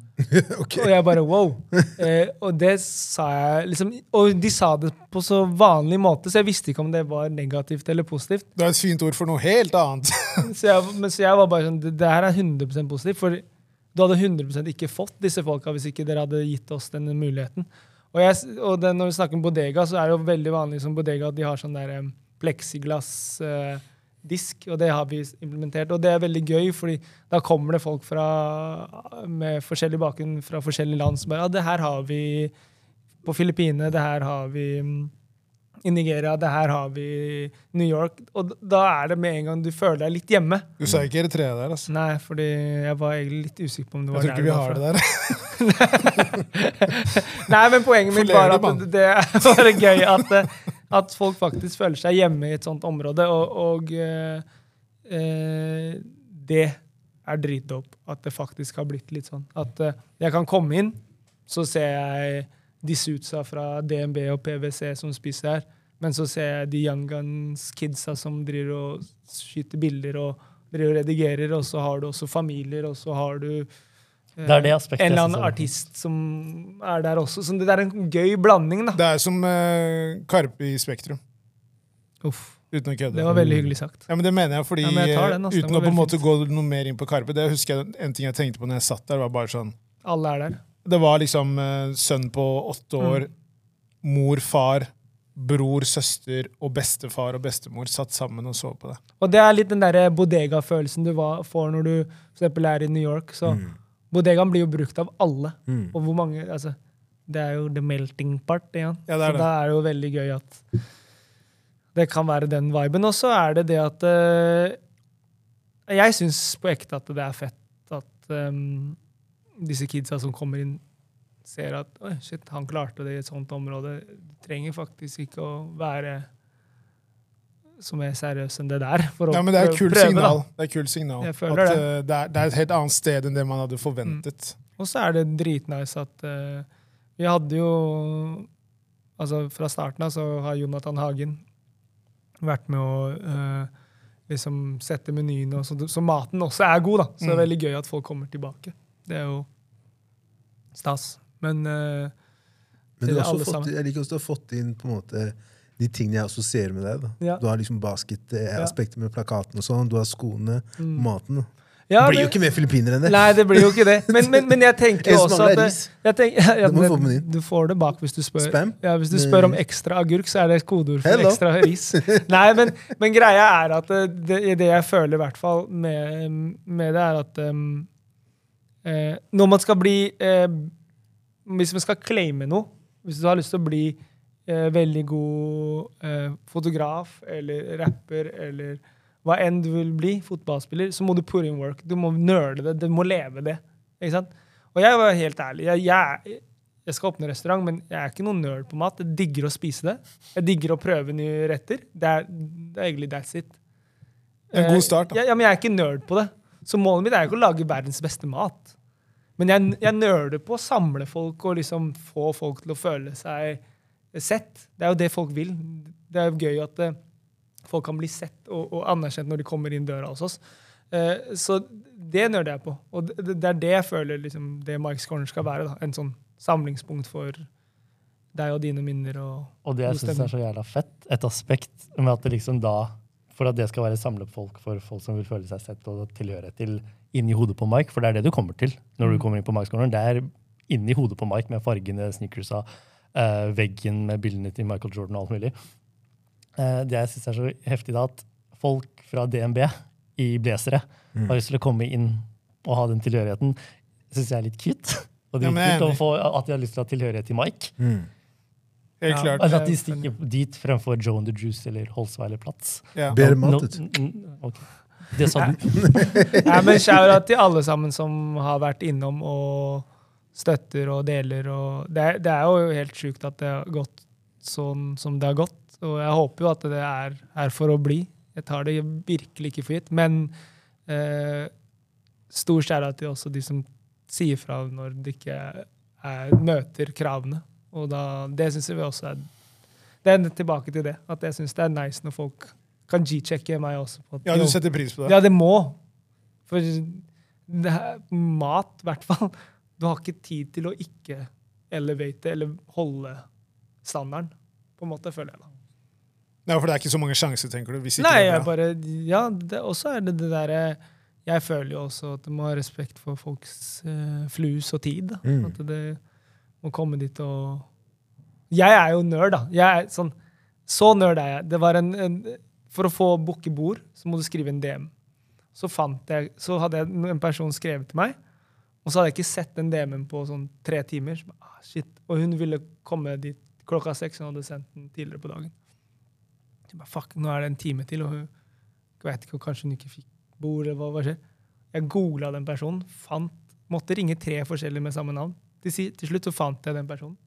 [SPEAKER 3] Ok.
[SPEAKER 4] Og jeg bare wow. Eh, og det sa jeg liksom Og de sa det på så vanlig måte, så jeg visste ikke om det var negativt eller positivt.
[SPEAKER 2] liksom. Det er et fint ord for noe helt annet.
[SPEAKER 4] Så jeg, men så jeg var bare sånn Det, det her er 100 positivt. For du hadde 100 ikke fått disse folka hvis ikke dere hadde gitt oss den muligheten. Og, jeg, s- og det, når vi snakker om bodega, så er det jo veldig vanlig som bodega at de har sånn der em, plexiglass eh, disk, og det har vi s- implementert. Og det er veldig gøy, fordi da kommer det folk fra, med forskjellig bakgrunn fra forskjellige land som bare Ja, det her har vi på Filippinene, det her har vi mm, i Nigeria, det her har vi i New York. Og d- da er det med en gang du føler deg litt hjemme.
[SPEAKER 2] Du sa ikke Eritrea der, altså.
[SPEAKER 4] Nei, fordi jeg var egentlig litt usikker på om det
[SPEAKER 2] Jeg
[SPEAKER 4] var
[SPEAKER 2] tror ikke vi har det der.
[SPEAKER 4] Nei, men poenget mitt var
[SPEAKER 2] Forlerer
[SPEAKER 4] at
[SPEAKER 2] du,
[SPEAKER 4] det det er bare gøy at, eh, at folk faktisk føler seg hjemme i et sånt område, og, og eh, eh, det er dritdope at det faktisk har blitt litt sånn. At eh, jeg kan komme inn, så ser jeg disse utsa fra DNB og PwC som spiser her, men så ser jeg de young guns kidsa som driver og skyter bilder og driver og redigerer, og så har du også familier, og så har du eh,
[SPEAKER 5] Det er det aspektet.
[SPEAKER 4] en eller
[SPEAKER 5] jeg
[SPEAKER 4] annen
[SPEAKER 5] synes er-
[SPEAKER 4] artist som er der også. Så det er en gøy blanding, da.
[SPEAKER 2] Det er som eh, Karpe i Spektrum.
[SPEAKER 4] Uff,
[SPEAKER 2] Uten å kødde.
[SPEAKER 4] det var veldig hyggelig sagt.
[SPEAKER 2] Ja, men Det mener jeg, fordi eh,
[SPEAKER 4] Ja, men jeg tar den, ass. Den
[SPEAKER 2] uten å
[SPEAKER 4] var
[SPEAKER 2] på en
[SPEAKER 4] veldig
[SPEAKER 2] måte gå noe mer inn på Karpe Det husker jeg en ting jeg tenkte på når jeg satt der. var bare sånn
[SPEAKER 4] Alle er der.
[SPEAKER 2] Det var liksom eh, sønn på åtte
[SPEAKER 4] Mm.
[SPEAKER 2] år, mor, far, bror, søster og bestefar og bestemor satt sammen og så på det.
[SPEAKER 4] Og det er litt den der bodega-følelsen du va- får når du for eksempel er i New York. Så
[SPEAKER 2] Mm.
[SPEAKER 4] bodegaen blir jo brukt av alle. Og hvor mange Altså, det er jo the melting part igjen.
[SPEAKER 2] Ja, det er
[SPEAKER 4] så
[SPEAKER 2] det.
[SPEAKER 4] da er det jo veldig gøy at det kan være den viben. Og så er det det at eh, Jeg syns på ekte at det er fett at ehm, disse kidsa som kommer inn, ser at Oi, shit, han klarte det i et sånt område. Du trenger faktisk ikke å være så mer seriøs enn det der. For å
[SPEAKER 2] Ja, men Det er
[SPEAKER 4] prøve-
[SPEAKER 2] et kult
[SPEAKER 4] prøve, da.
[SPEAKER 2] signal. Det er et kult signal.
[SPEAKER 4] Jeg
[SPEAKER 2] At
[SPEAKER 4] føler det.
[SPEAKER 2] eh, det, er, det er et helt annet sted enn det man hadde forventet.
[SPEAKER 4] Og så er det dritnice at eh, vi hadde jo Altså fra starten av så har Jonathan Hagen vært med å eh, liksom sette menyene, og så, så maten også er god, da. Så
[SPEAKER 2] Mm.
[SPEAKER 4] det er veldig gøy at folk kommer tilbake. Det er jo stas. Men eh,
[SPEAKER 3] Men du
[SPEAKER 4] Til
[SPEAKER 3] har
[SPEAKER 4] alle
[SPEAKER 3] også fått,
[SPEAKER 4] sammen.
[SPEAKER 3] jeg liker også du har fått inn på en måte de tingene jeg assosierer med deg. da.
[SPEAKER 4] Ja.
[SPEAKER 3] Du har liksom basketaspektet med plakaten og sånn. Du har skoene, maten. da.
[SPEAKER 4] Mm. ja,
[SPEAKER 3] det blir
[SPEAKER 4] men-
[SPEAKER 3] jo ikke mer filippinere enn det!
[SPEAKER 4] Nei, det blir jo ikke det. Men, men, men jeg tenker
[SPEAKER 3] En
[SPEAKER 4] jo
[SPEAKER 3] som
[SPEAKER 4] også
[SPEAKER 3] mangler
[SPEAKER 4] at det,
[SPEAKER 3] ris.
[SPEAKER 4] jeg tenker, ja,
[SPEAKER 3] Du må
[SPEAKER 4] men
[SPEAKER 3] få menyen.
[SPEAKER 4] Du får det bak hvis du spør.
[SPEAKER 3] Spam?
[SPEAKER 4] Ja, Hvis du
[SPEAKER 3] Med
[SPEAKER 4] spør om
[SPEAKER 3] ris.
[SPEAKER 4] ekstra agurk, så er det et kodeord for
[SPEAKER 3] Hello.
[SPEAKER 4] ekstra ris. Nei, men, men greia er at det, det, det jeg føler i hvert fall med, med det, er at um, eh, når man skal bli eh, Hvis man skal claime noe, hvis du har lyst til å bli eh, veldig god eh, fotograf eller rapper eller hva enn du vil bli, fotballspiller, så må du put in work. Du må nøle det. Du må leve det. Ikke sant? Og jeg var helt ærlig. Jeg, jeg, jeg skal åpne restaurant, men jeg er ikke noen nerd på mat. Jeg digger å spise det. Jeg digger å prøve nye retter. Det er, det er egentlig that's it.
[SPEAKER 2] En god start, da.
[SPEAKER 4] Eh, Ja, ja, men jeg er ikke nerd på det. Så målet mitt er jo ikke å lage verdens beste mat. Men jeg, jeg nerder på å samle folk og liksom få folk til å føle seg sett. Det er jo det folk vil. Det er jo gøy at eh, folk kan bli sett og, og anerkjent når de kommer inn døra hos oss. Eh, så det nøler jeg på. Og det, det- det er det jeg føler liksom, det Mike's Corner skal være. Da. En sånn samlingspunkt for deg og dine minner. Og
[SPEAKER 5] Og det jeg
[SPEAKER 4] God
[SPEAKER 5] syns er så jævla fett, et aspekt med at det liksom da For at det skal være samlefolk for folk som vil føle seg sett og tilhøre til inni hodet på Mike, for det er det du kommer til
[SPEAKER 2] Mm.
[SPEAKER 5] når du kommer inn på Mike-skolen. Det er inni hodet på Mike med fargene, sneakersa, eh, veggen med bildene til Michael Jordan og alt mulig. Eh, det jeg syns er så heftig, da, at folk fra DNB i blazere,
[SPEAKER 2] Mm.
[SPEAKER 5] har lyst til å komme inn og ha den tilhørigheten, syns jeg er litt cute. Og
[SPEAKER 2] Ja, men jeg er
[SPEAKER 5] dritkult å få at de har lyst til å ha tilhørighet til Mike.
[SPEAKER 3] Mm.
[SPEAKER 2] Helt
[SPEAKER 4] Mm. Ja.
[SPEAKER 2] klart.
[SPEAKER 5] Altså at de stikker dit fremfor Joe and the Juice eller Holsweiler Platz.
[SPEAKER 2] Ja.
[SPEAKER 3] Bedre
[SPEAKER 5] Nå-
[SPEAKER 3] mat, vet du.
[SPEAKER 5] n- n- ok. Det sånn- sa du.
[SPEAKER 4] Nei, men shout-out til alle sammen som har vært innom og støtter og deler. Og det, er, det er jo helt sjukt at det har gått sånn som det har gått. Og jeg håper jo at det er her for å bli. Jeg tar det virkelig ikke for gitt. Men eh, stor shout-out til også de som sier fra når de ikke er, møter kravene. Og da, det syns vi også er Det er tilbake til det. At jeg syns det er nice når folk kan g-sjekke meg også. På at,
[SPEAKER 2] Ja, du
[SPEAKER 4] jo,
[SPEAKER 2] setter pris på det?
[SPEAKER 4] ja, det må. For det er mat, i hvert fall. Du har ikke tid til å ikke elevate eller holde standarden, på en måte, føler jeg. da.
[SPEAKER 2] Nei, for det er ikke så mange sjanser, tenker du? Hvis ikke
[SPEAKER 4] Nei,
[SPEAKER 2] det
[SPEAKER 4] jeg
[SPEAKER 2] er bra.
[SPEAKER 4] bare Ja, det- og så er det det derre Jeg føler jo også at du må ha respekt for folks eh, flus og tid. Da.
[SPEAKER 3] Mm.
[SPEAKER 4] At det må komme dit og Jeg er jo nerd, da. Jeg er sånn Så nerd er jeg. Det var en, en For å få booke bord, så må du skrive en DM. Så fant jeg Så hadde jeg en person skrevet til meg, og så hadde jeg ikke sett den DM-en på sånn tre timer. Så, bare, ah, shit. Og hun ville komme dit klokka seks, hun hadde sendt den tidligere på dagen. Jeg bare, fuck, nå er det en time til, og hun jeg vet ikke, kanskje hun ikke fikk bord, eller hva, hva skjer? Jeg googla den personen, fant, måtte ringe tre forskjellige med samme navn. Til, si, til slutt så fant jeg den personen,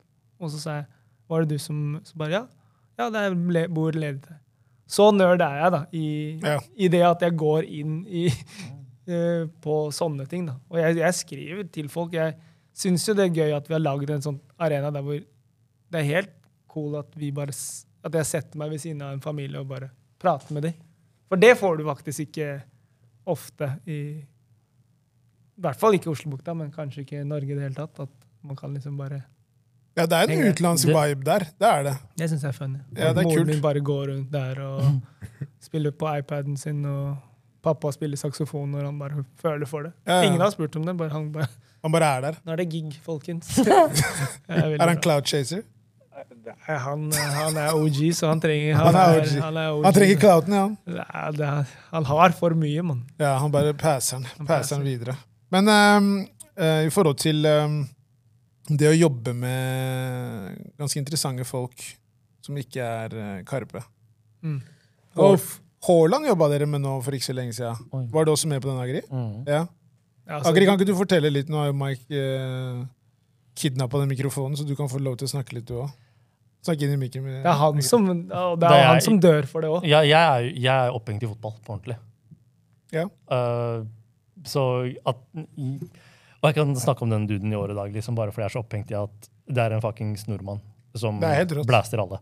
[SPEAKER 4] og så sa jeg, var det du som så bare, ja, ja, det er le, bord ledig til. deg». Så nerd er jeg da, i,
[SPEAKER 2] Ja.
[SPEAKER 4] i det at jeg går inn i, eh, på sånne ting da. Og jeg, jeg skriver til folk, jeg synes jo det er gøy at vi har laget en sånn arena der hvor det er helt cool at, vi bare, s- at jeg setter meg ved siden av en familie og bare prater med dem. For det får du faktisk ikke ofte i I hvert fall ikke i Oslobukta, men kanskje ikke i Norge i det hele tatt. At man kan liksom bare
[SPEAKER 2] Ja, det er en
[SPEAKER 4] Henger.
[SPEAKER 2] utenlandsk
[SPEAKER 5] Det-
[SPEAKER 2] vibe der. Det er det.
[SPEAKER 4] Det syns jeg er funny.
[SPEAKER 2] Ja, det er
[SPEAKER 4] Moren
[SPEAKER 2] kult.
[SPEAKER 4] min bare går rundt der og spiller på iPaden sin, og pappa spiller saksofon når han bare føler for det.
[SPEAKER 2] Ja, ja.
[SPEAKER 4] Ingen har spurt om det, bare han bare
[SPEAKER 2] Han bare er der.
[SPEAKER 4] Nå er det gig, folkens. Det er veldig
[SPEAKER 2] Er han
[SPEAKER 4] bra.
[SPEAKER 2] cloud chaser?
[SPEAKER 4] Nei, han, eh, han er OG, så han trenger
[SPEAKER 2] Han er OG.
[SPEAKER 4] Han, er OG.
[SPEAKER 2] Han trenger clouten, ja. han.
[SPEAKER 4] Nei, det er, han har for mye, mann.
[SPEAKER 2] Ja, han bare passer den. Passer
[SPEAKER 4] passer.
[SPEAKER 2] den videre. Men ehm, eh, i forhold til ehm, det å jobbe med ganske interessante folk som ikke er eh, Karpe
[SPEAKER 4] Mm.
[SPEAKER 2] Og Haaland jobba dere med nå for ikke så lenge
[SPEAKER 5] Oi.
[SPEAKER 2] siden. Var det også med på den, Agri?
[SPEAKER 5] Mm.
[SPEAKER 2] Ja.
[SPEAKER 4] Ja, altså,
[SPEAKER 2] Agri, kan ikke du fortelle litt? Nå har jo Mike eh, kidnappa den mikrofonen, så du kan få lov til å snakke litt, du òg. Snakk inn i mikken.
[SPEAKER 4] det er han som, og det
[SPEAKER 5] Det
[SPEAKER 4] er
[SPEAKER 5] er
[SPEAKER 4] han
[SPEAKER 5] jeg-
[SPEAKER 4] som dør for det òg.
[SPEAKER 5] Ja, jeg er, jo- jeg er opphengt i fotball, på ordentlig.
[SPEAKER 2] Ja.
[SPEAKER 5] Eh, så at Og jeg kan snakke om den duden i år og dag, liksom, bare fordi jeg er så opphengt i at det er en fuckings nordmann som
[SPEAKER 2] Det er helt rått.
[SPEAKER 5] blaster alle.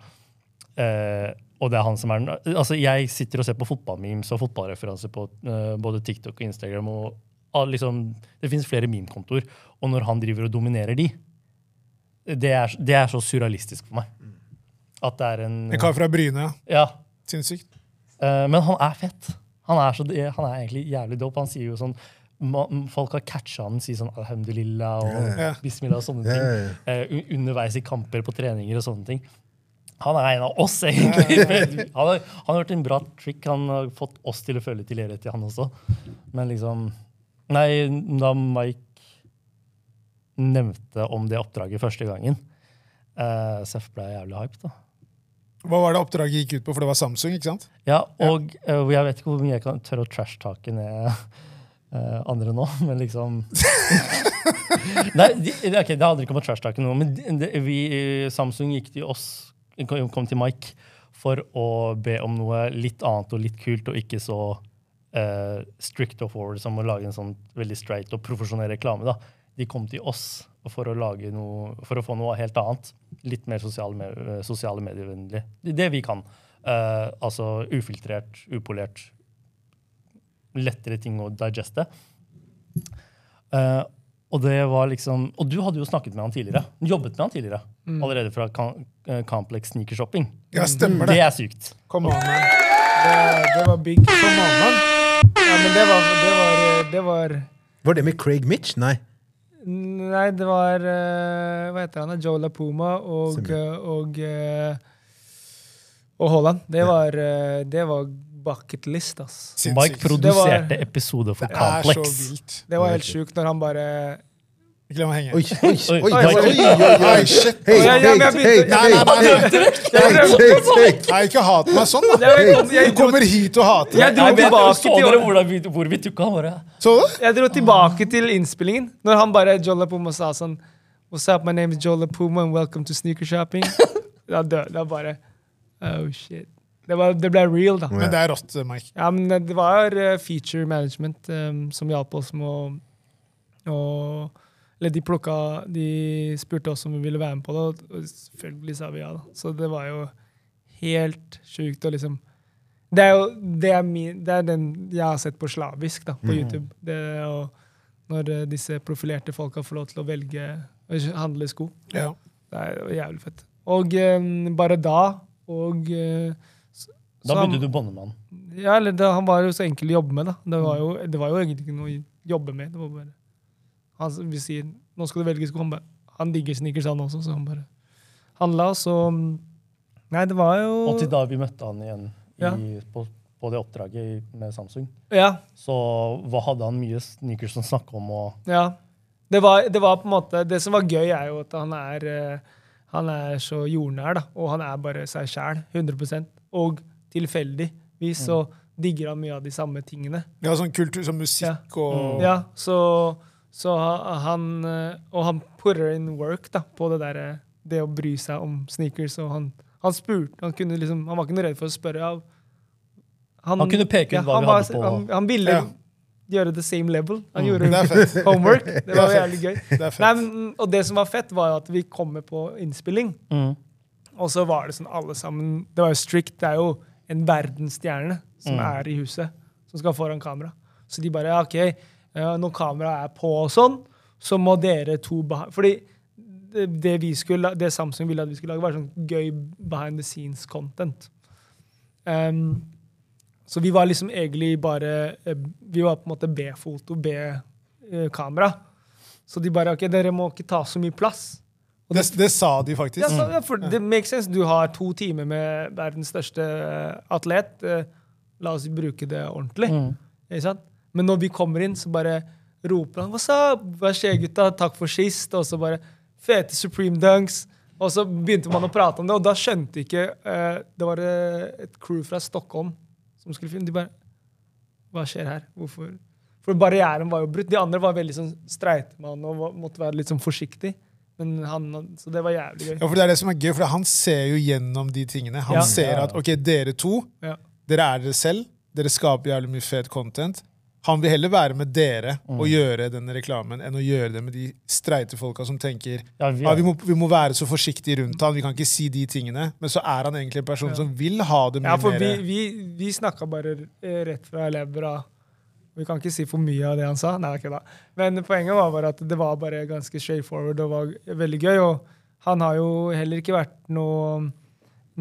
[SPEAKER 5] Eh, og det er han som er den Altså, jeg sitter og ser på fotballmemes og fotballreferanser på eh, både TikTok og Instagram, og all- liksom Det finnes flere memekontoer, og når han driver og dominerer de, det er, det er så surrealistisk for meg.
[SPEAKER 2] Mm.
[SPEAKER 5] At det er en
[SPEAKER 2] En kar fra Bryne. ja.
[SPEAKER 5] Ja,
[SPEAKER 2] Sinnssykt.
[SPEAKER 5] Eh, men han er fett. Han er, så, han er egentlig jævlig dope. Han sier jo sånn ma- m- Folk har catcha han sier sånn alhamdulillah og
[SPEAKER 2] Ja.
[SPEAKER 5] bismillah og sånne
[SPEAKER 3] Ja,
[SPEAKER 5] ting.
[SPEAKER 3] ja, ja.
[SPEAKER 5] Eh, un- underveis i kamper på treninger og sånne ting. Han er en av oss, egentlig. Men han, har, han har gjort en bra trick. Han har fått oss til å føle tilhørighet til han også. Men liksom Nei, da Mike nevnte om det oppdraget første gangen, eh, så jeg ble jævlig hyped, da.
[SPEAKER 2] Hva var det oppdraget gikk ut på? For det var Samsung, ikke sant?
[SPEAKER 5] Ja, og eh, hvor jeg vet ikke hvor mye jeg kan tørre å trash-take ned eh, andre nå, men liksom Nei, de, ok, det handler ikke om å trash-take noe, men de, de, vi, eh, Samsung gikk til oss, kom, kom til Mike, for å be om noe litt annet og litt kult, og ikke så eh, strict og forward som å lage en sånn veldig straight og profesjonell reklame. da. De kom til oss for å, lage noe, for å få noe helt annet. Litt mer sosiale, me- eh, sosiale medievennlig. Det, det vi kan. Eh, altså ufiltrert, upolert. Lettere ting å digeste. Eh, og det var liksom Og du hadde jo snakket med han tidligere. Jobbet med han tidligere.
[SPEAKER 2] Mm.
[SPEAKER 5] Allerede fra Com- eh, Complex Sneaker Shopping.
[SPEAKER 2] Ja, stemmer
[SPEAKER 5] Det
[SPEAKER 2] det.
[SPEAKER 5] er sykt.
[SPEAKER 2] Kom an, man.
[SPEAKER 4] Det, det var big. Ja, men det var, det var, det var
[SPEAKER 3] Var det med Craig Mitch? Nei.
[SPEAKER 4] Nei, det var eh, Hva heter han? da? Joe LaPuma og
[SPEAKER 3] Stemmer.
[SPEAKER 4] eh, og, eh, og Haaland. Det var, eh, det var bucketlist, ass.
[SPEAKER 5] Mike
[SPEAKER 2] Sinnssykt.
[SPEAKER 5] produserte
[SPEAKER 4] Det var-
[SPEAKER 5] episoder for
[SPEAKER 2] Det er så
[SPEAKER 5] Complex.
[SPEAKER 2] vilt.
[SPEAKER 4] Det var helt sjukt når han bare
[SPEAKER 2] Ikke la meg henge.
[SPEAKER 3] Oi, oi, oi,
[SPEAKER 5] Oi,
[SPEAKER 3] oi, oi,
[SPEAKER 5] oi,
[SPEAKER 3] oi, oi, oi.
[SPEAKER 2] Oi, shit.
[SPEAKER 3] Hei,
[SPEAKER 4] Ja,
[SPEAKER 3] hei,
[SPEAKER 4] ja, men jeg
[SPEAKER 3] hei, hei,
[SPEAKER 4] begynte-
[SPEAKER 2] Nei, nei, nei, nei.
[SPEAKER 3] hei, hei.
[SPEAKER 2] nei, ikke hat meg sånn, da.
[SPEAKER 4] Jeg, jeg,
[SPEAKER 2] Du
[SPEAKER 4] jeg,
[SPEAKER 2] kommer hit og hater.
[SPEAKER 4] jeg dro
[SPEAKER 5] Nei, men
[SPEAKER 4] tilbake
[SPEAKER 5] så
[SPEAKER 4] til
[SPEAKER 5] dere hvordan vi, hvor vi tukka han bare.
[SPEAKER 2] Så du?
[SPEAKER 4] Jeg dro tilbake til innspillingen når han bare Joe LaPuma sa sånn What's up, my name is Joe LaPuma and welcome to sneaker shopping. da døde jeg bare Oh shit. Det, var, det ble real, da.
[SPEAKER 2] Men det er rått, Mike.
[SPEAKER 4] Ja, men det var eh, feature management eh, som hjalp oss med å, å Eller de plukka De spurte oss om vi ville være med på det, og- og selvfølgelig sa vi ja. da. Så det var jo helt sjukt å liksom Det er jo det er, min, det er den jeg har sett på slavisk da, på
[SPEAKER 5] Mm.
[SPEAKER 4] YouTube. Det er jo når eh, disse profilerte folka får lov til å velge å handle sko.
[SPEAKER 2] Ja.
[SPEAKER 4] Det er jo jævlig fett. Og eh, bare da og eh, s-
[SPEAKER 5] Da
[SPEAKER 4] så han-
[SPEAKER 5] begynte du å bonde med han.
[SPEAKER 4] ja, eller det, han var jo så enkel å jobbe med, da. Det var jo, det var jo egentlig ikke noe å jobbe med. Det var bare, han, s- vi sier 'nå skal du velge sko'. Han, bare, han digger sneakers, han også, så han bare handla, og så mm, Nei, det var jo
[SPEAKER 5] Og til da vi møtte han igjen
[SPEAKER 4] Ja.
[SPEAKER 5] i, på, på det oppdraget i- med Samsung,
[SPEAKER 4] Ja.
[SPEAKER 5] så hva hadde han mye sneakers som snakket om og
[SPEAKER 4] ja. Det, var, det var på en måte Det som var gøy, er jo at han er eh, Han er så jordnær, da. Og han er bare seg sjæl. 100 Og tilfeldigvis så digger han mye av de samme tingene.
[SPEAKER 2] Det var sånn kultur som musikk og
[SPEAKER 4] Ja, Mm. så, så ha- han eh, Og han purrer in work da, på det der, eh, det å bry seg om sneakers. Og han, han spurte han, kunne liksom, han var ikke noe redd for å spørre. av-
[SPEAKER 5] Han kunne peke ut hva
[SPEAKER 4] han
[SPEAKER 5] vi
[SPEAKER 4] var-
[SPEAKER 5] hadde på. Mm.
[SPEAKER 4] Han, han ville
[SPEAKER 2] Ja.
[SPEAKER 4] gjøre the same level. Han
[SPEAKER 2] Det
[SPEAKER 4] gjorde
[SPEAKER 2] er fett.
[SPEAKER 4] homework. Det var jævlig gøy.
[SPEAKER 2] Det er
[SPEAKER 4] Nei,
[SPEAKER 2] fett.
[SPEAKER 4] men, og det som var fett, var jo at vi kommer på innspilling.
[SPEAKER 5] Mm.
[SPEAKER 4] Og så var det sånn alle sammen Det var jo strict. Det er jo en verdensstjerne som er i huset, som skal foran kamera. Så de bare ja, OK, ja, når kameraet er på og sånn, så må dere to beha Fordi det, det, vi skulle, det Samsung ville at vi skulle lage, var sånn gøy behind the scenes content. Ehm, så vi var liksom egentlig bare eh, Vi var på en måte B-foto, B-kamera. Så de bare OK, dere må ikke ta så mye plass.
[SPEAKER 2] Det, det sa de faktisk.
[SPEAKER 4] Ja, så, ja, for det makes sense. Du har to timer med verdens største eh, atlet. Eh, La oss bruke det ordentlig. Ikke sant? Men når vi kommer inn, så bare roper han 'What's up? Hva skjer, gutta? Takk for sist.' Og så bare 'Fete Supreme Dunks'. Og så begynte man å prate om det, og da skjønte ikke eh, Det var eh, et crew fra Stockholm som skulle filme. De bare 'Hva skjer her? Hvorfor?' For barrieren var jo brutt. De andre var veldig sånn streite med han og var- måtte være litt sånn forsiktig. Men han, så det var jævlig gøy.
[SPEAKER 2] Ja, for det er det som er gøy, for han ser jo gjennom de tingene. Han
[SPEAKER 4] Ja.
[SPEAKER 2] ser at ok, dere to,
[SPEAKER 4] Ja.
[SPEAKER 2] dere er dere selv, dere skaper jævlig mye fet content. Han vil heller være med dere
[SPEAKER 4] Mm.
[SPEAKER 2] og gjøre den reklamen enn å gjøre det med de streite folka som tenker
[SPEAKER 5] Ja, vi,
[SPEAKER 2] ja, vi, må, vi må være så forsiktige rundt han, vi kan ikke si de tingene. Men så er han egentlig en person som vil ha det mye
[SPEAKER 4] Ja, for vi,
[SPEAKER 2] mer.
[SPEAKER 4] vi, vi snakka bare eh, rett fra levra. Vi kan ikke si for mye av det han sa. Nei, ikke da. Men poenget var bare at det var bare ganske straightforward og var veldig gøy. Og han har jo heller ikke vært noe,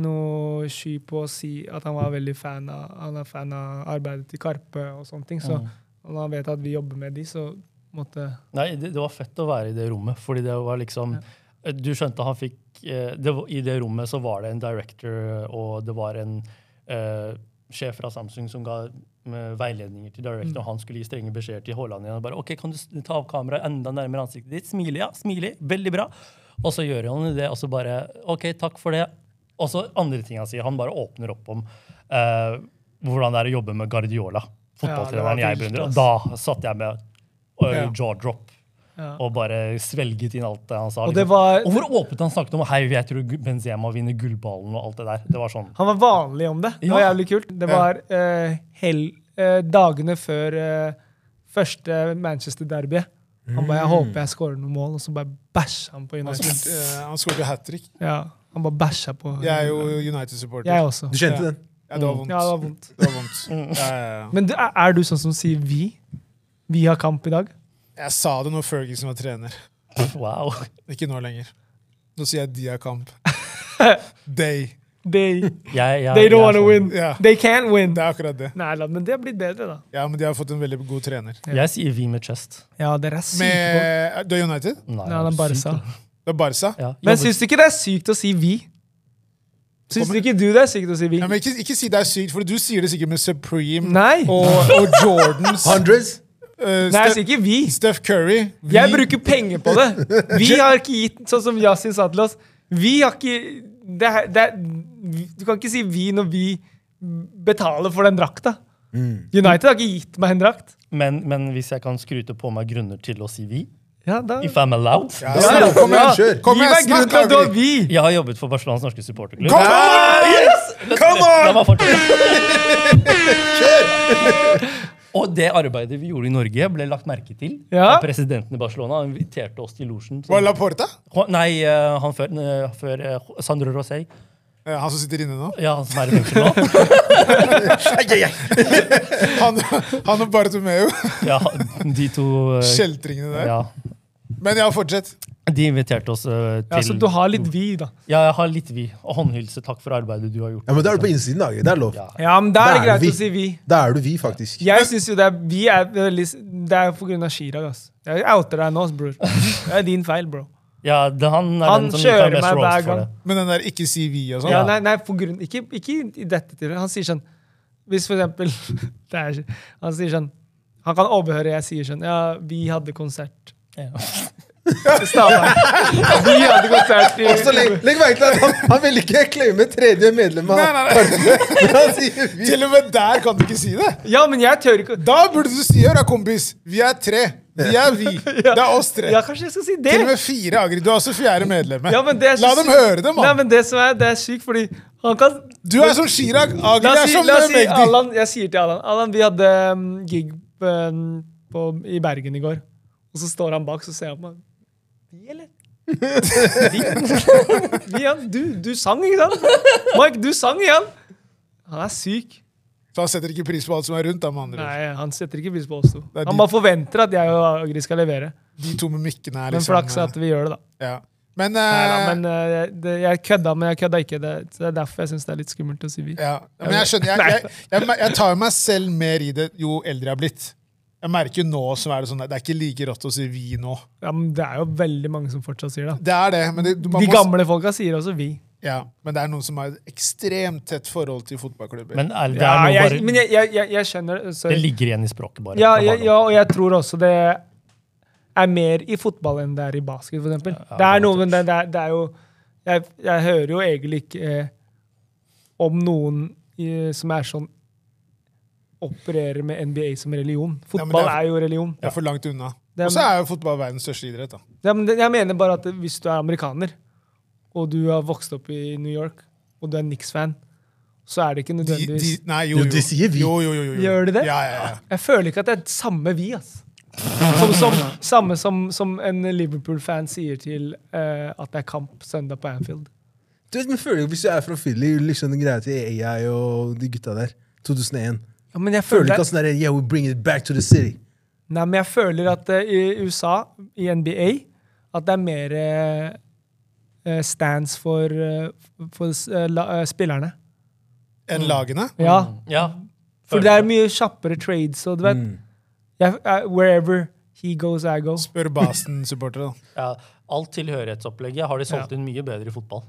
[SPEAKER 4] noe sky på å si at han var veldig fan av, han er fan av arbeidet til Karpe og sånne ting.
[SPEAKER 5] Mm.
[SPEAKER 4] Så når han vet at vi jobber med de, så måtte
[SPEAKER 5] Nei, det, det var fett å være i det rommet, fordi det var liksom Du skjønte han fikk eh, det, var- I det rommet så var det en director, og det var en eh, sjef fra Samsung som ga eh, veiledninger til director, og han skulle gi strenge beskjeder til Haaland igjen. og bare, ok, Kan du s- ta av kameraet enda nærmere ansiktet ditt? Smile, ja. Smile. Veldig bra. Og så gjør han det, og så bare OK, takk for det. Og så andre ting han sier. Han bare åpner opp om eh, hvordan det er å jobbe med Guardiola,
[SPEAKER 4] var
[SPEAKER 5] fotballtreneren jeg
[SPEAKER 4] vilt,
[SPEAKER 5] beundrer.
[SPEAKER 4] ass.
[SPEAKER 5] Og da satt jeg med og
[SPEAKER 2] Ja.
[SPEAKER 5] jaw drop.
[SPEAKER 4] Ja.
[SPEAKER 5] Og bare svelget inn alt det han sa.
[SPEAKER 4] Og det
[SPEAKER 5] liksom.
[SPEAKER 4] var
[SPEAKER 5] og hvor åpent han snakket om hei, jeg tror Benzema vinner gullballen og alt det der. Det var sånn.
[SPEAKER 4] Han var vanlig om det. Det var
[SPEAKER 5] Ja.
[SPEAKER 4] jævlig kult. Det var eh, hel, eh, dagene før eh, første Manchester-derby. Han bare 'Jeg håper jeg scorer noen mål', og så bare bæsja han på
[SPEAKER 2] Han
[SPEAKER 4] United.
[SPEAKER 2] skåret eh, han skåret jo hat trick.
[SPEAKER 4] Ja, han bare bæsja på
[SPEAKER 2] Jeg er jo United-supporter.
[SPEAKER 4] Jeg også.
[SPEAKER 3] Du kjente den?
[SPEAKER 2] Ja, det var vondt.
[SPEAKER 4] Ja, det var Mm. vondt.
[SPEAKER 2] Det var vondt. Ja, ja, ja.
[SPEAKER 4] Men du, er er du sånn som sier 'vi'? Vi har kamp i dag?
[SPEAKER 2] Jeg sa det når Ferguson var trener.
[SPEAKER 5] Wow.
[SPEAKER 2] Ikke nå lenger. Nå sier jeg de har kamp. They.
[SPEAKER 4] They,
[SPEAKER 5] Jeg,
[SPEAKER 4] they
[SPEAKER 5] jeg, jeg er
[SPEAKER 4] don't wanna
[SPEAKER 5] sånn.
[SPEAKER 4] win.
[SPEAKER 2] Ja.
[SPEAKER 4] They can't win.
[SPEAKER 2] Det er akkurat det.
[SPEAKER 4] Nei da, men det har blitt bedre, da.
[SPEAKER 2] Ja, men de har fått en veldig god trener.
[SPEAKER 5] Jeg sier vi med chest.
[SPEAKER 4] Ja, dere er syke på.
[SPEAKER 2] Med, du er United?
[SPEAKER 5] Nei,
[SPEAKER 4] Nei, han er
[SPEAKER 5] sykt.
[SPEAKER 4] Barca.
[SPEAKER 2] Det er Barca?
[SPEAKER 5] Ja.
[SPEAKER 4] Men
[SPEAKER 5] Jobber-
[SPEAKER 4] syns du ikke det er sykt å si 'vi'? Syns ikke du det er sykt å si
[SPEAKER 2] Ja,
[SPEAKER 4] Ving?
[SPEAKER 2] men ikke, ikke si det er sykt, for du sier det sikkert med Supreme
[SPEAKER 4] Nei!
[SPEAKER 2] og, og Jordans.
[SPEAKER 3] Hundreds?
[SPEAKER 2] eh,
[SPEAKER 4] Nei, jeg
[SPEAKER 2] Ste-
[SPEAKER 4] sier ikke vi.
[SPEAKER 2] Steph Curry. Vi-
[SPEAKER 4] Jeg bruker penger på det. Vi har ikke gitt, sånn som Yasin sa til oss Vi har ikke det, er- det, er- Du kan ikke si vi når vi betaler for den drakta. United har ikke gitt meg en drakt.
[SPEAKER 5] Men, men hvis jeg kan skryte på meg grunner til å si vi,
[SPEAKER 4] Ja, da,
[SPEAKER 5] if I'm allowed
[SPEAKER 3] Ja, ja, kom igjen, kjør!
[SPEAKER 2] Kom
[SPEAKER 4] gi
[SPEAKER 2] igjen,
[SPEAKER 4] meg grunn
[SPEAKER 2] snakk,
[SPEAKER 4] til at du har
[SPEAKER 2] Agri.
[SPEAKER 4] vi!
[SPEAKER 5] Jeg har jobbet for Barcelonas norske supporterklubb.
[SPEAKER 2] Kom igjen!
[SPEAKER 5] Come on! La meg fortsette. Og det arbeidet vi gjorde i Norge, ble lagt merke til.
[SPEAKER 4] Ja.
[SPEAKER 5] av Presidenten i Barcelona Han inviterte oss til losjen.
[SPEAKER 2] Var det Laporta?
[SPEAKER 5] Ho- Nei, eh, han før, eh, før eh, Sandro Rosé.
[SPEAKER 2] Eh, Han som sitter inne nå?
[SPEAKER 5] Ja, han som er i fengsel nå.
[SPEAKER 2] Han, han og Bartomeu.
[SPEAKER 5] Ja, de to eh,
[SPEAKER 2] Kjeltringene der.
[SPEAKER 5] ja.
[SPEAKER 2] Men ja, fortsett.
[SPEAKER 5] De inviterte oss eh, til
[SPEAKER 4] Ja, så du har litt vi, da.
[SPEAKER 5] Ja, jeg har litt vi. Og håndhilse. Takk for arbeidet du har gjort.
[SPEAKER 3] Ja, men da er du på innsiden, da. Det er lov.
[SPEAKER 5] Ja.
[SPEAKER 4] Ja, men da er det
[SPEAKER 3] Da er
[SPEAKER 4] greit
[SPEAKER 3] vi.
[SPEAKER 4] å si vi.
[SPEAKER 3] Da er du vi, faktisk.
[SPEAKER 4] Jeg synes jo det er vi er veldig Det er jo på grunn av Chirag, ass. Jeg outer deg nå, ass, bror. Det er din feil, bro.
[SPEAKER 5] Ja, det, han er
[SPEAKER 4] Han
[SPEAKER 5] den som
[SPEAKER 4] kjører
[SPEAKER 5] tar mest
[SPEAKER 4] meg
[SPEAKER 5] roast
[SPEAKER 4] hver
[SPEAKER 5] for
[SPEAKER 4] gang.
[SPEAKER 5] det.
[SPEAKER 2] Men den der ikke si vi og sånn.
[SPEAKER 4] Ja,
[SPEAKER 5] Ja.
[SPEAKER 4] nei, nei på grunn, ikke, ikke i dette tilfellet. Han sier sånn Hvis for eksempel det er, ikke- Han sier sånn Han kan overhøre jeg sier sånn Ja, vi hadde konsert.
[SPEAKER 5] Ja.
[SPEAKER 4] I Stavanger. Vi hadde konsert i
[SPEAKER 3] Så legg, legg merke til at han, han vil ikke claime tredje medlem av
[SPEAKER 2] Nei, nei, nei.
[SPEAKER 3] Men han sier vi.
[SPEAKER 2] Til og med der kan du ikke si det!
[SPEAKER 4] Ja, men jeg tør ikke å-
[SPEAKER 2] Da burde du si hør da, kompis. Vi er tre. Vi er vi. Det er oss tre.
[SPEAKER 4] Ja, kanskje jeg skal si det?
[SPEAKER 2] Til og med fire, Agri. Du er også fjerde medlemmet.
[SPEAKER 4] ja, men det er så
[SPEAKER 2] La dem
[SPEAKER 4] sykt.
[SPEAKER 2] høre det,
[SPEAKER 4] Nei,
[SPEAKER 2] mann.
[SPEAKER 4] men det som er, det er sykt, fordi han kan
[SPEAKER 2] Du er som Chirag. Agri
[SPEAKER 4] La
[SPEAKER 2] er
[SPEAKER 4] oss si,
[SPEAKER 2] som
[SPEAKER 4] la oss si
[SPEAKER 2] Magdi.
[SPEAKER 4] Allan, jeg sier til Allan Allan, vi hadde mm, gig mm, på, i Bergen i går. Og så står han bak, så ser han på meg. Vi, eller? Vi, vi ja. du, du sang, ikke sant? Mike, du sang igjen! Han er syk.
[SPEAKER 2] Så han setter ikke pris på alt som er rundt. Da, med andre. ord.
[SPEAKER 4] Nei, han setter ikke pris på oss to.
[SPEAKER 2] er
[SPEAKER 4] Han
[SPEAKER 2] de-
[SPEAKER 4] bare forventer at jeg og Agri skal levere.
[SPEAKER 2] De to med mikkene er
[SPEAKER 4] Men
[SPEAKER 2] liksom
[SPEAKER 4] flaks at vi gjør det, da.
[SPEAKER 2] eh, ja. Men,
[SPEAKER 4] Neida,
[SPEAKER 2] eh,
[SPEAKER 4] men eh, jeg- det, jeg kødda, men jeg kødda ikke. Det, så det er derfor jeg syns det er litt skummelt å si vi.
[SPEAKER 2] Ja, ja, men jeg skjønner, jeg, jeg, jeg, jeg, tar jo meg selv mer i det jo eldre jeg har blitt. Jeg merker jo nå som er det sånn, det er ikke like rått å si vi nå.
[SPEAKER 4] Ja, men det er jo veldig mange som fortsatt sier det.
[SPEAKER 2] Det er det, men det, du- man
[SPEAKER 4] De
[SPEAKER 2] må-
[SPEAKER 4] gamle folka sier også vi.
[SPEAKER 2] ja, men det er noen som har et ekstremt tett forhold til fotballklubber.
[SPEAKER 5] Men er, det,
[SPEAKER 4] Ja,
[SPEAKER 5] er noe
[SPEAKER 4] jeg,
[SPEAKER 5] bare,
[SPEAKER 4] men jeg, jeg, jeg, jeg skjønner
[SPEAKER 5] det
[SPEAKER 4] sorry.
[SPEAKER 5] ligger igjen i språket, bare.
[SPEAKER 4] Ja,
[SPEAKER 5] Det er
[SPEAKER 4] ja,
[SPEAKER 5] bare
[SPEAKER 4] ja, og jeg tror også det er mer i fotball enn det er i basket, for eksempel. Det er noe, men det, det, er, det er jo jeg, jeg hører jo egentlig ikke eh, om noen eh, som er sånn Opererer med NBA som religion.
[SPEAKER 2] men
[SPEAKER 4] Fotball
[SPEAKER 2] det
[SPEAKER 4] er,
[SPEAKER 2] er-
[SPEAKER 4] jo religion.
[SPEAKER 2] det er for langt unna.
[SPEAKER 4] Det er-
[SPEAKER 2] Og så er jo fotball verdens største idrett. da.
[SPEAKER 4] Ja, men det- jeg mener bare at hvis du er amerikaner, og du har vokst opp i New York, og du er Nix-fan, så er det ikke
[SPEAKER 2] De, de,
[SPEAKER 4] nødvendigvis
[SPEAKER 2] nei, jo,
[SPEAKER 3] Jo,
[SPEAKER 2] jo.
[SPEAKER 3] de sier vi.
[SPEAKER 2] Jo, jo, jo, jo.
[SPEAKER 4] Gjør de det?
[SPEAKER 2] Ja, ja, ja.
[SPEAKER 4] Jeg føler ikke at det er samme vi, ass. Som, som, samme som, som en Liverpool-fan sier til eh, at det er kamp søndag på Anfield.
[SPEAKER 3] Du vet, men føler jo Hvis du er fra Philly, liksom den greia til AI og de gutta der. 2001.
[SPEAKER 4] Ja, men jeg
[SPEAKER 3] Føler
[SPEAKER 4] føler,
[SPEAKER 3] du ikke at
[SPEAKER 4] at,
[SPEAKER 3] sånn der, yeah, we bring it back to the city.
[SPEAKER 4] nei, men jeg føler at eh, i USA, i NBA, at det er mer eh, eh, stands for, eh, for eh, la, eh, spillerne.
[SPEAKER 2] Enn lagene?
[SPEAKER 4] Ja,
[SPEAKER 5] Mm. Ja.
[SPEAKER 4] for Mm. det Mm. er mye kjappere trades, og du vet jeg, jeg, Wherever he goes, I go.
[SPEAKER 2] Spør Basen-supportere, da.
[SPEAKER 5] ja, Alt tilhørighetsopplegget har de solgt inn mye bedre i fotball.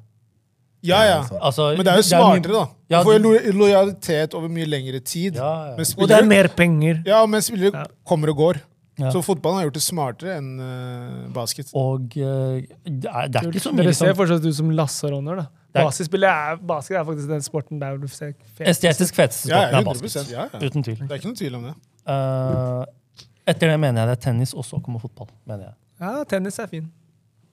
[SPEAKER 2] Ja, ja.
[SPEAKER 5] Altså,
[SPEAKER 2] Men det er jo
[SPEAKER 5] mye-
[SPEAKER 2] smartere, da.
[SPEAKER 5] Ja,
[SPEAKER 2] Du får jo
[SPEAKER 5] de-
[SPEAKER 2] lo- lojalitet over mye lengre tid.
[SPEAKER 5] Ja, ja.
[SPEAKER 2] Men
[SPEAKER 4] Og det er
[SPEAKER 2] spillere-
[SPEAKER 4] mer penger.
[SPEAKER 2] Ja, men spillere
[SPEAKER 4] Ja.
[SPEAKER 2] kommer og går.
[SPEAKER 5] Ja.
[SPEAKER 2] Så fotballen har gjort det smartere enn eh, basket.
[SPEAKER 5] Og eh, det, er, det er ikke så mye
[SPEAKER 4] Dere ser
[SPEAKER 5] liksom,
[SPEAKER 4] fortsatt ut som Lasse og Ronner, da.
[SPEAKER 5] Det er-
[SPEAKER 4] Basket er, basket er faktisk den sporten der du ser fet.
[SPEAKER 5] Estetisk feteste
[SPEAKER 2] Ja,
[SPEAKER 5] sporten
[SPEAKER 2] ja,
[SPEAKER 5] er
[SPEAKER 2] 100
[SPEAKER 5] basket.
[SPEAKER 2] ja, ja.
[SPEAKER 5] Uten tvil.
[SPEAKER 2] Det er ikke noen tvil om det.
[SPEAKER 5] Eh, etter det mener jeg det er tennis, og så kommer fotball. mener jeg.
[SPEAKER 4] Ja, tennis er fin.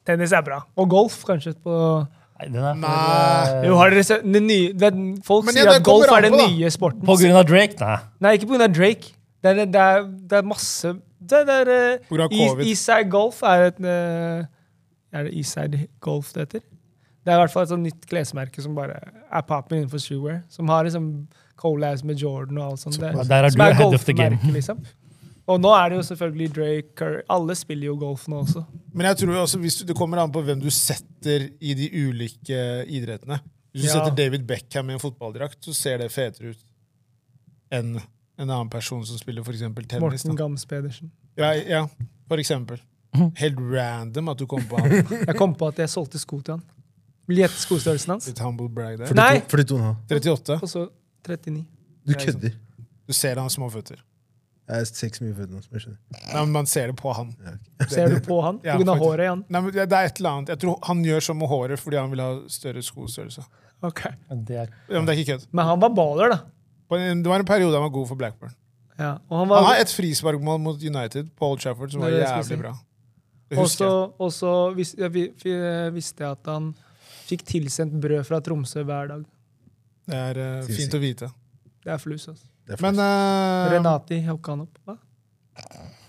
[SPEAKER 4] Tennis er bra. Og golf, kanskje. på...
[SPEAKER 5] Nei, den er for,
[SPEAKER 2] Nei.
[SPEAKER 5] eh,
[SPEAKER 4] Jo, har dere sett den nye, den, Folk
[SPEAKER 2] Men ja,
[SPEAKER 4] sier
[SPEAKER 2] det
[SPEAKER 4] at golf
[SPEAKER 2] kommer
[SPEAKER 4] er
[SPEAKER 2] an
[SPEAKER 4] den
[SPEAKER 2] på, da.
[SPEAKER 4] nye sporten.
[SPEAKER 5] På grunn av Drake? Nei.
[SPEAKER 4] Nei, ikke pga. Drake. Det er, det, er, det er masse Det er eh,
[SPEAKER 2] På grunn av
[SPEAKER 4] E-
[SPEAKER 2] covid.
[SPEAKER 4] Eastside Golf er et eh, Er det Eastside Golf det heter? Det er i hvert fall et sånt nytt klesmerke som bare er popping innenfor streetwear. Som har liksom collabs med Jordan og alt sånt. Det,
[SPEAKER 5] Ja, der er
[SPEAKER 4] som
[SPEAKER 5] du ahead of the game.
[SPEAKER 4] golfmerke, Liksom. Og nå er det jo selvfølgelig Drake Curry. Alle spiller jo golf nå også.
[SPEAKER 2] Men jeg tror jo også hvis du, det kommer an på hvem du setter i de ulike idrettene. Hvis du
[SPEAKER 4] Ja.
[SPEAKER 2] setter David Beckham i en fotballdrakt, så ser det fetere ut enn en annen person som spiller for eksempel tennis.
[SPEAKER 4] Morten
[SPEAKER 2] Da.
[SPEAKER 4] Gams Pedersen.
[SPEAKER 2] Ja, ja,
[SPEAKER 5] Mhm.
[SPEAKER 2] for eksempel. Helt random at du kom på han.
[SPEAKER 4] Jeg kom på at jeg solgte sko til han. Vil du gjette skostørrelsen hans?
[SPEAKER 2] Litt humble brag der.
[SPEAKER 3] 42,
[SPEAKER 4] Nei.
[SPEAKER 3] 42,5.
[SPEAKER 2] 38.
[SPEAKER 4] Og så 39.
[SPEAKER 3] Du
[SPEAKER 4] Nei, sant.
[SPEAKER 3] kødder.
[SPEAKER 2] Du ser han har små føtter.
[SPEAKER 3] Jeg er seks mye født nå, som jeg skjønner.
[SPEAKER 2] Nei, men Man ser det på han.
[SPEAKER 3] Ja, ok.
[SPEAKER 4] Ser du på han? På
[SPEAKER 2] Ja,
[SPEAKER 4] grunn av
[SPEAKER 2] faktisk.
[SPEAKER 4] håret i han?
[SPEAKER 2] Nei, men det det er et eller annet. Jeg tror Han gjør sånn med håret fordi han vil ha større skostørrelse.
[SPEAKER 4] Ok.
[SPEAKER 5] Men det er,
[SPEAKER 2] Ja, men det er ikke kødd.
[SPEAKER 4] Men han var baller, da.
[SPEAKER 2] På en- Det var en periode han var god for Blackburn.
[SPEAKER 4] Ja. Og han
[SPEAKER 2] Han har
[SPEAKER 4] var
[SPEAKER 2] et frisparkmål mot United på Old Trafford som var
[SPEAKER 4] Det er det jeg
[SPEAKER 2] jævlig
[SPEAKER 4] skulle si.
[SPEAKER 2] bra. Det husker
[SPEAKER 4] også,
[SPEAKER 2] jeg.
[SPEAKER 4] også vis, jeg, vi- vi- jeg visste jeg at han fikk tilsendt brød fra Tromsø hver dag.
[SPEAKER 2] Det er eh,
[SPEAKER 3] Sinnssykt.
[SPEAKER 2] fint å vite.
[SPEAKER 4] Det er flus, altså.
[SPEAKER 3] Det er flaks.
[SPEAKER 2] Men eh,
[SPEAKER 4] Renati hooka han opp. Hva?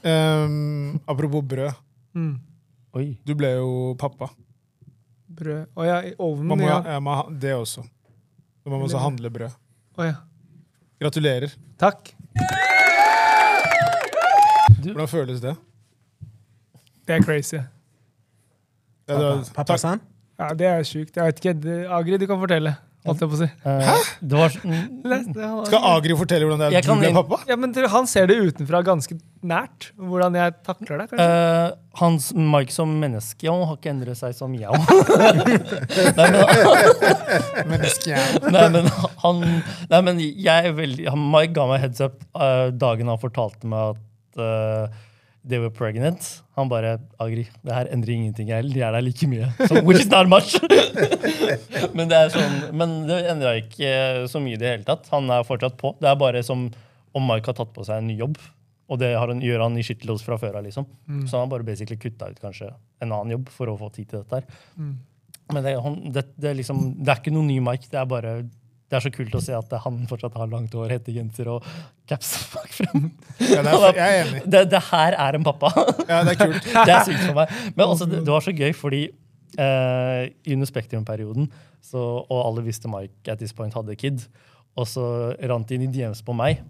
[SPEAKER 2] ehm, apropos brød.
[SPEAKER 4] Mm.
[SPEAKER 5] oi.
[SPEAKER 2] Du ble jo pappa.
[SPEAKER 4] Brød. Å ja, i
[SPEAKER 2] Man
[SPEAKER 4] ovnen,
[SPEAKER 2] må,
[SPEAKER 4] ja.
[SPEAKER 2] ja, man, ha- det også. Så Man må også handle brød.
[SPEAKER 4] Å ja.
[SPEAKER 2] Gratulerer.
[SPEAKER 4] Takk.
[SPEAKER 2] Hvordan føles det?
[SPEAKER 4] Det er crazy.
[SPEAKER 2] Ja, det var-
[SPEAKER 3] Pappa
[SPEAKER 2] eh, takk.
[SPEAKER 3] sa han?
[SPEAKER 4] Ja, det er sjukt. Jeg vet ikke. Det- Agri, du kan fortelle. Holdt jeg på å si.
[SPEAKER 5] Hæ? Eh, Det var, mm,
[SPEAKER 2] Skal Agri fortelle hvordan det er
[SPEAKER 5] Jeg
[SPEAKER 2] at du
[SPEAKER 5] kan
[SPEAKER 2] ble
[SPEAKER 5] inn-
[SPEAKER 2] pappa?
[SPEAKER 4] Ja, men dere- Han ser det utenfra ganske nært, hvordan jeg takler det. kanskje.
[SPEAKER 5] Eh, hans Mike som menneske han har ikke endret seg som jeg. nei, men, nei, men, han, nei, men jeg er veldig han, Mike ga meg heads up eh, dagen han fortalte meg at eh, they were pregnant. Han bare Agri, det her endrer ingenting. Jeg de er der like mye. Så, which is not much. men det er sånn, men det endra ikke eh, så mye i det hele tatt. Han er fortsatt på. Det er bare som om Mike har tatt på seg en ny jobb. Og det har han, gjør han i skytterlos fra før av, liksom. Så han har bare basically kutta ut kanskje en annen jobb for å få tid til dette her. Men det, han, det, det, er liksom, det er ikke noe ny Mike. Det er bare det er så kult å se at han fortsatt har langt hår, hettegenser og caps bak frem.
[SPEAKER 2] Ja, det er, jeg er enig.
[SPEAKER 5] Det, det her er en pappa.
[SPEAKER 2] Ja, det er kult.
[SPEAKER 5] Det er sykt for meg. Men også, det, det var så gøy, fordi eh, under Spektrum-perioden, så- og alle visste Mike at this point hadde kid, og så rant det inn i DMs på meg,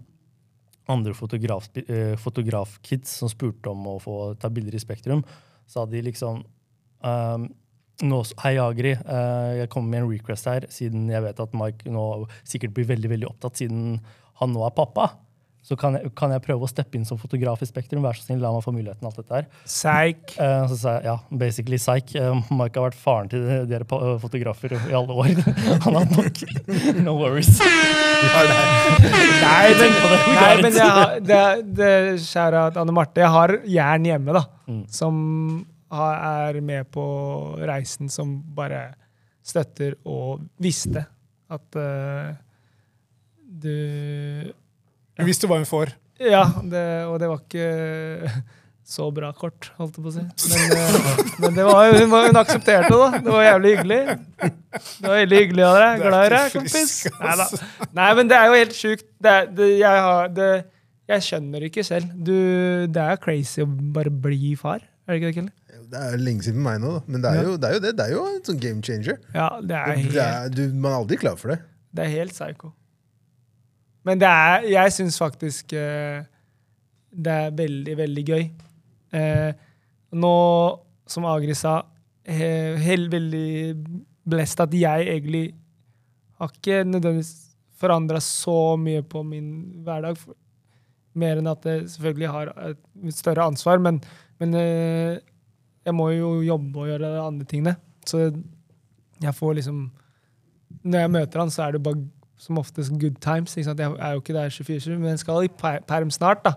[SPEAKER 5] andre fotograf, eh, fotografkids som spurte om å få ta bilder i Spektrum, sa de liksom ehm, nå, s- Hei, Agri. eh, jeg kommer med en request her, siden jeg vet at Mike nå sikkert blir veldig veldig opptatt siden han nå er pappa. Så kan jeg, kan jeg prøve å steppe inn som fotograf i Spektrum? Vær så snill, la meg få muligheten. alt dette her.
[SPEAKER 4] Seik.
[SPEAKER 5] Eh, så sa jeg ja, basically psych. Eh, Mike har vært faren til dere pa- eh, fotografer i alle år. Han har nok. No worries.
[SPEAKER 4] Nei, men,
[SPEAKER 5] på det.
[SPEAKER 4] nei, men jeg har, det, det, kjære Anne Marte, jeg har jern hjemme, da. Som har, er med på reisen, som bare støtter og visste at eh, du
[SPEAKER 2] Du visste hva hun får.
[SPEAKER 4] Ja, det, og det var ikke så bra kort, holdt jeg på å si. Men, eh, men det var, hun, var, hun aksepterte det, da. Det var jævlig hyggelig. Det var veldig hyggelig av deg.
[SPEAKER 2] Du er
[SPEAKER 4] Glad i deg,
[SPEAKER 2] ikke
[SPEAKER 4] kompis.
[SPEAKER 2] frisk,
[SPEAKER 4] Nei da. Nei, men det er jo helt sjukt. Det, er- det, jeg, har, det, jeg skjønner det ikke selv. Du, det er crazy å bare bli far. Er det ikke det, Kjell?
[SPEAKER 3] Det er lenge siden for meg nå, da. men det er, jo, det er jo det. Det er jo en sånn game changer.
[SPEAKER 4] Ja, det er
[SPEAKER 3] Det
[SPEAKER 4] helt
[SPEAKER 3] er, du, man er aldri klar for det.
[SPEAKER 4] Det er helt psycho. Men det er, jeg syns faktisk eh, det er veldig, veldig gøy. Eh, nå, som Agri sa, he- helt veldig blest at jeg egentlig har ikke nødvendigvis forandra så mye på min hverdag. For- Mer enn at jeg selvfølgelig har et større ansvar, men, men eh, jeg må jo jobbe og gjøre de andre tingene. Så jeg får liksom når jeg møter han, så er det bare som oftest good times. Ikke sant? Jeg er jo ikke der 24-7, men jeg skal i per- perm snart, da.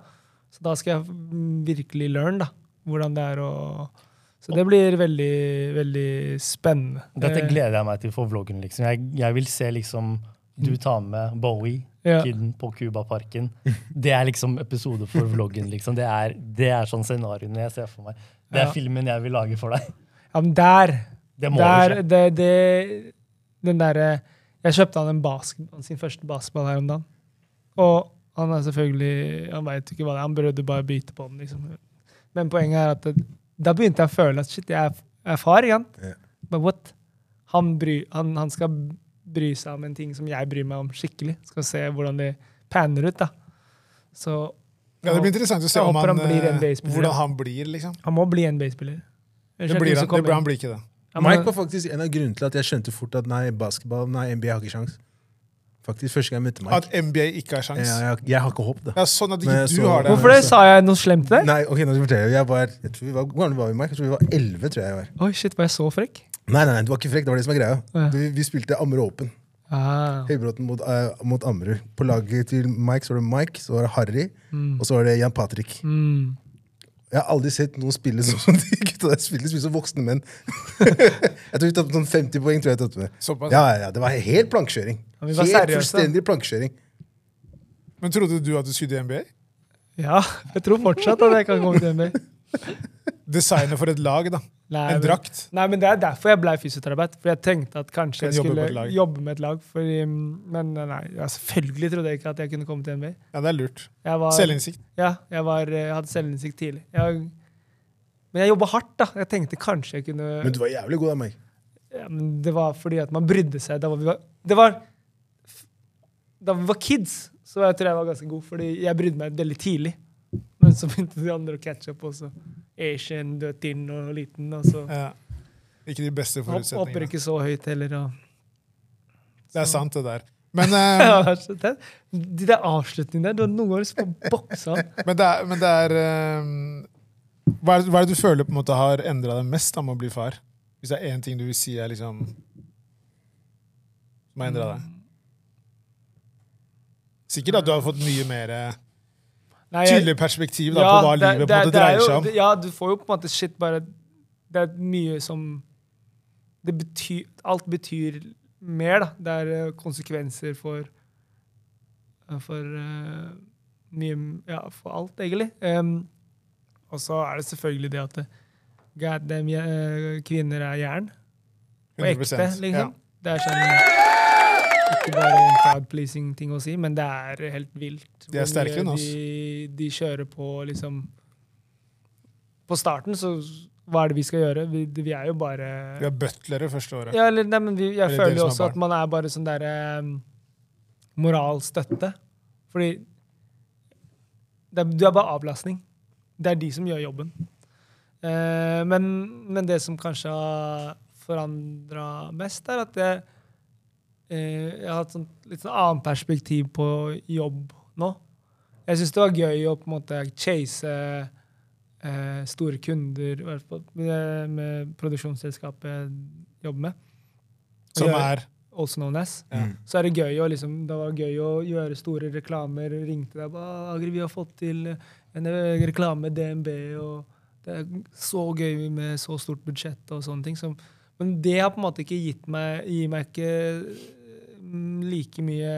[SPEAKER 4] Så da skal jeg mm, virkelig learn da, hvordan det er å Så det blir veldig, veldig spennende.
[SPEAKER 5] Dette
[SPEAKER 4] Eh,
[SPEAKER 5] gleder jeg meg til for vloggen. liksom. Jeg, jeg vil se liksom du tar med Bowie,
[SPEAKER 4] Mm. Ja.
[SPEAKER 5] kiden på Cubaparken. Det er liksom episode for vloggen. liksom. Det er, det er sånn scenarioene jeg ser for meg. Det er
[SPEAKER 4] Ja.
[SPEAKER 5] filmen jeg vil lage for deg.
[SPEAKER 4] Ja, men der!
[SPEAKER 5] Det må
[SPEAKER 4] Der,
[SPEAKER 5] jo skje.
[SPEAKER 4] det, det, den derre Jeg kjøpte han en bask, sin første basketball her om dagen. Og han er selvfølgelig Han veit ikke hva det er, han prøvde bare å bite på den. liksom. Men poenget er at det, da begynte jeg å føle at shit, jeg er, jeg er far igjen.
[SPEAKER 3] Ja.
[SPEAKER 4] But what? Han, bry, han, han skal bry seg om en ting som jeg bryr meg om skikkelig. Skal se hvordan det panner ut, da. Så
[SPEAKER 2] Ja, det blir interessant å se
[SPEAKER 4] Jeg
[SPEAKER 2] om
[SPEAKER 4] håper
[SPEAKER 2] han,
[SPEAKER 4] han blir
[SPEAKER 2] eh,
[SPEAKER 4] NBA-spiller.
[SPEAKER 2] hvordan han blir. liksom.
[SPEAKER 4] han må bli NBA-spiller. Ellers
[SPEAKER 2] Det
[SPEAKER 4] er
[SPEAKER 2] blir
[SPEAKER 4] ingen
[SPEAKER 2] han, det
[SPEAKER 4] som kommer
[SPEAKER 2] blir,
[SPEAKER 4] inn.
[SPEAKER 2] han blir ikke det.
[SPEAKER 4] Ja, men-
[SPEAKER 3] Mike var faktisk en av grunnene til at jeg skjønte fort at nei, basketball, nei, NBA har ikke sjans. Faktisk første gang jeg møtte Mike.
[SPEAKER 2] At NBA ikke har sjans.
[SPEAKER 3] Jeg, jeg, jeg har ikke håp, da.
[SPEAKER 2] Ja, sånn at ikke
[SPEAKER 3] Men jeg
[SPEAKER 2] du
[SPEAKER 3] så-
[SPEAKER 2] har det.
[SPEAKER 4] Hvorfor det? Sa jeg noe slemt til deg?
[SPEAKER 3] Nei, ok, nå skal jeg fortelle. Jeg var, jeg tror vi var, hvor gammel var vi, Mike? Jeg tror vi var 11, tror jeg jeg var.
[SPEAKER 4] Oi, shit, var jeg så frekk?
[SPEAKER 3] Nei, nei, nei, du var ikke frekk. Det var det som var greia.
[SPEAKER 4] Ja.
[SPEAKER 3] Vi, vi spilte Ammerud Åpen.
[SPEAKER 4] Ah,
[SPEAKER 3] Høybråten mot, eh, mot Ammerud. På laget til Mike så var det Mike, så var det Harry, og så var det Jan Patrick.
[SPEAKER 4] mm.
[SPEAKER 3] Jeg har aldri sett noen spille sånn som de gutta der spilte. De spilte som voksne menn. jeg tror vi tapte sånn 50 poeng. tror jeg jeg tapte med.
[SPEAKER 2] Såpass.
[SPEAKER 3] Ja, ja, ja, Det var helt plankekjøring.
[SPEAKER 4] Ja, vi var
[SPEAKER 3] helt
[SPEAKER 4] seriøse.
[SPEAKER 3] fullstendig plankekjøring.
[SPEAKER 2] Men trodde du at du skulle i NBA?
[SPEAKER 4] Ja, jeg tror fortsatt at jeg kan komme til NBA.
[SPEAKER 2] Designet for et lag, da.
[SPEAKER 4] Nei,
[SPEAKER 2] En
[SPEAKER 4] men-
[SPEAKER 2] drakt.
[SPEAKER 4] Nei, men Det er derfor jeg ble fysioterapeut. For jeg tenkte at kanskje
[SPEAKER 2] Kan
[SPEAKER 4] jeg
[SPEAKER 2] jobbe
[SPEAKER 4] skulle
[SPEAKER 2] på et lag.
[SPEAKER 4] jobbe med et lag. Fordi, mm, men eh, nei, ja, selvfølgelig trodde jeg ikke at jeg kunne komme til NBA.
[SPEAKER 2] Ja, det er lurt.
[SPEAKER 4] Jeg var,
[SPEAKER 2] Selvinnsikt.
[SPEAKER 4] Ja, jeg, var, jeg hadde selvinnsikt tidlig. Jeg, men jeg jobba hardt, da. Jeg tenkte kanskje jeg kunne
[SPEAKER 3] Men du var jævlig god av meg.
[SPEAKER 4] ja, men Det var fordi at man brydde seg. Da vi var, det var Da vi var kids, så jeg tror jeg var ganske god, fordi jeg brydde meg veldig tidlig. Men så begynte de andre å catche opp også. Asian, du er tynn og liten. og så...
[SPEAKER 2] Ja. Ikke de beste
[SPEAKER 4] Hopp- Hopper
[SPEAKER 2] forutsetningene.
[SPEAKER 4] ikke så høyt heller. Og.
[SPEAKER 2] Det er sant, det der. Men, eh,
[SPEAKER 4] Ja, det er så tett. De der avslutningene der, du har noen ganger lyst til å bokse han.
[SPEAKER 2] men det er, men det er eh, hva, er det, hva er det du føler på en måte har endra deg mest da med å bli far? Hvis det er én ting du vil si er liksom Som har endra deg? Sikkert at du har fått mye mer eh,
[SPEAKER 4] Nei, jeg-
[SPEAKER 2] tydelig perspektiv da,
[SPEAKER 4] Ja,
[SPEAKER 2] på hva
[SPEAKER 4] det-
[SPEAKER 2] livet på en
[SPEAKER 4] det-
[SPEAKER 2] måte
[SPEAKER 4] det er
[SPEAKER 2] dreier
[SPEAKER 4] jo-
[SPEAKER 2] seg om.
[SPEAKER 4] det- Ja, du får jo på en måte shit bare Det er mye som det betyr, Alt betyr mer, da. Det er eh, konsekvenser for For eh, mye Ja, for alt, egentlig. Em, og så er det selvfølgelig det at det- God damn, je- eh, kvinner er jern. Og ekte,
[SPEAKER 2] 100%, ja.
[SPEAKER 4] liksom. Det er sånn Ikke bare en crowd-pleasing-ting å si, men det er helt vilt.
[SPEAKER 2] De er
[SPEAKER 4] hvor
[SPEAKER 2] sterkere
[SPEAKER 4] mye
[SPEAKER 2] enn oss.
[SPEAKER 4] De, de kjører på liksom På starten, så hva er det vi skal gjøre? Vi, vi er jo bare
[SPEAKER 2] Vi har butlere første året.
[SPEAKER 4] ja, eller, nei, men vi, jeg
[SPEAKER 2] Eller
[SPEAKER 4] føler
[SPEAKER 2] dere
[SPEAKER 4] jo
[SPEAKER 2] som
[SPEAKER 4] også
[SPEAKER 2] er barn.
[SPEAKER 4] at man er bare sånn derre moralstøtte. Fordi det er, du er bare avlastning. Det er de som gjør jobben. Eh, men, men det som kanskje har forandra mest, er at jeg, eh, jeg har hatt sånn, litt sånn annet perspektiv på jobb nå. Jeg syns det var gøy å på en måte chase eh, store kunder, i hvert fall med, med produksjonsselskapet jeg jobber med
[SPEAKER 2] Som
[SPEAKER 4] Ja.
[SPEAKER 2] er
[SPEAKER 4] also known as,
[SPEAKER 2] Ja.
[SPEAKER 4] så er det gøy å liksom, det var gøy å gjøre store reklamer. Ringte deg bare, Agri, vi har fått til eh, en reklame med DNB, og det er så gøy med så stort budsjett og sånne ting. Som, men det har på en måte ikke gitt meg, gir meg ikke mm, like mye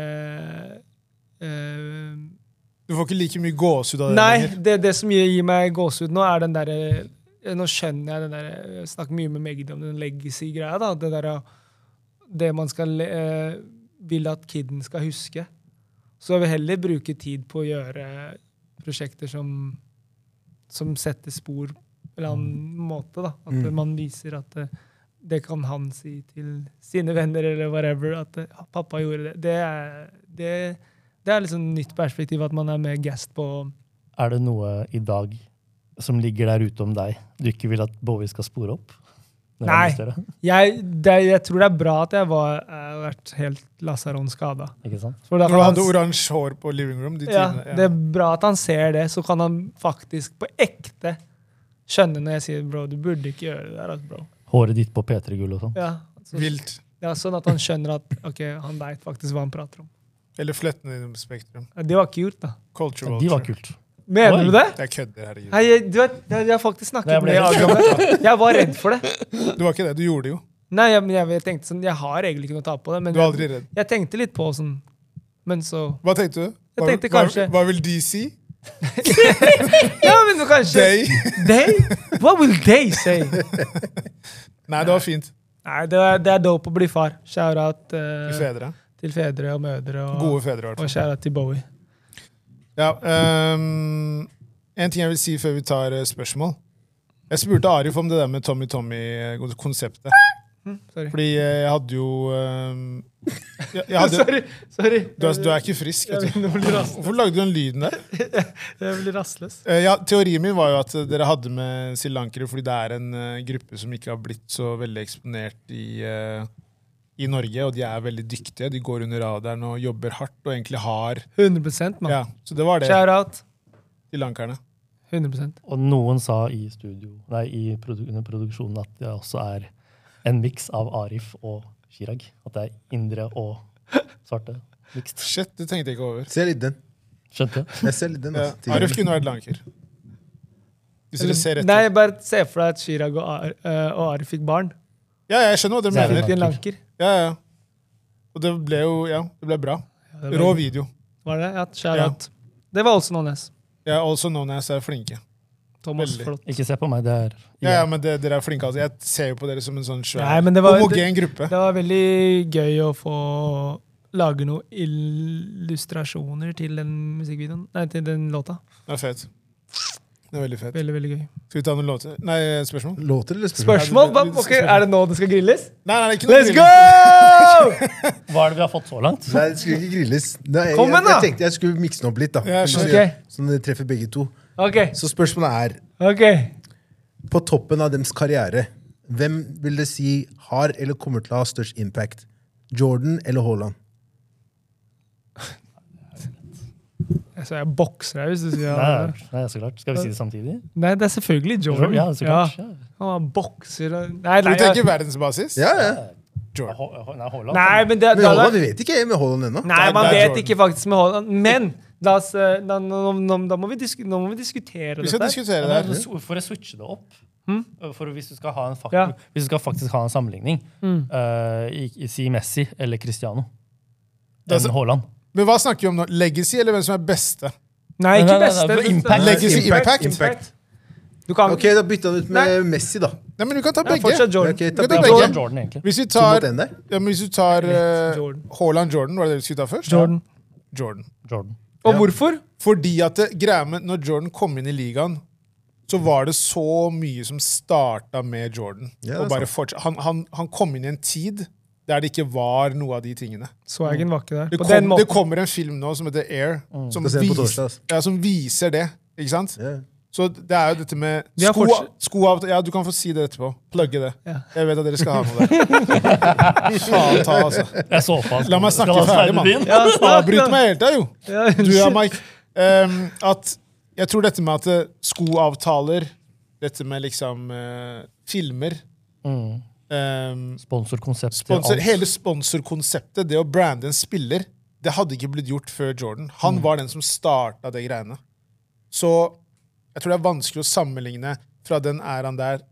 [SPEAKER 4] eh,
[SPEAKER 2] Du får ikke like mye gåsehud av det
[SPEAKER 4] Nei,
[SPEAKER 2] lenger.
[SPEAKER 4] det, det som gir, gir meg gåsehud nå, er den derre Nå skjønner jeg den der Jeg snakker mye med Magdi om den legacy-greia. da, Det derre Det man skal eh, vil at kiden skal huske. Så jeg vil heller bruke tid på å gjøre prosjekter som som setter spor på en eller annen måte. da, At
[SPEAKER 3] Mm.
[SPEAKER 4] man viser at eh, det kan han si til sine venner eller whatever. At eh, ja, 'pappa gjorde det'. Det er, det, det er liksom nytt perspektiv, at man er mer gassed på
[SPEAKER 5] Er det noe i dag som ligger der ute om deg du ikke vil at Bowie skal spore opp? Når han
[SPEAKER 4] Nei.
[SPEAKER 5] investerer?
[SPEAKER 4] Jeg, det, jeg tror det er bra at jeg var, jeg har vært helt lasaron-skada.
[SPEAKER 5] Ikke sant?
[SPEAKER 2] Når du hadde oransje hår på living room. De
[SPEAKER 4] ja,
[SPEAKER 2] tidene, ja.
[SPEAKER 4] det er bra at han ser det, så kan han faktisk på ekte skjønne når jeg sier bro, du burde ikke gjøre det der. altså, bro.
[SPEAKER 5] Håret ditt på P3-gull og sånn.
[SPEAKER 4] Ja, så,
[SPEAKER 2] Vilt.
[SPEAKER 4] ja, sånn at han skjønner at ok, han veit faktisk hva han prater om.
[SPEAKER 2] Eller flettene dine på Spektrum.
[SPEAKER 4] Ja, Det var ikke gjort, da.
[SPEAKER 2] Culture
[SPEAKER 5] De var
[SPEAKER 2] vulture.
[SPEAKER 5] kult.
[SPEAKER 4] Mener
[SPEAKER 5] Oi.
[SPEAKER 4] du det?
[SPEAKER 2] Jeg kødder, herregud.
[SPEAKER 4] Nei, jeg, du vet, jeg, jeg har faktisk snakket
[SPEAKER 5] Nei, jeg ble
[SPEAKER 4] med Agi om det. Jeg var redd for det.
[SPEAKER 2] Du var ikke det. Du gjorde det jo.
[SPEAKER 4] Nei, jeg, men jeg, jeg tenkte sånn, jeg har egentlig ikke noe å tape på det, men
[SPEAKER 2] Du er aldri
[SPEAKER 4] jeg,
[SPEAKER 2] redd.
[SPEAKER 4] jeg tenkte litt på sånn Men så
[SPEAKER 2] Hva tenkte du?
[SPEAKER 4] Jeg
[SPEAKER 2] Hva,
[SPEAKER 4] tenkte kanskje-
[SPEAKER 2] hva, hva vil de si?
[SPEAKER 4] Ja, men så kanskje
[SPEAKER 2] They?
[SPEAKER 4] They? What will they say?
[SPEAKER 2] Nei, det var fint.
[SPEAKER 4] Nei, det er, det er dope å bli far. Shout-out eh,
[SPEAKER 2] De fedre.
[SPEAKER 4] til fedre og mødre. Og,
[SPEAKER 2] Gode fedre, i hvert
[SPEAKER 4] Og
[SPEAKER 2] fall.
[SPEAKER 4] shout-out til Bowie.
[SPEAKER 2] Ja, ehm, en ting jeg vil si før vi tar eh, spørsmål. Jeg spurte Arif om det der med Tommy Tommy-konseptet.
[SPEAKER 4] Sorry.
[SPEAKER 2] Fordi eh, jeg hadde jo ehm, jeg, jeg hadde,
[SPEAKER 4] sorry, sorry.
[SPEAKER 2] du, er, du er ikke frisk.
[SPEAKER 4] Jeg
[SPEAKER 2] Vet du.
[SPEAKER 4] begynner å bli ras-
[SPEAKER 2] Hvorfor lagde du den lyden der?
[SPEAKER 4] jeg blir rastløs.
[SPEAKER 2] Eh, Ja, Teorien min var jo at eh, dere hadde med srilankere fordi det er en eh, gruppe som ikke har blitt så veldig eksponert i, eh, i Norge, og de er veldig dyktige. De går under radaren og jobber hardt og egentlig har
[SPEAKER 4] 100 mann.
[SPEAKER 2] Ja, Så det var det.
[SPEAKER 4] Shout-out.
[SPEAKER 2] Srilankerne.
[SPEAKER 4] 100
[SPEAKER 5] Og noen sa i studio, nei, i produ under produksjonen at jeg også er en miks av Arif og Chirag. At det er indre og svarte mikst.
[SPEAKER 2] Shit, det tenkte jeg ikke over.
[SPEAKER 3] Ser litt den.
[SPEAKER 5] Skjønte?
[SPEAKER 3] Jeg ser litt den.
[SPEAKER 2] Ja.
[SPEAKER 3] Altså,
[SPEAKER 2] Arif kunne vært lanker. Hvis dere ser
[SPEAKER 4] Nei,
[SPEAKER 2] etter.
[SPEAKER 4] bare se for deg at Chirag og, Ar eh, og Ari fikk barn.
[SPEAKER 2] Ja, jeg skjønner hva dere
[SPEAKER 5] Nei,
[SPEAKER 4] Så
[SPEAKER 5] det
[SPEAKER 2] mener.
[SPEAKER 4] fikk de en
[SPEAKER 5] lanker.
[SPEAKER 4] lanker.
[SPEAKER 2] Ja, ja. Og det ble jo ja, det ble bra.
[SPEAKER 4] Ja, det
[SPEAKER 2] Rå
[SPEAKER 4] var-
[SPEAKER 2] video.
[SPEAKER 4] Var det? Ja, shout
[SPEAKER 2] Ja.
[SPEAKER 4] out. Det var også Nånes.
[SPEAKER 2] Ja, also known as er flinke.
[SPEAKER 4] Thomas,
[SPEAKER 2] Veldig.
[SPEAKER 4] flott.
[SPEAKER 5] Ikke se på meg, det er
[SPEAKER 2] Ja, ja, men det, Dere er flinke. altså. Jeg ser jo på dere som en sånn svær,
[SPEAKER 4] Nei, men det var-
[SPEAKER 2] homogen gruppe.
[SPEAKER 4] Det var veldig gøy å få lage noen illustrasjoner til den musikkvideoen. Nei, til den låta.
[SPEAKER 2] Det er fett. Det er veldig fett.
[SPEAKER 4] Veldig, veldig gøy.
[SPEAKER 2] Skal vi ta noen låter? Nei, spørsmål?
[SPEAKER 3] Låter eller spørsmål?
[SPEAKER 4] Spørsmål? Hva- ok, Er det nå det skal grilles?
[SPEAKER 2] Nei, nei, det er ikke noe
[SPEAKER 4] Let's
[SPEAKER 2] tvil.
[SPEAKER 4] go!
[SPEAKER 5] Hva er det vi har fått så langt?
[SPEAKER 3] Nei, det skulle ikke grilles. Nei, jeg,
[SPEAKER 4] Kom
[SPEAKER 3] jeg,
[SPEAKER 4] igjen, da!
[SPEAKER 3] jeg tenkte jeg skulle mikse den opp litt, da.
[SPEAKER 2] Ja, jeg
[SPEAKER 3] så,
[SPEAKER 2] skjønner.
[SPEAKER 4] Ok.
[SPEAKER 3] sånn det treffer begge to.
[SPEAKER 4] Ok.
[SPEAKER 3] Så spørsmålet er,
[SPEAKER 4] ok.
[SPEAKER 3] på toppen av deres karriere, hvem vil det si har eller kommer til å ha størst impact? Jordan eller Haaland?
[SPEAKER 4] Altså, jeg bokser deg hvis du sier
[SPEAKER 5] Nei,
[SPEAKER 4] ja.
[SPEAKER 5] nei, så klart. Skal vi si det samtidig?
[SPEAKER 4] Nei, det er selvfølgelig Jordan.
[SPEAKER 5] Ja, så klart. Ja.
[SPEAKER 4] Han bokser og Nei,
[SPEAKER 2] Du
[SPEAKER 4] nei, jeg,
[SPEAKER 2] tenker verdensbasis?
[SPEAKER 3] Ja, ja.
[SPEAKER 5] Hå- hå- Nei, Haaland.
[SPEAKER 4] nei men det,
[SPEAKER 3] Men Haaland, vi vet ikke med Haaland ennå.
[SPEAKER 4] Nei,
[SPEAKER 2] Det er-
[SPEAKER 4] man
[SPEAKER 2] det er
[SPEAKER 4] vet
[SPEAKER 2] Jordan.
[SPEAKER 4] ikke faktisk med Haaland. Men la oss, eh, da, nå, nå, da må vi disku, nå må vi diskutere
[SPEAKER 2] Vi skal
[SPEAKER 4] dette.
[SPEAKER 2] diskutere det
[SPEAKER 5] Ja,
[SPEAKER 2] her.
[SPEAKER 5] men så- For å switche det opp for å- hvis, du skal ha en fak
[SPEAKER 4] Mm. Ja. Mm.
[SPEAKER 5] hvis du skal faktisk ha en sammenligning eh, i- i- Si Messi eller Cristiano. Enn
[SPEAKER 2] Altså-
[SPEAKER 5] Haaland.
[SPEAKER 2] Men hva snakker vi om nå? Legacy eller hvem som er beste?
[SPEAKER 4] Nei,
[SPEAKER 5] Nei,
[SPEAKER 4] ikke
[SPEAKER 5] nei, nei,
[SPEAKER 4] beste.
[SPEAKER 5] for
[SPEAKER 4] men-
[SPEAKER 5] impact.
[SPEAKER 2] Legacy, impact.
[SPEAKER 4] sånn- Du kan
[SPEAKER 3] Ok, da bytta han ut med Messi, da.
[SPEAKER 2] Nei, men du kan ta
[SPEAKER 4] ja,
[SPEAKER 2] begge.
[SPEAKER 4] fortsatt Jordan.
[SPEAKER 3] Ok, ta
[SPEAKER 2] Du kan
[SPEAKER 5] Ja,
[SPEAKER 2] ta
[SPEAKER 5] Jordan,
[SPEAKER 2] begge.
[SPEAKER 5] Jordan, egentlig.
[SPEAKER 2] Hvis vi
[SPEAKER 3] To
[SPEAKER 2] tar,
[SPEAKER 3] mot en der.
[SPEAKER 2] ja, men hvis vi tar
[SPEAKER 4] Lett,
[SPEAKER 2] eh,
[SPEAKER 4] Jordan.
[SPEAKER 2] Haaland Jordan, var det det vi skulle ta først?
[SPEAKER 4] Jordan.
[SPEAKER 2] Jordan.
[SPEAKER 5] Jordan.
[SPEAKER 4] Og hvorfor?
[SPEAKER 2] Fordi at det, greia med når Jordan kom inn i ligaen, så var det så mye som starta med Jordan.
[SPEAKER 3] Ja, det er
[SPEAKER 2] og bare fortsatt, han, han, han kom inn i en tid der det ikke var noe av de tingene.
[SPEAKER 4] Swagen var ikke der.
[SPEAKER 2] Mm. Det,
[SPEAKER 4] På
[SPEAKER 2] kom,
[SPEAKER 4] den
[SPEAKER 2] det
[SPEAKER 4] måten. Mm.
[SPEAKER 2] kommer en film nå som heter Air, som,
[SPEAKER 3] Skal se den på
[SPEAKER 2] vis-
[SPEAKER 3] torsdag, ass.
[SPEAKER 2] ja, som viser det. Ikke sant?
[SPEAKER 3] Ja.
[SPEAKER 2] Så det er jo dette med
[SPEAKER 4] Vi har
[SPEAKER 2] sko,
[SPEAKER 4] fortsatt-
[SPEAKER 2] sko av Ja, du kan få si det etterpå. Plugge det.
[SPEAKER 4] Ja.
[SPEAKER 2] Jeg vet at dere skal ha noe der. Faen ta, altså.
[SPEAKER 5] Jeg så på han.
[SPEAKER 2] La meg snakke
[SPEAKER 5] Skal han
[SPEAKER 2] ferdig,
[SPEAKER 5] steine
[SPEAKER 2] mann.
[SPEAKER 5] byen?
[SPEAKER 4] Ja, snakk, da.
[SPEAKER 2] Avbryt meg hele tida, jo!
[SPEAKER 4] Ja,
[SPEAKER 2] Du ja,
[SPEAKER 4] unnskyld.
[SPEAKER 2] Mike. Ehm, at jeg tror dette med at eh, skoavtaler, dette med liksom eh, filmer
[SPEAKER 5] Mm.
[SPEAKER 2] ehm,
[SPEAKER 5] Sponsorkonsept. til
[SPEAKER 2] sponsor,
[SPEAKER 5] alt.
[SPEAKER 2] Hele sponsorkonseptet, det å brande en spiller, det hadde ikke blitt gjort før Jordan.
[SPEAKER 5] Mm.
[SPEAKER 2] Han var den som starta det greiene. Så jeg tror det er vanskelig å sammenligne fra den æraen der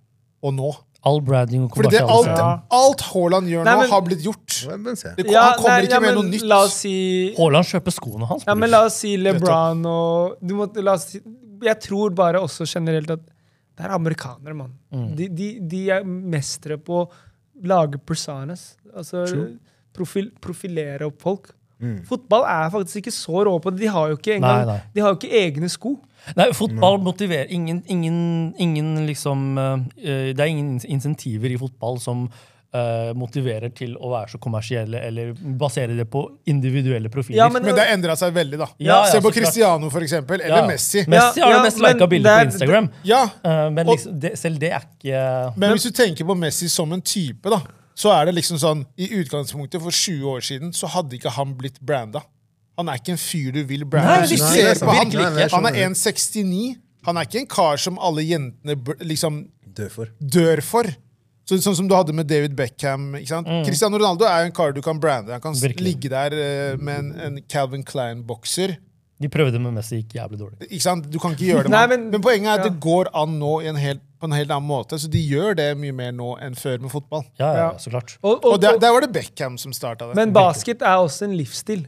[SPEAKER 2] og nå.
[SPEAKER 5] All branding og
[SPEAKER 2] Fordi det, alt,
[SPEAKER 5] kommersialisering.
[SPEAKER 2] alt Haaland gjør
[SPEAKER 4] Nei,
[SPEAKER 2] nå,
[SPEAKER 4] men-
[SPEAKER 2] har blitt gjort.
[SPEAKER 3] Ja, men se.
[SPEAKER 2] Det, kom-
[SPEAKER 4] Ja,
[SPEAKER 2] han kommer
[SPEAKER 4] nei,
[SPEAKER 2] ikke
[SPEAKER 4] ja,
[SPEAKER 2] med
[SPEAKER 4] men
[SPEAKER 2] noe nytt.
[SPEAKER 4] La oss si
[SPEAKER 5] Haaland kjøper skoene hans.
[SPEAKER 4] Ja, men
[SPEAKER 5] bror.
[SPEAKER 4] la oss si LeBron og du må, la oss si, Jeg tror bare også generelt at det er amerikanere, mann.
[SPEAKER 2] Mm.
[SPEAKER 4] De, de, de er mestere på å lage personas. Altså profil, profilere opp folk.
[SPEAKER 2] Mm.
[SPEAKER 4] Fotball er faktisk ikke så rå på det. De har jo ikke, engang,
[SPEAKER 5] Nei, nei.
[SPEAKER 4] De har jo ikke egne sko.
[SPEAKER 5] Nei,
[SPEAKER 2] Mm.
[SPEAKER 5] fotball motiverer ingen, ingen, ingen liksom eh, Det er ingen insentiver i fotball som eh, motiverer til å være så kommersielle eller basere det på individuelle profiler.
[SPEAKER 4] Ja, men-
[SPEAKER 2] Men det har endra seg veldig, da.
[SPEAKER 5] Ja, ja,
[SPEAKER 2] Se på
[SPEAKER 5] så klart.
[SPEAKER 2] Cristiano, for eksempel. Eller
[SPEAKER 5] Ja.
[SPEAKER 2] Messi. Men,
[SPEAKER 5] Messi har
[SPEAKER 4] Ja,
[SPEAKER 5] det mest
[SPEAKER 4] men
[SPEAKER 5] lika bildet
[SPEAKER 4] det er-
[SPEAKER 5] på Instagram.
[SPEAKER 2] ja.
[SPEAKER 5] Eh, men
[SPEAKER 2] Og-
[SPEAKER 5] liksom, det, selv det er ikke
[SPEAKER 2] men hvis du tenker på Messi som en type, da, så er det liksom sånn I utgangspunktet, for 20 år siden, så hadde ikke han blitt branda. Han er ikke en fyr du vil brande.
[SPEAKER 5] Nei,
[SPEAKER 2] Hvis du
[SPEAKER 5] nei,
[SPEAKER 2] ser
[SPEAKER 3] det er
[SPEAKER 2] på han,
[SPEAKER 3] sant. Virkelig ikke.
[SPEAKER 2] han er 1,69. Han er ikke en kar som alle jentene br- liksom
[SPEAKER 3] Død for.
[SPEAKER 2] dør for. Så, sånn som du hadde med David Beckham. ikke sant? Cristiano Ronaldo er jo en kar du kan brande. Han kan s-
[SPEAKER 5] Virkelig.
[SPEAKER 2] ligge der eh, med en, en Calvin Klein-bokser.
[SPEAKER 5] De prøvde med Messi, gikk jævlig dårlig.
[SPEAKER 2] Ikke sant? Du kan ikke gjøre det.
[SPEAKER 4] Nei,
[SPEAKER 2] men,
[SPEAKER 4] men-
[SPEAKER 2] men poenget er at
[SPEAKER 4] ja.
[SPEAKER 2] det går an nå i en helt, på en helt annen måte. Så de gjør det mye mer nå enn før med fotball.
[SPEAKER 5] Ja, ja,
[SPEAKER 4] Ja.
[SPEAKER 5] så klart.
[SPEAKER 4] Og, og,
[SPEAKER 2] Og der, der var det Beckham som starta det.
[SPEAKER 4] men basket er også en livsstil.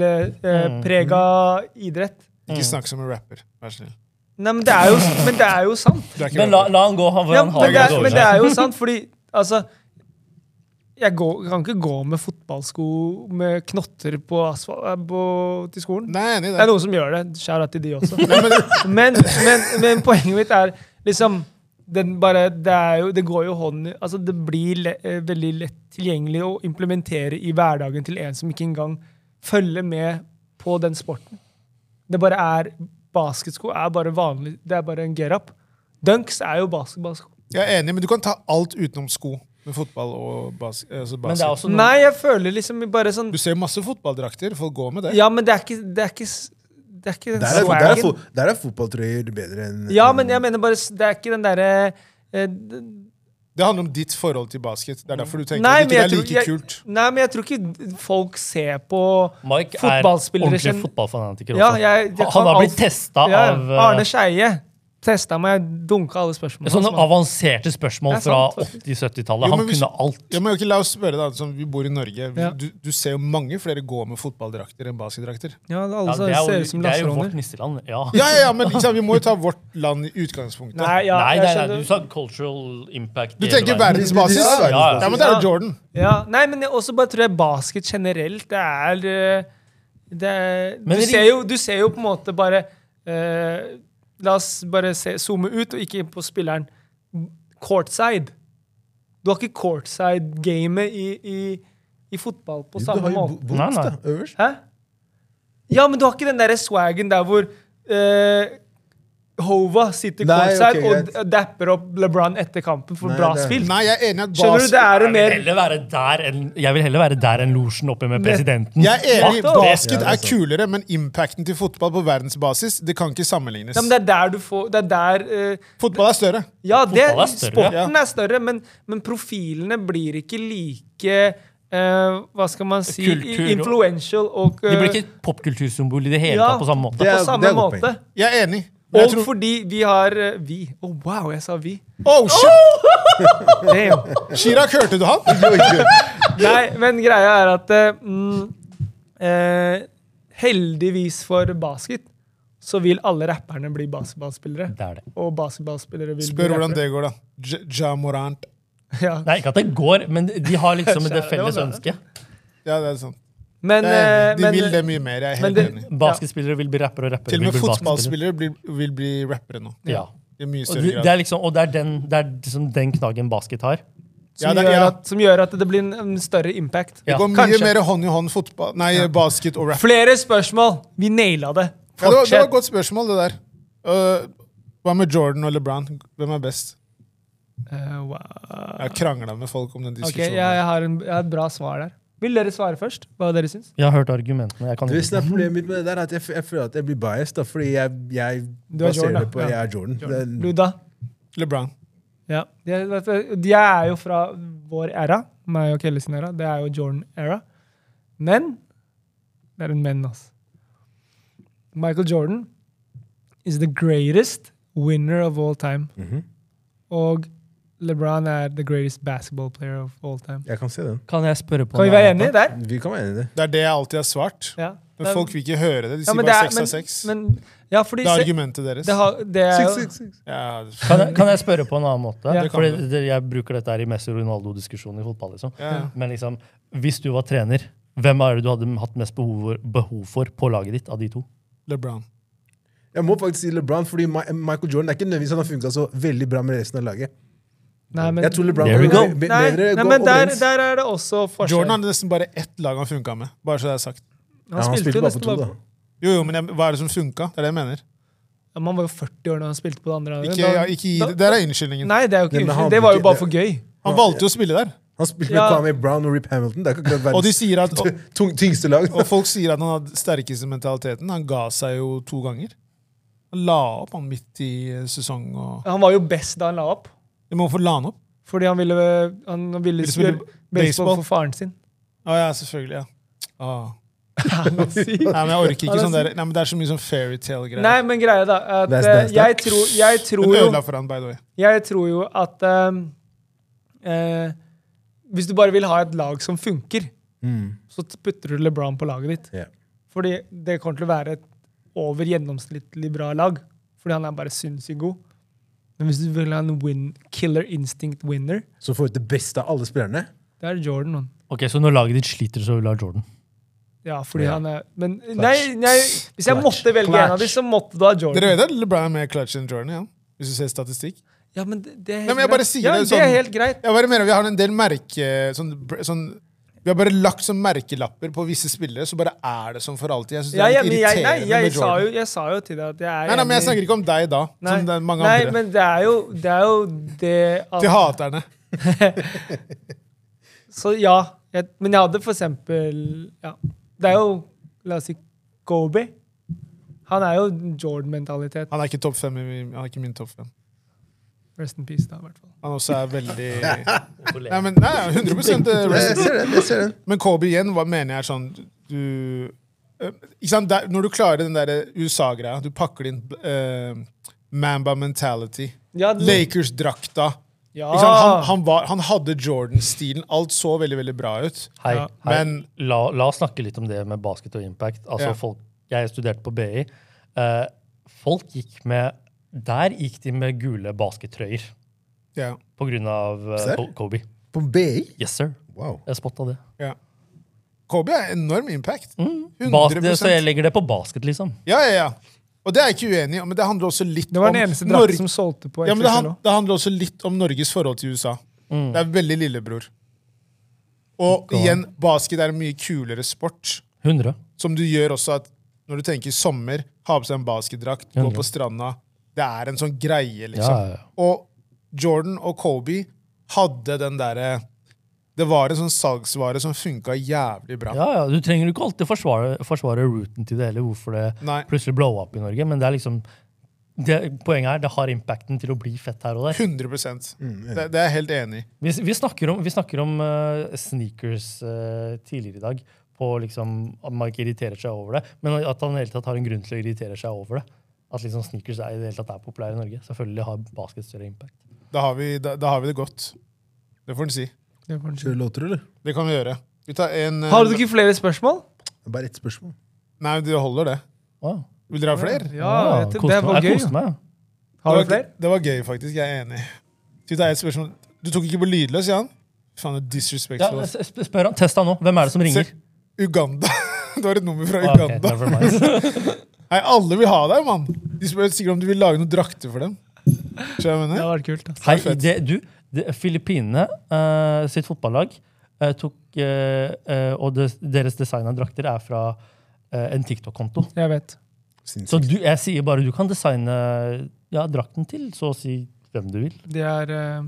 [SPEAKER 4] Livsstilprega eh, idrett.
[SPEAKER 2] ikke snakk som en rapper, vær så snill.
[SPEAKER 4] Nei, men det er jo, men det er jo sant.
[SPEAKER 2] Du er ikke
[SPEAKER 5] Men la,
[SPEAKER 2] rapper.
[SPEAKER 5] la han gå. Han,
[SPEAKER 4] Ja,
[SPEAKER 5] han har
[SPEAKER 4] men, det er,
[SPEAKER 5] dårlig.
[SPEAKER 4] men det er jo sant, fordi altså Jeg går, kan ikke gå med fotballsko med knotter på asfalt eh, på, til skolen.
[SPEAKER 2] Nei, jeg er enig
[SPEAKER 4] Det er
[SPEAKER 2] i det.
[SPEAKER 4] noen som gjør det. Skjær av til de også. Men, men, men poenget mitt er liksom den bare, det, er jo, det går jo hånd i altså Det blir le, eh, veldig lett tilgjengelig å implementere i hverdagen til en som ikke engang følger med på den sporten. Det bare er Basketsko er bare vanlig. Det er bare en get-up. Dunks er jo basketballsko.
[SPEAKER 2] Jeg er enig, men du kan ta alt utenom sko med fotball og bas altså
[SPEAKER 5] Men det er
[SPEAKER 2] basket.
[SPEAKER 5] også noe-
[SPEAKER 4] Nei, jeg føler liksom bare sånn
[SPEAKER 2] Du ser jo masse fotballdrakter. Folk går med det.
[SPEAKER 4] Ja, men det er ikke Det er ikke, s- det er ikke den
[SPEAKER 3] Der er, der er,
[SPEAKER 4] swagen.
[SPEAKER 3] fo- der er fotballtrøyer bedre enn
[SPEAKER 4] Ja, men jeg mener bare s- Det er ikke den derre eh, d-
[SPEAKER 2] Det handler om ditt forhold til basket. Det er derfor du tenker
[SPEAKER 4] Nei,
[SPEAKER 2] at
[SPEAKER 4] men
[SPEAKER 2] det ikke
[SPEAKER 4] jeg
[SPEAKER 2] er
[SPEAKER 4] tror-
[SPEAKER 2] like
[SPEAKER 4] jeg-
[SPEAKER 2] kult.
[SPEAKER 4] Nei, men jeg tror ikke folk ser på
[SPEAKER 5] Mike er
[SPEAKER 4] Fotballspillere
[SPEAKER 5] ordentlig
[SPEAKER 4] kjenner-
[SPEAKER 5] fotballfanatiker
[SPEAKER 4] Ja,
[SPEAKER 5] også.
[SPEAKER 4] jeg- jeg
[SPEAKER 5] Han- han
[SPEAKER 4] kan
[SPEAKER 5] har
[SPEAKER 4] alt-
[SPEAKER 5] blitt testa
[SPEAKER 4] ja,
[SPEAKER 5] av eh, sånn
[SPEAKER 4] Arne Skeie testa meg, dunka alle spørsmålene.
[SPEAKER 5] sånne
[SPEAKER 4] hans, mann.
[SPEAKER 5] avanserte spørsmål
[SPEAKER 4] Det er
[SPEAKER 5] fra
[SPEAKER 4] sant, faktisk.
[SPEAKER 5] 80-70-tallet.
[SPEAKER 2] Jo,
[SPEAKER 5] Han
[SPEAKER 2] men hvis-
[SPEAKER 5] kunne alt.
[SPEAKER 2] Ja, men ok, la oss spørre deg, som Vi bor i Norge.
[SPEAKER 4] Ja.
[SPEAKER 2] Du, du ser jo mange flere gå med fotballdrakter enn basketdrakter.
[SPEAKER 4] Ja, alle
[SPEAKER 5] Ja,
[SPEAKER 4] som
[SPEAKER 5] det, er
[SPEAKER 4] ser
[SPEAKER 5] jo,
[SPEAKER 4] ut som
[SPEAKER 5] det er jo
[SPEAKER 4] lasteroner.
[SPEAKER 5] vårt nisseland. Ja.
[SPEAKER 2] Ja, ja, ja, men ikke sant, Vi må jo ta vårt land i utgangspunktet.
[SPEAKER 4] Nei, ja,
[SPEAKER 5] nei,
[SPEAKER 4] jeg
[SPEAKER 5] nei, nei,
[SPEAKER 4] skjønner.
[SPEAKER 5] du sa cultural impact.
[SPEAKER 2] Du
[SPEAKER 5] i hele
[SPEAKER 2] tenker
[SPEAKER 5] verden.
[SPEAKER 2] verdensbasis?
[SPEAKER 3] Ja,
[SPEAKER 2] Ja,
[SPEAKER 5] ja, ja.
[SPEAKER 2] men det er jo Jordan.
[SPEAKER 4] Ja, nei, men jeg også bare tror jeg basket generelt, det er eh, det er, du,
[SPEAKER 5] Men det-
[SPEAKER 4] ser jo, du ser jo på en måte bare eh, La oss bare se, zoome ut, og ikke på spilleren. Courtside. Du har ikke courtside-gamet i, i, i fotball på
[SPEAKER 3] Du
[SPEAKER 4] samme
[SPEAKER 3] har jo
[SPEAKER 4] måte.
[SPEAKER 3] bo-
[SPEAKER 5] Nei,
[SPEAKER 3] boots,
[SPEAKER 5] nei.
[SPEAKER 3] da, øverst.
[SPEAKER 4] Hæ? Ja, men du har ikke den derre swagen der hvor eh, Hova sitter
[SPEAKER 3] Nei,
[SPEAKER 4] courtside
[SPEAKER 3] ok,
[SPEAKER 4] og d- dapper opp LeBron etter kampen for
[SPEAKER 3] Nei,
[SPEAKER 4] bra
[SPEAKER 3] det er-
[SPEAKER 4] spill.
[SPEAKER 2] Nei, jeg er enig i at
[SPEAKER 4] Skjønner du?
[SPEAKER 2] basket
[SPEAKER 4] Det er en
[SPEAKER 5] Jeg vil
[SPEAKER 4] mer
[SPEAKER 5] heller være der enn, jeg vil heller være der enn losjen oppe med presidenten.
[SPEAKER 2] jeg er enig, i
[SPEAKER 4] Fuck off.
[SPEAKER 2] Basket
[SPEAKER 3] Ja, det er
[SPEAKER 2] er
[SPEAKER 3] sant.
[SPEAKER 2] kulere, men impacten til fotball på verdensbasis det kan ikke sammenlignes.
[SPEAKER 4] Ja, men det er der du får Det er der eh,
[SPEAKER 2] Fotball er større.
[SPEAKER 4] Ja, det,
[SPEAKER 5] Fotball er større.
[SPEAKER 4] sporten er større, men, men profilene blir ikke like eh, Hva skal man si
[SPEAKER 5] Kultur og-
[SPEAKER 4] Influential og eh,
[SPEAKER 5] Det blir ikke et popkultursymbol i det hele
[SPEAKER 4] Ja.
[SPEAKER 5] tatt på samme måte.
[SPEAKER 4] på
[SPEAKER 3] Det er-
[SPEAKER 4] samme
[SPEAKER 3] det er godt
[SPEAKER 4] måte.
[SPEAKER 3] poeng.
[SPEAKER 2] Jeg er enig. Men
[SPEAKER 4] Og
[SPEAKER 2] Jeg tror,
[SPEAKER 4] fordi vi har eh, Vi. Å, wow, jeg sa vi.
[SPEAKER 2] oh, shit!
[SPEAKER 4] Damn.
[SPEAKER 2] Chirag, hørte du han?
[SPEAKER 3] Oi, oi.
[SPEAKER 4] Nei, men greia er at eh, mm, eh, Heldigvis for basket så vil alle rapperne bli basketballspillere.
[SPEAKER 5] Det er det.
[SPEAKER 4] Og basketballspillere vil
[SPEAKER 2] Spør
[SPEAKER 4] bli
[SPEAKER 2] hvordan
[SPEAKER 4] rappere.
[SPEAKER 2] det går, da. Ja, ja Morant.
[SPEAKER 4] Ja.
[SPEAKER 5] Nei, ikke at det går, men de har liksom det felles ønsket.
[SPEAKER 2] Ja, det er sant.
[SPEAKER 4] Men,
[SPEAKER 2] Jeg er
[SPEAKER 4] eh,
[SPEAKER 2] enig. De
[SPEAKER 4] men,
[SPEAKER 2] vil det mye mer. Jeg er
[SPEAKER 4] men
[SPEAKER 2] helt
[SPEAKER 4] det-
[SPEAKER 2] enig.
[SPEAKER 5] Basketspillere vil bli rappere, og rappere
[SPEAKER 2] Til og
[SPEAKER 5] vil
[SPEAKER 2] med
[SPEAKER 5] bli basketspillere.
[SPEAKER 2] fotballspillere blir, vil bli rappere nå.
[SPEAKER 5] Ja.
[SPEAKER 2] I mye
[SPEAKER 5] Og,
[SPEAKER 2] større
[SPEAKER 5] det det
[SPEAKER 2] grad.
[SPEAKER 5] er liksom, og det er den, det er liksom den knaggen basket har.
[SPEAKER 4] som,
[SPEAKER 2] Ja, det-
[SPEAKER 4] gjør
[SPEAKER 2] ja.
[SPEAKER 4] at, som gjør at det blir en, en større impact.
[SPEAKER 5] Ja.
[SPEAKER 2] Det går mye
[SPEAKER 4] Kanskje.
[SPEAKER 2] mer hånd i hånd fotball Nei, basket og rap.
[SPEAKER 4] Flere spørsmål! Vi naila
[SPEAKER 2] Ja,
[SPEAKER 4] det.
[SPEAKER 2] det, var, det var
[SPEAKER 4] Fortsett.
[SPEAKER 2] et godt spørsmål, det der. Øh, hva med Jordan og LeBron? Hvem er best?
[SPEAKER 4] Eh, wow.
[SPEAKER 2] Jeg har krangla med folk om den
[SPEAKER 4] Ok,
[SPEAKER 2] diskusjonen.
[SPEAKER 4] jeg, jeg, har en, jeg har et bra svar der. Vil dere svare først? Hva dere syns?
[SPEAKER 5] Jeg har hørt argumentene. Jeg kan
[SPEAKER 3] Du,
[SPEAKER 5] ikke-
[SPEAKER 3] snart Problemet mitt med det der er at jeg, f- jeg føler at jeg blir biased, da, fordi jeg, jeg
[SPEAKER 4] Du er
[SPEAKER 3] baserer
[SPEAKER 4] Jordan,
[SPEAKER 3] det på
[SPEAKER 4] ja.
[SPEAKER 3] jeg er Jordan.
[SPEAKER 4] Du,
[SPEAKER 3] Jordan.
[SPEAKER 4] da?
[SPEAKER 2] LeBron.
[SPEAKER 4] Ja. De, vet du, de er jo fra vår æra. Meg og Kelle sin æra. Det er jo Jordan-æra. Men det er en menn, altså. Michael Jordan is the greatest winner of all time.
[SPEAKER 3] Mhm.
[SPEAKER 4] Og LeBron er the greatest basketball player of all time.
[SPEAKER 3] Jeg kan se den.
[SPEAKER 5] Kan jeg spørre på
[SPEAKER 4] Kan vi
[SPEAKER 5] en
[SPEAKER 4] være
[SPEAKER 5] annen
[SPEAKER 4] enige
[SPEAKER 5] måte?
[SPEAKER 4] der?
[SPEAKER 3] Vi kan være enige i det.
[SPEAKER 2] Det er det jeg alltid har svart.
[SPEAKER 4] Ja.
[SPEAKER 2] Men folk vil ikke høre det. De
[SPEAKER 4] Ja,
[SPEAKER 2] sier
[SPEAKER 4] men
[SPEAKER 2] bare
[SPEAKER 4] det
[SPEAKER 2] seks
[SPEAKER 4] er-
[SPEAKER 2] av seks.
[SPEAKER 4] Men, men, ja, fordi
[SPEAKER 2] Det er
[SPEAKER 4] se,
[SPEAKER 2] argumentet deres.
[SPEAKER 4] det, har, det er jo
[SPEAKER 2] Ja,
[SPEAKER 5] Kan jeg, kan jeg spørre på en annen måte?
[SPEAKER 4] Ja.
[SPEAKER 2] Det kan
[SPEAKER 5] Fordi
[SPEAKER 2] du.
[SPEAKER 5] det- Jeg bruker dette her i Messi og Ronaldo-diskusjonen i fotball. liksom.
[SPEAKER 2] ja.
[SPEAKER 5] Men liksom, hvis du var trener, hvem er det du hadde hatt mest behov, behov for på laget ditt av de to?
[SPEAKER 2] LeBron.
[SPEAKER 3] Jeg må faktisk si LeBron, fordi Ma- Michael Jordan er ikke nødvendigvis han har funka så veldig bra med resten av laget.
[SPEAKER 4] Nei, men,
[SPEAKER 3] Jeg tror LeBron
[SPEAKER 5] There we go.
[SPEAKER 3] be-
[SPEAKER 4] nei,
[SPEAKER 3] bedre
[SPEAKER 4] nei,
[SPEAKER 3] gå
[SPEAKER 4] men der,
[SPEAKER 3] overens.
[SPEAKER 4] der er det også forskjell.
[SPEAKER 2] Jordan hadde nesten bare ett lag han funka med. Bare så det er sagt.
[SPEAKER 4] han,
[SPEAKER 3] ja, han
[SPEAKER 4] spilte
[SPEAKER 3] spilte
[SPEAKER 4] jo
[SPEAKER 3] bare på
[SPEAKER 4] nesten
[SPEAKER 3] to,
[SPEAKER 4] bare
[SPEAKER 3] da.
[SPEAKER 4] på
[SPEAKER 2] Jo, jo, men jeg, hva er det som funka? Det er det jeg mener.
[SPEAKER 4] ja, men Han var jo 40 år da han spilte på det andre.
[SPEAKER 2] Ikke,
[SPEAKER 4] Da-
[SPEAKER 2] ja, ikke gi det. Der er unnskyldningen.
[SPEAKER 4] Nei, det er jo ikke
[SPEAKER 3] Nei, men han
[SPEAKER 4] unnskyld. Det var jo
[SPEAKER 3] bruker-
[SPEAKER 4] bare for gøy.
[SPEAKER 2] Han valgte jo å spille der.
[SPEAKER 3] Han spilte
[SPEAKER 4] Ja.
[SPEAKER 3] med Kwame Brown og Rip Hamilton. Det er ikke akkurat
[SPEAKER 2] Og de
[SPEAKER 3] verdens
[SPEAKER 2] sier at og,
[SPEAKER 3] tung- tyngste lag.
[SPEAKER 2] og folk sier at han hadde sterkeste mentaliteten. Han ga seg jo to ganger. Han la opp han midt i eh, sesong og
[SPEAKER 4] Han var jo best da han la opp.
[SPEAKER 2] Men hvorfor la han opp?
[SPEAKER 4] Fordi han ville, han ville
[SPEAKER 2] Ville spille
[SPEAKER 4] spille baseball
[SPEAKER 2] baseball.
[SPEAKER 4] for faren sin.
[SPEAKER 2] Å ja, selvfølgelig. ja. Ah.
[SPEAKER 4] Si.
[SPEAKER 2] Nei, men jeg orker
[SPEAKER 4] Han
[SPEAKER 2] ikke
[SPEAKER 4] er
[SPEAKER 2] sånn der. Nei, men Det er så mye sånn fairytale-greier.
[SPEAKER 4] Nei, men greia da er at
[SPEAKER 3] Nice,
[SPEAKER 4] eh,
[SPEAKER 3] nice,
[SPEAKER 4] jeg,
[SPEAKER 3] nice.
[SPEAKER 4] tror, jeg,
[SPEAKER 2] Hun
[SPEAKER 4] tror jo,
[SPEAKER 2] ødela for han, by the way.
[SPEAKER 4] jeg tror jo at eh, eh, Hvis du bare vil ha et lag som funker,
[SPEAKER 3] Mm.
[SPEAKER 4] så t- putter du LeBron på laget ditt.
[SPEAKER 3] Ja.
[SPEAKER 4] Fordi det kommer til å være et over gjennomsnittlig bra lag. Fordi han er bare sinnssykt god. Men hvis du vil ha en win, killer instinct winner,
[SPEAKER 3] Så får ut det beste av alle spillerne.
[SPEAKER 4] det er Jordan. Man.
[SPEAKER 5] Ok, Så når laget ditt sliter, så vil du ha Jordan?
[SPEAKER 4] Ja, fordi
[SPEAKER 3] Ja.
[SPEAKER 4] han er Men nei, nei, hvis jeg måtte velge en av dem, så måtte du ha
[SPEAKER 2] Dere
[SPEAKER 4] Jordan.
[SPEAKER 2] vet at LeBron er mer clutch enn Jordan? Ja. Hvis du ser statistikk.
[SPEAKER 4] Ja, men det, det er helt
[SPEAKER 2] Nei, men jeg bare
[SPEAKER 4] greit.
[SPEAKER 2] sier
[SPEAKER 4] ja,
[SPEAKER 2] det
[SPEAKER 4] det er
[SPEAKER 2] sånn-
[SPEAKER 4] helt greit.
[SPEAKER 2] Jeg bare mener Vi har en del merke... Sånn, br- sånn, vi har bare lagt sånn merkelapper på visse spillere, så bare er det sånn for alltid. Jeg synes
[SPEAKER 4] Ja,
[SPEAKER 2] det
[SPEAKER 4] ja,
[SPEAKER 2] er
[SPEAKER 4] men
[SPEAKER 2] litt
[SPEAKER 4] jeg, nei,
[SPEAKER 2] irriterende
[SPEAKER 4] jeg,
[SPEAKER 2] med
[SPEAKER 4] sa
[SPEAKER 2] Jordan.
[SPEAKER 4] jo, jeg sa jo til deg at jeg er
[SPEAKER 2] Nei, nei, men Jeg
[SPEAKER 4] enig.
[SPEAKER 2] snakker ikke om deg da,
[SPEAKER 4] Nei,
[SPEAKER 2] som det er mange
[SPEAKER 4] nei,
[SPEAKER 2] andre.
[SPEAKER 4] men det er jo det, er jo det at,
[SPEAKER 2] Til haterne.
[SPEAKER 4] Så ja. Jeg, men jeg hadde for eksempel ja, Det er jo, la oss si, Kobe. Han er jo Jordan-mentalitet.
[SPEAKER 2] Han er ikke topp fem. i- Han er ikke min topp fem.
[SPEAKER 4] Rest in peace, da, i hvert fall.
[SPEAKER 2] Han også er veldig
[SPEAKER 5] Hvorfor ler
[SPEAKER 2] Nei,
[SPEAKER 5] jeg?
[SPEAKER 2] men nei, 100
[SPEAKER 3] Jeg, jeg
[SPEAKER 2] rest.
[SPEAKER 3] ser den. jeg ser den.
[SPEAKER 2] eh, Men Kobe igjen, hva mener jeg er sånn Du eh, ikke sant? Der, Når du klarer den derre USA-greia, du pakker din eh, Mamba mentality.
[SPEAKER 4] Ja, Ah. den-
[SPEAKER 2] Lakers-drakta.
[SPEAKER 4] Ja.
[SPEAKER 2] Ikke sant? Han, han, var, han hadde Jordan-stilen. Alt så veldig veldig bra ut.
[SPEAKER 5] Hei,
[SPEAKER 4] Ja.
[SPEAKER 5] hei.
[SPEAKER 2] Men-
[SPEAKER 5] la, la oss snakke litt om det med basket og impact. Altså,
[SPEAKER 2] Ja.
[SPEAKER 5] folk, jeg studerte på BI. Eh, folk gikk med Der gikk de med gule baskettrøyer
[SPEAKER 2] Ja,
[SPEAKER 5] på grunn av eh,
[SPEAKER 3] Serr?
[SPEAKER 5] Ko- Kobe.
[SPEAKER 3] På BI?
[SPEAKER 5] Yes, sir.
[SPEAKER 3] Wow.
[SPEAKER 5] Jeg spotta det.
[SPEAKER 2] ja. Kobe er enorm impact.
[SPEAKER 4] Mm.
[SPEAKER 2] 100
[SPEAKER 5] Basket, så jeg legger det på basket, liksom.
[SPEAKER 2] Ja, ja, ja. Og det er jeg ikke uenig i, men det handler også litt
[SPEAKER 4] Det var den eneste
[SPEAKER 2] om
[SPEAKER 4] drakten
[SPEAKER 2] Norge.
[SPEAKER 4] som solgte på
[SPEAKER 2] Ja, men det, han,
[SPEAKER 4] XXL òg.
[SPEAKER 2] det handler også litt om Norges forhold til USA.
[SPEAKER 5] Mm.
[SPEAKER 2] Det er veldig lillebror. Og igjen, basket er en mye kulere sport,
[SPEAKER 5] 100.
[SPEAKER 2] som du gjør også at når du tenker sommer, ha på seg en basketdrakt, gå
[SPEAKER 5] Hundre.
[SPEAKER 2] på stranda. Det er en sånn greie,
[SPEAKER 5] Ja,
[SPEAKER 2] liksom.
[SPEAKER 5] ja, ja.
[SPEAKER 2] Og Jordan og Kobe hadde den derre Det var en sånn salgsvare som funka jævlig bra.
[SPEAKER 5] ja, ja. Du trenger jo ikke alltid forsvare, forsvare rooten til det heller, hvorfor det
[SPEAKER 2] Nei.
[SPEAKER 5] plutselig blow up i Norge, men det er liksom det, Poenget er det har impacten til å bli fett her og der.
[SPEAKER 2] 100 det, det er jeg helt enig i.
[SPEAKER 5] Vi, vi snakker om, vi snakker om eh, sneakers eh, tidligere i dag. På liksom, at man ikke irriterer seg over det, men at han i det hele tatt har en grunn til å irritere seg over det. At liksom sneakers er, i det hele tatt er populære i Norge. Selvfølgelig har basket større impact.
[SPEAKER 2] Da har vi, da, da har vi det godt. Det får en si.
[SPEAKER 4] Det får den si.
[SPEAKER 3] Kjører låter, eller?
[SPEAKER 2] Det kan vi gjøre. Vi tar en eh,
[SPEAKER 4] Har du ikke flere spørsmål?
[SPEAKER 3] Det er bare ett spørsmål.
[SPEAKER 2] Nei, det holder, det.
[SPEAKER 5] Wow.
[SPEAKER 2] Vil dere ha flere?
[SPEAKER 4] Ja,
[SPEAKER 5] Wow,
[SPEAKER 4] jeg tror- det
[SPEAKER 5] koste meg.
[SPEAKER 4] var gøy.
[SPEAKER 5] Jeg koste meg. ja.
[SPEAKER 4] Har
[SPEAKER 2] Det
[SPEAKER 4] du
[SPEAKER 2] var-
[SPEAKER 4] flere?
[SPEAKER 2] Det var gøy, faktisk. Jeg er enig. Skal vi ta et spørsmål? Du tok ikke på lydløs, Jan? Faen, det er
[SPEAKER 5] Ja,
[SPEAKER 2] disrespectful.
[SPEAKER 5] s- sp- spør han, Test han nå. Hvem er det som ringer?
[SPEAKER 2] Se- Uganda. Du har et nummer fra
[SPEAKER 5] Ah, ok,
[SPEAKER 2] Uganda.
[SPEAKER 5] never mind.
[SPEAKER 2] Nei, alle vil ha deg, mann! De spør sikkert om du vil lage noen drakter for dem. Skjønner du hva jeg
[SPEAKER 4] Det
[SPEAKER 2] mener?
[SPEAKER 4] hadde vært kult. ass.
[SPEAKER 5] Hei, det, du, det, Filippinene eh, sitt fotballag eh, tok eh, eh, Og det, deres design av drakter er fra eh, en TikTok-konto.
[SPEAKER 4] Jeg vet.
[SPEAKER 5] Så
[SPEAKER 3] Sinnssykt.
[SPEAKER 5] du, jeg sier bare du kan designe ja, drakten til, så å si hvem du vil.
[SPEAKER 4] Det er eh,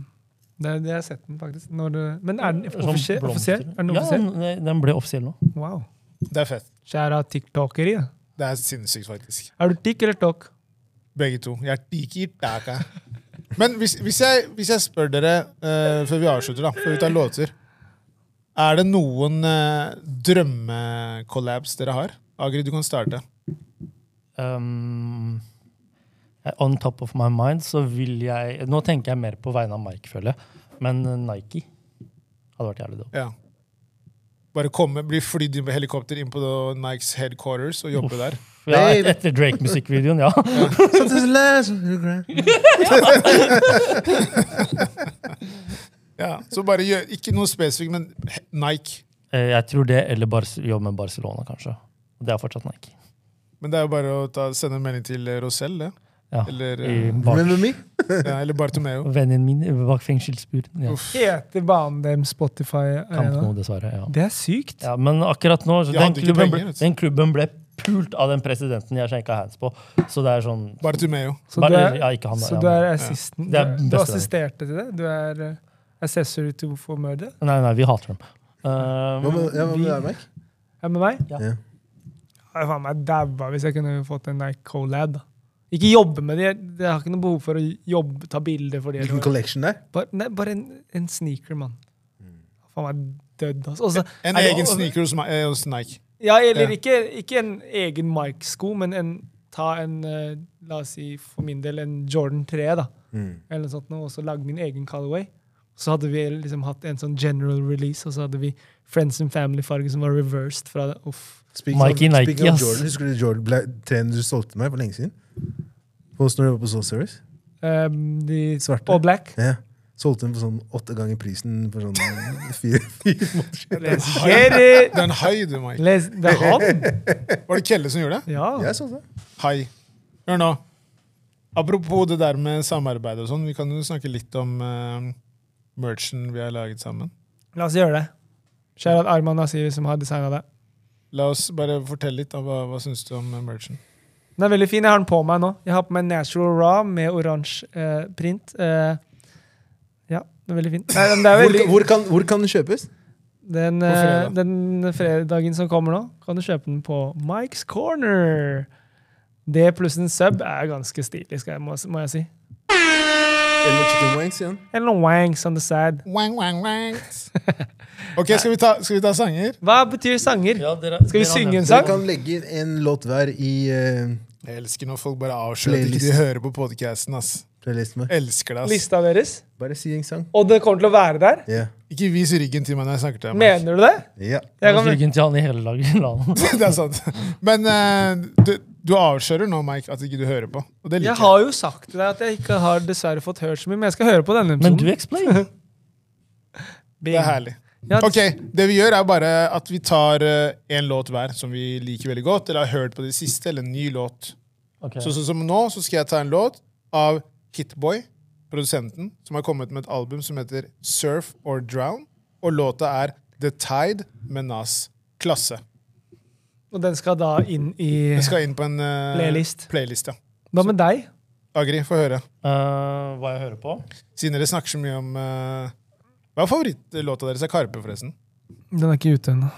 [SPEAKER 4] det, det har jeg sett den, faktisk. Når, det- men er den
[SPEAKER 5] Sånn
[SPEAKER 4] offisiell?
[SPEAKER 5] blomster.
[SPEAKER 4] offisiell? Er den
[SPEAKER 5] Ja,
[SPEAKER 4] offisiell?
[SPEAKER 5] den- eh, den ble offisiell nå.
[SPEAKER 4] Wow.
[SPEAKER 2] Det er fett.
[SPEAKER 4] Kjære tiktokeri. da.
[SPEAKER 2] Det er sinnssykt, faktisk.
[SPEAKER 4] Er du tikk eller tok?
[SPEAKER 2] Begge to. Jeg er tiki taka. Men hvis, hvis, jeg, hvis jeg spør dere, eh, før vi avslutter, da, før vi tar låter Er det noen eh, drømmecollabs dere har? Agri, du kan starte.
[SPEAKER 5] Um, eh, on top of my mind så vil jeg Nå tenker jeg mer på vegne av Mike, føler jeg. Men eh, Nike hadde vært jævlig dope.
[SPEAKER 2] Ja. Bare komme, bli flydd inn med helikopter inn på the Nikes headquarters og jobbe der.
[SPEAKER 5] Ja, et,
[SPEAKER 3] Babe.
[SPEAKER 5] etter Drake-musikkvideoen, ja.
[SPEAKER 3] Sometimes the last one you cry.
[SPEAKER 2] Ja. Så bare gjør, ikke noe spesifikt, men he- Nike.
[SPEAKER 5] Eh, Jeg tror det, eller Bar jobbe med Barcelona, kanskje. Det er fortsatt Nike.
[SPEAKER 2] Men det er jo bare å ta, sende en melding til eh, Rosell, det.
[SPEAKER 5] Ja,
[SPEAKER 2] Eller,
[SPEAKER 5] i
[SPEAKER 2] eh,
[SPEAKER 5] bak,
[SPEAKER 3] Remember me?
[SPEAKER 2] ja, eller Bartomeo.
[SPEAKER 5] Vennen min bak fengselsburen. Ja.
[SPEAKER 2] Uff.
[SPEAKER 4] Heter banen dem Spotify
[SPEAKER 5] Kamp nå,
[SPEAKER 4] Arena?
[SPEAKER 5] dessverre. ja.
[SPEAKER 4] Det er sykt.
[SPEAKER 5] Ja, men akkurat nå så
[SPEAKER 2] De
[SPEAKER 5] den
[SPEAKER 2] hadde ikke
[SPEAKER 5] klubben,
[SPEAKER 2] penger,
[SPEAKER 5] ble,
[SPEAKER 2] vet du.
[SPEAKER 5] den klubben ble pult av den presidenten jeg skjenka hands på. Så det er sånn
[SPEAKER 2] Bartomeo.
[SPEAKER 4] Så
[SPEAKER 5] Bare-
[SPEAKER 4] du er,
[SPEAKER 5] ja, ikke han,
[SPEAKER 4] så
[SPEAKER 5] ja,
[SPEAKER 4] du
[SPEAKER 5] men-
[SPEAKER 4] er assisten?
[SPEAKER 5] Det er
[SPEAKER 4] Du, du
[SPEAKER 5] beste
[SPEAKER 4] assisterte til det? Du er eh, accessory to for murder?
[SPEAKER 5] Nei, nei, vi hater dem. Eh,
[SPEAKER 3] Hva med, ja, hva med deg, Mike?
[SPEAKER 4] Er med meg?
[SPEAKER 5] Ja.
[SPEAKER 3] Ja.
[SPEAKER 4] Jeg faen meg dabba hvis jeg kunne fått en Nike Colab. da. Ikke jobbe med det. Jeg- Jeg har ikke noe behov for å jobbe, ta bilder for det.
[SPEAKER 3] Hvilken
[SPEAKER 4] eller-
[SPEAKER 3] collection der?
[SPEAKER 4] Bare, nei, bare en, en sneaker, mann.
[SPEAKER 5] Mm.
[SPEAKER 4] Faen meg dødd, altså. Også,
[SPEAKER 2] En
[SPEAKER 4] er det-
[SPEAKER 2] egen sneaker hos, Ma- eh, hos Nike.
[SPEAKER 4] Ja,
[SPEAKER 2] Ja.
[SPEAKER 4] eller ikke, ikke en egen Mike-sko, men en, ta en, eh, la oss si for min del, en Jordan 3, da.
[SPEAKER 3] Mm.
[SPEAKER 4] eller noe sånt, nå, og så lage min egen Callaway. Så hadde vi liksom hatt en sånn general release, og så hadde vi Friends and Family-farge som var reversed fra det. Uff.
[SPEAKER 3] Speaking
[SPEAKER 5] Mikey
[SPEAKER 3] of,
[SPEAKER 5] Nike,
[SPEAKER 3] speaking of
[SPEAKER 5] ass.
[SPEAKER 3] Jordan, Husker du Jordan ble, treen du solgte meg for lenge siden? På når du var på Soul Service?
[SPEAKER 4] Um, de
[SPEAKER 3] Svarte.
[SPEAKER 4] All black.
[SPEAKER 3] Ja. Solgte den for sånn åtte ganger prisen for sånn fire, fire måneder siden.
[SPEAKER 4] Let's get it!
[SPEAKER 2] Det er en hai, du, Mike.
[SPEAKER 4] Let's, det er han!
[SPEAKER 2] Var det Kjelle som gjorde det?
[SPEAKER 4] Ja.
[SPEAKER 3] Jeg solgte den.
[SPEAKER 2] Hai. Hør nå. Apropos det der med samarbeid og sånn, vi kan jo snakke litt om eh, merchen vi har laget sammen.
[SPEAKER 4] La oss gjøre det. Kjære at Arman Nasiri som har designa det.
[SPEAKER 2] La oss bare fortelle litt. Da. Hva, hva syns du om eh, merchen?
[SPEAKER 4] Den er veldig fin. Jeg har den på meg nå. Jeg har på meg Natural Raw med oransje eh, print. Eh, ja, den er veldig fin. Nei, den er
[SPEAKER 3] Hvor,
[SPEAKER 4] veldig...
[SPEAKER 3] hvor, kan, hvor kan den kjøpes?
[SPEAKER 4] Den,
[SPEAKER 2] På fredag.
[SPEAKER 4] eh, den fredagen som kommer nå, kan du kjøpe den på Mike's Corner. Det pluss en sub er ganske stilig, skal jeg, må, må jeg si.
[SPEAKER 3] Eller noe chicken wings igjen.
[SPEAKER 4] Eller noen wanks on the side.
[SPEAKER 2] Wang, wang, wang. Ok, skal vi, ta, skal vi ta sanger?
[SPEAKER 4] Hva betyr sanger?
[SPEAKER 5] Ja, dere,
[SPEAKER 4] Skal vi
[SPEAKER 5] dere har
[SPEAKER 4] synge
[SPEAKER 5] nevnt
[SPEAKER 4] en
[SPEAKER 5] det.
[SPEAKER 4] sang?
[SPEAKER 3] Dere kan legge inn en låt hver i uh,
[SPEAKER 2] Jeg elsker når folk bare avslører at ikke de
[SPEAKER 3] Playlist.
[SPEAKER 2] hører på podcasten, ass.
[SPEAKER 3] playlisten vår.
[SPEAKER 2] Elsker det, ass.
[SPEAKER 4] Lista deres?
[SPEAKER 3] Bare si en sang.
[SPEAKER 4] Og det kommer til å være der?
[SPEAKER 3] Ja.
[SPEAKER 2] Ikke vis ryggen til meg når jeg snakker til deg. Mark.
[SPEAKER 4] Mener du det?
[SPEAKER 3] Ja.
[SPEAKER 5] Jeg
[SPEAKER 4] Jeg
[SPEAKER 2] altså,
[SPEAKER 5] kan
[SPEAKER 4] kan...
[SPEAKER 5] ryggen til han i hele laget. La han.
[SPEAKER 2] det er sant. Men eh, du, du avslører nå, Mike, at ikke du hører på. Og det
[SPEAKER 4] Jeg
[SPEAKER 2] liker jeg.
[SPEAKER 4] har jo sagt til deg at jeg ikke har dessverre fått hørt så mye, men jeg skal høre på denne
[SPEAKER 5] Men du
[SPEAKER 4] episoden.
[SPEAKER 5] explain.
[SPEAKER 2] Det er herlig.
[SPEAKER 4] Ja,
[SPEAKER 2] Ok, Det vi gjør, er bare at vi tar én låt hver som vi liker veldig godt, eller har hørt på det siste, eller en ny låt.
[SPEAKER 5] Ok. uh,
[SPEAKER 2] Så, sånn som nå så skal jeg ta en låt av Hitboy, produsenten, som har kommet med et album som heter Surf or Drown. Og låta er The Tide med Nas. Klasse.
[SPEAKER 4] Og den skal da inn i
[SPEAKER 2] Den skal inn på en eh,
[SPEAKER 4] Playlist.
[SPEAKER 2] playlist ja.
[SPEAKER 4] Hva med deg?
[SPEAKER 2] Agri, få høre.
[SPEAKER 5] Eh, hva jeg hører på?
[SPEAKER 2] Siden dere snakker så mye om eh, Hva er favorittlåta deres av Karpe, forresten?
[SPEAKER 4] Den er ikke ute ennå.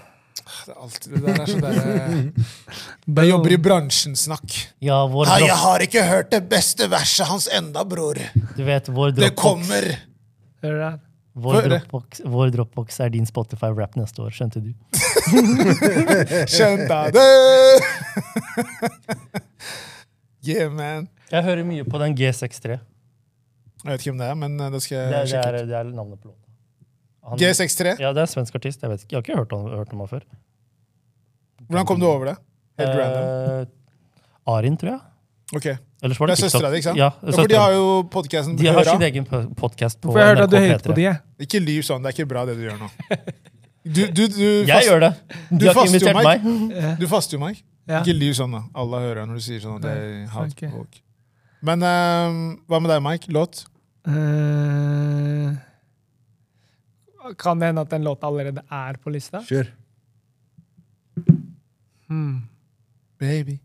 [SPEAKER 2] Ah, Det, er alltid, det der er sånn der, eh, Jeg jobber i bransjen-snakk.
[SPEAKER 5] Ja, vår
[SPEAKER 2] Nei, jeg
[SPEAKER 5] drop,
[SPEAKER 2] har ikke hørt det beste verset hans enda, bror.
[SPEAKER 5] du vet, vår
[SPEAKER 2] Det
[SPEAKER 5] dropbox,
[SPEAKER 2] kommer!
[SPEAKER 4] Hører du det?
[SPEAKER 5] vår
[SPEAKER 2] Hør det.
[SPEAKER 5] dropbox, vår dropbox er din Spotify-rap neste år, skjønte du?
[SPEAKER 2] Skjønte jeg det! yeah, man.
[SPEAKER 5] Jeg hører mye på den G63.
[SPEAKER 2] Jeg vet ikke hvem det er, men eh, det skal
[SPEAKER 5] Det,
[SPEAKER 2] jeg
[SPEAKER 5] er- det,
[SPEAKER 2] sjekke ut.
[SPEAKER 5] er, det er navnet på låta. Han-
[SPEAKER 2] G63.
[SPEAKER 5] Ja, det er en svensk artist. Jeg vet ikke, jeg har ikke hørt om, hørt om han før.
[SPEAKER 2] Hvordan kom du over det? Helt random.
[SPEAKER 5] Eh, Arin, tror jeg.
[SPEAKER 2] Ok.
[SPEAKER 5] Ellers var det,
[SPEAKER 2] Det er
[SPEAKER 5] TikTok.
[SPEAKER 2] søstera di, ikke sant?
[SPEAKER 5] Ja,
[SPEAKER 2] Ja, for de
[SPEAKER 5] søstera.
[SPEAKER 2] har jo podkasten
[SPEAKER 5] de
[SPEAKER 2] på
[SPEAKER 5] har
[SPEAKER 2] høra.
[SPEAKER 5] sin egen podkast på
[SPEAKER 4] For jeg hørte at du
[SPEAKER 5] NRK
[SPEAKER 4] høyt på
[SPEAKER 5] P3.
[SPEAKER 4] de, jeg.
[SPEAKER 2] Ikke lyv sånn. Det er ikke bra, det du gjør nå. Du, du, du,
[SPEAKER 5] Jeg
[SPEAKER 2] fast,
[SPEAKER 5] gjør det.
[SPEAKER 2] Du
[SPEAKER 5] De har ikke
[SPEAKER 2] faster jo,
[SPEAKER 5] invitert meg.
[SPEAKER 4] Ja.
[SPEAKER 2] du faster jo, Mike.
[SPEAKER 4] Ja.
[SPEAKER 2] Ikke lyv sånn, da. Alle hører når du sier sånn. at jeg hater
[SPEAKER 4] ok.
[SPEAKER 2] folk. Men eh, hva med deg, Mike? Låt?
[SPEAKER 4] Eh, kan det hende at den låta allerede er på lista?
[SPEAKER 3] Kjør.
[SPEAKER 4] Hmm.
[SPEAKER 2] Baby.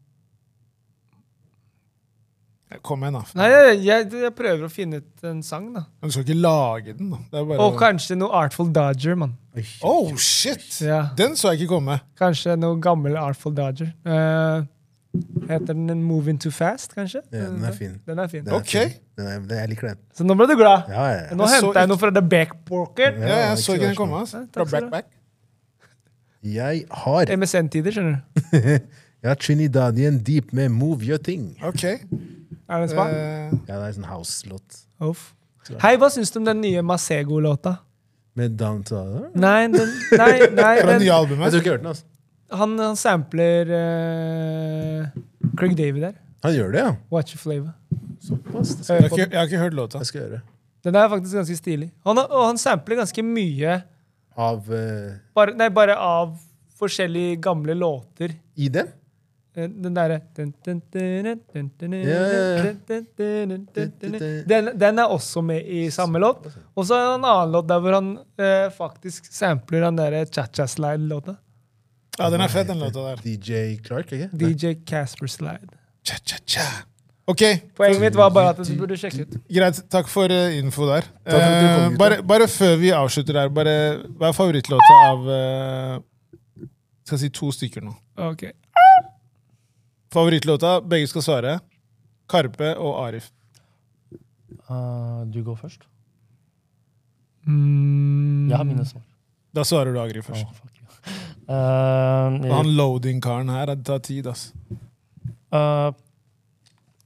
[SPEAKER 2] Kom igjen, da.
[SPEAKER 4] Nei, jeg, jeg, jeg prøver å finne ut en sang, da.
[SPEAKER 2] Men du skal ikke lage den, da. Det er bare
[SPEAKER 4] Og kanskje noe Artful Dodger, mann.
[SPEAKER 3] Oi.
[SPEAKER 2] Oh, shit!
[SPEAKER 4] Ja.
[SPEAKER 2] Den så jeg ikke komme.
[SPEAKER 4] Kanskje noe gammel Artful Dodger. Eh, heter den en Moving Too Fast, kanskje?
[SPEAKER 3] Ja, den er fin.
[SPEAKER 4] Den er fin.
[SPEAKER 3] Den er
[SPEAKER 2] Ok.
[SPEAKER 3] fin. Den er, den, jeg liker den.
[SPEAKER 4] Så nå ble du glad.
[SPEAKER 3] Ja, ja, ja.
[SPEAKER 4] Nå
[SPEAKER 2] Jeg så
[SPEAKER 4] henta jeg
[SPEAKER 2] ikke-
[SPEAKER 4] noe fra The Back Pocket.
[SPEAKER 2] Ja, jeg så ikke den
[SPEAKER 3] verst,
[SPEAKER 2] komme.
[SPEAKER 3] men.
[SPEAKER 2] ass.
[SPEAKER 4] Nei, takk
[SPEAKER 2] Fra
[SPEAKER 4] skal du
[SPEAKER 2] Black
[SPEAKER 4] ha.
[SPEAKER 2] Back.
[SPEAKER 3] Jeg har
[SPEAKER 4] MSN-tider, skjønner du.
[SPEAKER 3] Jeg har Trinidadian Deep med Move Your Thing.
[SPEAKER 2] Ok.
[SPEAKER 4] Er det en spa?
[SPEAKER 2] Eh,
[SPEAKER 3] Ja, det er sånn house-låt.
[SPEAKER 4] Uff. Hei, hva syns du om den nye Masego-låta?
[SPEAKER 3] Med Down to Other.
[SPEAKER 4] Nei, den, nei, nei
[SPEAKER 2] fra det
[SPEAKER 4] den,
[SPEAKER 2] nye
[SPEAKER 3] Jeg
[SPEAKER 2] albumet.
[SPEAKER 3] tror ikke jeg har hørt den, altså.
[SPEAKER 4] han, han sampler eh, Craig David der.
[SPEAKER 3] Han gjør det, ja.
[SPEAKER 4] Watch your flavor.
[SPEAKER 3] Såpass. Det skal
[SPEAKER 2] Jeg
[SPEAKER 4] Hør
[SPEAKER 2] har
[SPEAKER 4] på
[SPEAKER 2] ikke,
[SPEAKER 4] den.
[SPEAKER 2] jeg har ikke hørt låta.
[SPEAKER 3] jeg skal gjøre.
[SPEAKER 4] Den er faktisk ganske stilig. Han, har- og han sampler ganske mye
[SPEAKER 3] Av eh,
[SPEAKER 4] bare, nei, bare av forskjellige gamle låter.
[SPEAKER 3] I den?
[SPEAKER 4] Eh, Den derre den, den er også med i samme låt. Og så er det en annen låt der hvor han eh, faktisk sampler den derre cha-cha-slide-låta.
[SPEAKER 2] Ja, den er fet, den låta der.
[SPEAKER 3] DJ Clark, ikke?
[SPEAKER 4] DJ Casper Slide.
[SPEAKER 2] Cha, cha, cha. Ok,
[SPEAKER 4] Poenget mitt var bare at du burde sjekke ut.
[SPEAKER 2] Greit. Takk for eh, info der.
[SPEAKER 3] for at du kom,
[SPEAKER 2] Eh,
[SPEAKER 3] gutta.
[SPEAKER 2] bare, bare før vi avslutter der, bare, hva er favorittlåta av eh, Skal si to stykker nå.
[SPEAKER 4] Ok.
[SPEAKER 2] Favorittlåta, begge skal svare. Karpe og Arif.
[SPEAKER 5] Eh, du går først.
[SPEAKER 4] Mm.
[SPEAKER 5] Jeg har mine svar.
[SPEAKER 2] Da svarer du Agri først.
[SPEAKER 5] Å, fuck you. Eh,
[SPEAKER 2] Og Han loading-karen her, det tar tid, ass.
[SPEAKER 5] eh,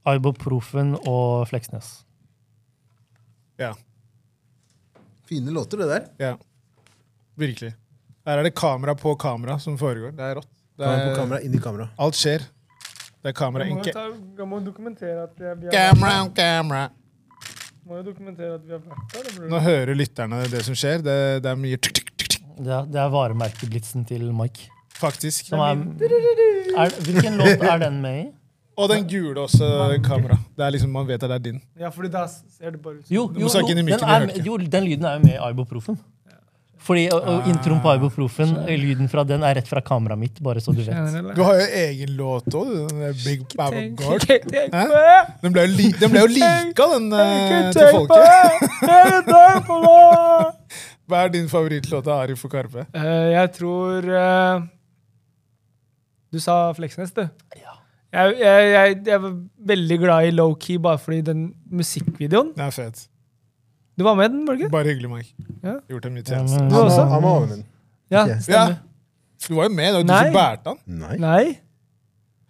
[SPEAKER 5] Ibuprofen og Fleksnes.
[SPEAKER 2] Ja.
[SPEAKER 3] Fine låter, det der.
[SPEAKER 2] ja. Virkelig. Her er det kamera på kamera som foregår. Det er rått. Det
[SPEAKER 3] Kamera på
[SPEAKER 2] er,
[SPEAKER 3] kamera, inn i kamera.
[SPEAKER 2] alt skjer. Det er kamera.
[SPEAKER 4] Jeg må, jo
[SPEAKER 2] Ikke.
[SPEAKER 4] ta, jeg må dokumentere at jeg, vi har,
[SPEAKER 2] Camera, camera.
[SPEAKER 4] må jo dokumentere at vi har vært der. da,
[SPEAKER 2] Nå
[SPEAKER 4] bror.
[SPEAKER 2] hører lytterne det som skjer. Det, det er mye tikk, tikk, tikk, tikk,
[SPEAKER 5] Det er, det er varemerkeblitsen til Mike.
[SPEAKER 2] faktisk.
[SPEAKER 5] Som er, er, hvilken låt er den med i?
[SPEAKER 2] Og den gule også, kamera. Det er liksom, Man vet at det er din.
[SPEAKER 4] Ja, fordi da ser det bare ut som
[SPEAKER 5] Jo,
[SPEAKER 2] Du må
[SPEAKER 5] jo,
[SPEAKER 2] snakke
[SPEAKER 5] jo,
[SPEAKER 2] inn i
[SPEAKER 5] den,
[SPEAKER 2] mikken,
[SPEAKER 5] er,
[SPEAKER 2] jeg
[SPEAKER 5] med-
[SPEAKER 2] hørte
[SPEAKER 5] jo den lyden er jo med i Ibuprofen. Fordi og,
[SPEAKER 2] Ah,
[SPEAKER 5] og introen på Ibuprofen, eh, lyden fra den er rett fra kameraet mitt, bare så du vet.
[SPEAKER 4] Kjenner
[SPEAKER 2] Du
[SPEAKER 4] det,
[SPEAKER 2] har jo egen låt òg, den der Big Baba
[SPEAKER 4] eller?
[SPEAKER 2] God.
[SPEAKER 4] Tenk- tenk
[SPEAKER 2] Hæ?
[SPEAKER 4] på-
[SPEAKER 2] Den ble jo, li den ble jo lika, den eh,
[SPEAKER 4] tenk
[SPEAKER 2] til
[SPEAKER 4] på
[SPEAKER 2] folket.
[SPEAKER 4] det! Jeg tenker på det!
[SPEAKER 2] Hva er din favorittlåt av Arif og Karpe?
[SPEAKER 4] Eh, jeg tror eh, Du sa Fleksnes, du. Jeg, jeg, jeg, jeg var veldig glad i Low Key bare fordi den musikkvideoen
[SPEAKER 2] Den er fet.
[SPEAKER 4] Du var med i den, var du ikke?
[SPEAKER 2] Bare hyggelig, Mike.
[SPEAKER 4] Ja.
[SPEAKER 2] Gjort deg mye
[SPEAKER 5] Ja,
[SPEAKER 2] tjeneste.
[SPEAKER 5] men-
[SPEAKER 4] Du
[SPEAKER 3] Han
[SPEAKER 4] også?
[SPEAKER 3] var- Han var overmenn.
[SPEAKER 4] Ja,
[SPEAKER 3] Ok.
[SPEAKER 2] Ja.
[SPEAKER 4] stemmer.
[SPEAKER 2] Du var jo med, det var jo du
[SPEAKER 4] Nei.
[SPEAKER 2] som bærte han.
[SPEAKER 3] Nei.
[SPEAKER 4] Nei,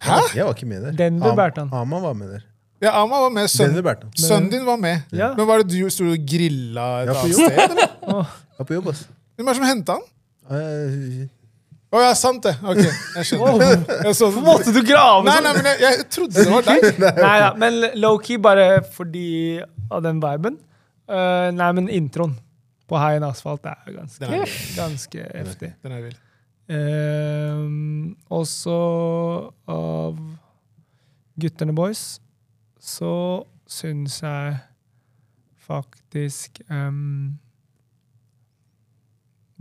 [SPEAKER 2] Hæ?
[SPEAKER 3] Jeg var ikke med der.
[SPEAKER 4] Den du
[SPEAKER 3] Am-
[SPEAKER 4] bærte han.
[SPEAKER 3] Ama var med der.
[SPEAKER 2] Ja, Ama var med.
[SPEAKER 3] Den
[SPEAKER 2] Sønnen,
[SPEAKER 3] du bærte han.
[SPEAKER 2] sønnen din var med.
[SPEAKER 4] Ja.
[SPEAKER 2] Men var det du sto og grilla et
[SPEAKER 3] Ja, på
[SPEAKER 2] annet
[SPEAKER 3] jobb.
[SPEAKER 2] sted? eller?
[SPEAKER 3] Var på jobb, ass.
[SPEAKER 2] Hvem er det som henta han?
[SPEAKER 3] Eh,
[SPEAKER 2] Å ja, sant det. Ok, jeg skjønner.
[SPEAKER 4] Wow.
[SPEAKER 2] Jeg så det.
[SPEAKER 4] Måtte du grave
[SPEAKER 2] Nei,
[SPEAKER 4] sånn?
[SPEAKER 2] nei, men jeg, jeg trodde det var deg.
[SPEAKER 4] Nei da, men low-key bare fordi av den viben. Eh, nei, men introen på High on Asphalt er ganske,
[SPEAKER 2] Den er
[SPEAKER 4] ganske heftig.
[SPEAKER 2] Den er vill.
[SPEAKER 4] Eh, også av Gutterne Boys så syns jeg faktisk em,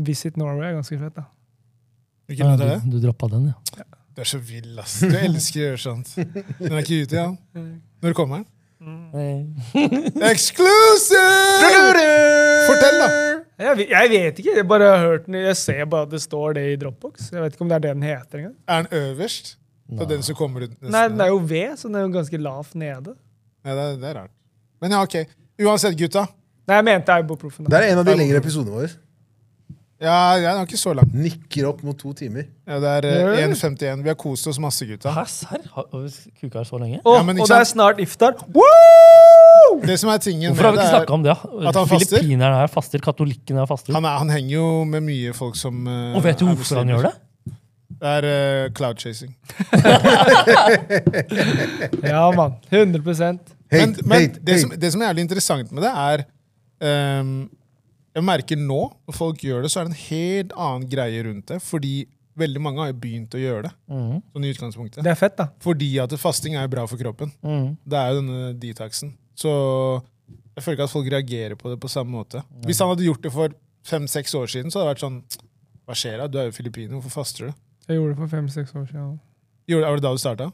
[SPEAKER 4] Visit Norway er ganske fett, da.
[SPEAKER 2] Hvilken låt er det?
[SPEAKER 5] du du droppa den, ja.
[SPEAKER 2] Du er så vill, ass. Du elsker å gjøre sånt. Den er ikke ute, ja. Når kommer den?
[SPEAKER 5] Mm. Eh,
[SPEAKER 2] Exclusive! Fortell, da.
[SPEAKER 3] Eh,
[SPEAKER 4] Jeg, vet- jeg vet ikke. Jeg bare har hørt den. Jeg ser bare at det står det i Dropbox. Jeg vet ikke om det er det den heter engang.
[SPEAKER 2] Er den øverst? Det er den som kommer ut nesten.
[SPEAKER 4] Nei, den er jo ved, så den er jo ganske lavt nede.
[SPEAKER 2] Ja, det, er, det er rart. Men ja, ok. Uansett, gutta.
[SPEAKER 4] Nei, jeg mente ibuprofen.
[SPEAKER 3] Det er en av de lengre episodene våre.
[SPEAKER 2] Ja, jeg er ikke så lang.
[SPEAKER 3] Nikker opp mot to timer.
[SPEAKER 2] Ja, det er eh,
[SPEAKER 4] Ja.
[SPEAKER 2] 1,51. Vi har kost oss masse, gutta.
[SPEAKER 5] Hæ, serr? Har- har vi Kuka her så lenge?
[SPEAKER 4] Og,
[SPEAKER 2] Ja, men ikke
[SPEAKER 4] og det er
[SPEAKER 2] sant?
[SPEAKER 4] snart iftar. Woo!
[SPEAKER 2] Det som er tingen
[SPEAKER 5] Hvorfor har vi
[SPEAKER 2] det
[SPEAKER 5] ikke
[SPEAKER 2] er-
[SPEAKER 5] snakka om det?
[SPEAKER 2] at han faster?
[SPEAKER 5] Filippinerne her faster, katolikkene her faster.
[SPEAKER 2] han, er, han henger jo med mye folk som eh,
[SPEAKER 5] Og vet du
[SPEAKER 2] er
[SPEAKER 5] hvorfor han
[SPEAKER 2] muslimer.
[SPEAKER 5] gjør det?
[SPEAKER 2] Det er eh, cloud chasing.
[SPEAKER 4] Ja, mann. 100
[SPEAKER 2] Men,
[SPEAKER 3] Hate,
[SPEAKER 2] men
[SPEAKER 3] hate,
[SPEAKER 2] det, som,
[SPEAKER 3] hate.
[SPEAKER 2] det som er jævlig interessant med det, er ehm, Jeg merker nå, når folk gjør det, så er det en helt annen greie rundt det. Fordi veldig mange har jo begynt å gjøre det.
[SPEAKER 5] Mm.
[SPEAKER 2] Sånn i utgangspunktet.
[SPEAKER 4] Det er fett, da.
[SPEAKER 2] Fordi at fasting er jo bra for kroppen.
[SPEAKER 5] Mm.
[SPEAKER 2] Det er jo denne detoxen. Så jeg føler ikke at folk reagerer på det på samme måte. Hvis han hadde gjort det for fem-seks år siden, så hadde det vært sånn Hva skjer da? Du er jo filippiner, hvorfor faster du?
[SPEAKER 4] Jeg gjorde det for fem-seks år siden.
[SPEAKER 2] Gjorde- Var det da du starta?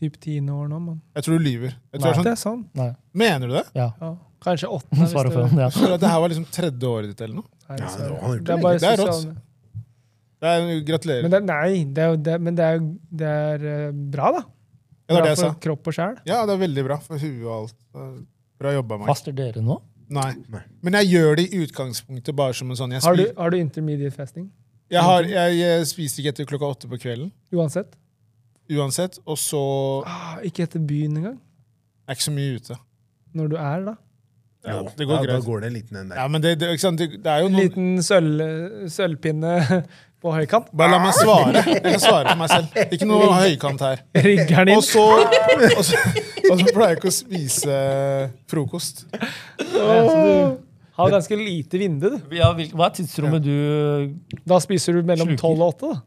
[SPEAKER 4] Typ tiende år nå, mann.
[SPEAKER 2] Jeg tror du lyver. Jeg tror
[SPEAKER 5] Nei.
[SPEAKER 2] det er
[SPEAKER 4] Det
[SPEAKER 2] sånn,
[SPEAKER 4] er sånn.
[SPEAKER 5] Nei.
[SPEAKER 2] mener du det?
[SPEAKER 5] Ja.
[SPEAKER 4] Ja. Kanskje åttende. hvis
[SPEAKER 5] Svarer
[SPEAKER 4] det-
[SPEAKER 5] for han, ja.
[SPEAKER 2] Jeg føler at det her var liksom tredje året ditt eller noe.
[SPEAKER 4] Nei,
[SPEAKER 3] Ja,
[SPEAKER 4] sorry.
[SPEAKER 3] det var han gjort
[SPEAKER 4] det er
[SPEAKER 3] det
[SPEAKER 4] bare
[SPEAKER 2] lenge. Det er rått.
[SPEAKER 4] sosiale.
[SPEAKER 2] Det er, gratulerer.
[SPEAKER 4] Men det, er- nei, det er, jo- det, men det er, jo- det er eh, bra, da.
[SPEAKER 2] ja, det
[SPEAKER 4] Bra
[SPEAKER 2] er det jeg
[SPEAKER 4] for
[SPEAKER 2] sa.
[SPEAKER 4] kropp og sjel.
[SPEAKER 2] Ja, det er veldig bra for huet og alt. Bra jobba, Mike.
[SPEAKER 5] Faster dere nå?
[SPEAKER 2] Nei.
[SPEAKER 3] Nei.
[SPEAKER 2] Men jeg gjør det i utgangspunktet bare som en sånn Jeg,
[SPEAKER 4] Har du,
[SPEAKER 2] spi-
[SPEAKER 4] har du intermediate fasting?
[SPEAKER 2] jeg, har, jeg, eh, spiser ikke etter klokka åtte på kvelden
[SPEAKER 4] Uansett?
[SPEAKER 2] uansett. Og så
[SPEAKER 4] Ah, ikke etter byen engang?
[SPEAKER 2] er jeg ikke så mye ute.
[SPEAKER 4] Når du er, da?
[SPEAKER 2] Ja,
[SPEAKER 3] Jo,
[SPEAKER 2] det går
[SPEAKER 3] da, da
[SPEAKER 2] greit.
[SPEAKER 3] går det en liten en der.
[SPEAKER 2] Ja, men det, det, ikke sant? det, det er jo
[SPEAKER 4] En
[SPEAKER 2] noen
[SPEAKER 4] liten sølv, sølvpinne på høykant?
[SPEAKER 2] Bare la meg svare. Jeg kan svare for meg selv. Ikke noe høykant her.
[SPEAKER 4] Rigger den
[SPEAKER 2] Og
[SPEAKER 4] inn?
[SPEAKER 2] så, og, så, og så pleier jeg ikke å spise frokost.
[SPEAKER 4] Ja, så du har ganske lite vindu, du.
[SPEAKER 5] Ja, hvil- hva er tidsrommet du
[SPEAKER 4] Da spiser du mellom
[SPEAKER 5] Sluker.
[SPEAKER 4] tolv og åtte, da.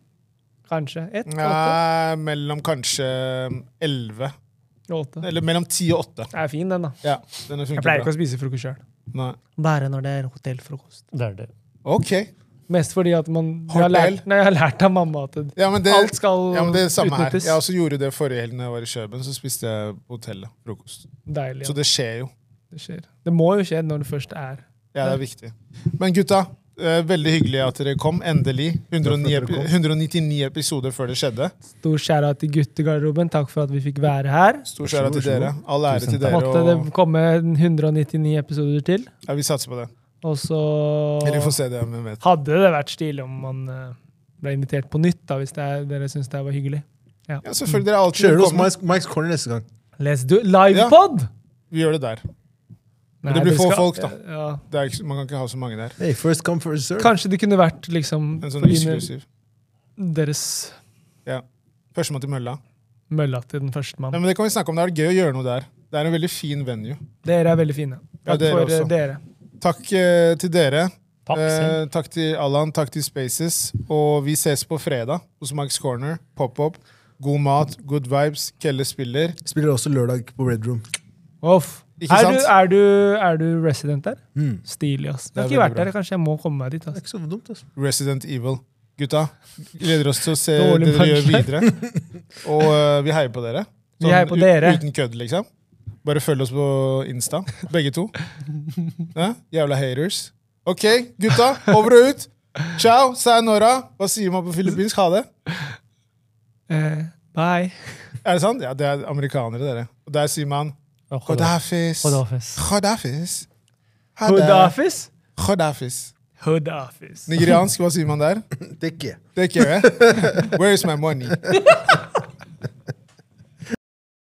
[SPEAKER 4] Kanskje. Ett, åtte.
[SPEAKER 2] Nei, mellom kanskje elleve
[SPEAKER 4] åtte.
[SPEAKER 2] Eller mellom ti og åtte.
[SPEAKER 4] Det er fin, den, da.
[SPEAKER 2] Ja, denne
[SPEAKER 4] Jeg
[SPEAKER 2] funker
[SPEAKER 4] pleier ikke
[SPEAKER 2] bra.
[SPEAKER 4] å spise frokost sjøl.
[SPEAKER 2] Nei.
[SPEAKER 4] Bare når det er hotellfrokost.
[SPEAKER 5] Det er det.
[SPEAKER 2] Ok.
[SPEAKER 4] Mest fordi at man jeg har, lært, nei, jeg har lært av mamma at det,
[SPEAKER 2] Ja, men det,
[SPEAKER 4] alt skal
[SPEAKER 2] ja, men det er det samme her.
[SPEAKER 4] utnyttes.
[SPEAKER 2] Jeg også gjorde det forrige helg når jeg var i Kjøben. Så spiste jeg på hotellet frokost.
[SPEAKER 4] Deilig.
[SPEAKER 2] Så
[SPEAKER 4] Ja.
[SPEAKER 2] det skjer jo.
[SPEAKER 4] Det skjer. Det må jo skje når det først er
[SPEAKER 2] Ja, det er viktig. Men gutta, eh, veldig hyggelig at dere kom. Endelig. 109,
[SPEAKER 3] Takk for at dere
[SPEAKER 2] epi- 199 episoder før det skjedde.
[SPEAKER 4] Stor skjæra til guttegarderoben. Takk for at vi fikk være her.
[SPEAKER 2] Stor skjæra
[SPEAKER 3] Vær så god,
[SPEAKER 2] til
[SPEAKER 3] vær
[SPEAKER 2] dere.
[SPEAKER 3] så
[SPEAKER 2] All ære
[SPEAKER 5] Tusen
[SPEAKER 2] til dere.
[SPEAKER 4] Måtte det
[SPEAKER 2] Og,
[SPEAKER 4] komme 199 episoder til.
[SPEAKER 2] ja, vi satser på det.
[SPEAKER 4] Og så
[SPEAKER 2] Eller vi får se det, hvem vet.
[SPEAKER 4] hadde det vært stilig om man eh, ble invitert på nytt, da, hvis det er, dere syns det var hyggelig. Ja.
[SPEAKER 2] Ja, selvfølgelig. Dere er alltid
[SPEAKER 3] Kjører du hos
[SPEAKER 2] velkommen.
[SPEAKER 3] Mike's, Mike's Corner neste gang?
[SPEAKER 4] Let's do
[SPEAKER 2] Ja.
[SPEAKER 4] livepod!
[SPEAKER 2] Vi gjør det der.
[SPEAKER 4] Nei,
[SPEAKER 2] det blir få
[SPEAKER 4] skal-
[SPEAKER 2] folk, da.
[SPEAKER 4] Ja.
[SPEAKER 2] Det er ikke, man kan ikke ha så mange der.
[SPEAKER 3] Hey, first come, first serve.
[SPEAKER 4] Kanskje det kunne vært liksom
[SPEAKER 2] En sånn
[SPEAKER 4] på dine-
[SPEAKER 2] eksklusiv.
[SPEAKER 4] deres
[SPEAKER 2] Ja. Førstemann til mølla.
[SPEAKER 4] mølla til den første
[SPEAKER 2] Nei,
[SPEAKER 4] mannen.
[SPEAKER 2] men det kan vi snakke om. Det er gøy å gjøre noe der. Det er en veldig fin venue.
[SPEAKER 4] Dere er veldig fine.
[SPEAKER 2] Ja,
[SPEAKER 4] Takk
[SPEAKER 2] dere
[SPEAKER 4] for eh,
[SPEAKER 2] også.
[SPEAKER 4] dere.
[SPEAKER 2] Takk eh, til dere.
[SPEAKER 5] Takk selv.
[SPEAKER 2] Eh, takk til Allan, takk til Spaces. Og vi ses på fredag hos Max Corner. Pop-up. God mat, good vibes. Kelle spiller.
[SPEAKER 3] Spiller også lørdag på Red Room.
[SPEAKER 4] Off.
[SPEAKER 2] Ikke
[SPEAKER 4] er,
[SPEAKER 2] sant?
[SPEAKER 4] Du, er, du, er du resident der?
[SPEAKER 3] Mm.
[SPEAKER 4] Stilig, ass. Jeg
[SPEAKER 2] Det er
[SPEAKER 4] har ikke vært
[SPEAKER 2] veldig bra.
[SPEAKER 4] der. Kanskje jeg må komme meg dit.
[SPEAKER 3] Det er
[SPEAKER 4] ass.
[SPEAKER 3] ikke så dumt, altså.
[SPEAKER 2] Resident Evil. Gutta, gleder oss til å se
[SPEAKER 4] Dårlig
[SPEAKER 2] det dere gjør
[SPEAKER 4] punchline.
[SPEAKER 2] videre. Og eh, vi heier på dere. Sånn,
[SPEAKER 4] Vi heier på
[SPEAKER 2] u-
[SPEAKER 4] dere.
[SPEAKER 2] Uten kødd, liksom. Bare følg oss på Insta, begge to. Ja, jævla haters. OK, gutta. Over og ut. Ciao, sayonara. Hva sier man på filippinsk? Ha det.
[SPEAKER 4] Eh, bye.
[SPEAKER 2] Er det sant? Ja, det er amerikanere, dere. Og der sier man
[SPEAKER 5] Ja, hold da.
[SPEAKER 2] Kodafis.
[SPEAKER 5] Hold da, fest.
[SPEAKER 2] Kodafis.
[SPEAKER 4] Hood
[SPEAKER 2] Hada-
[SPEAKER 4] office?
[SPEAKER 2] Khadafis.
[SPEAKER 4] Hood office.
[SPEAKER 2] Nigeriansk, hva sier man der?
[SPEAKER 3] Det er ikke.
[SPEAKER 2] Det er ikke jeg. Where is my money?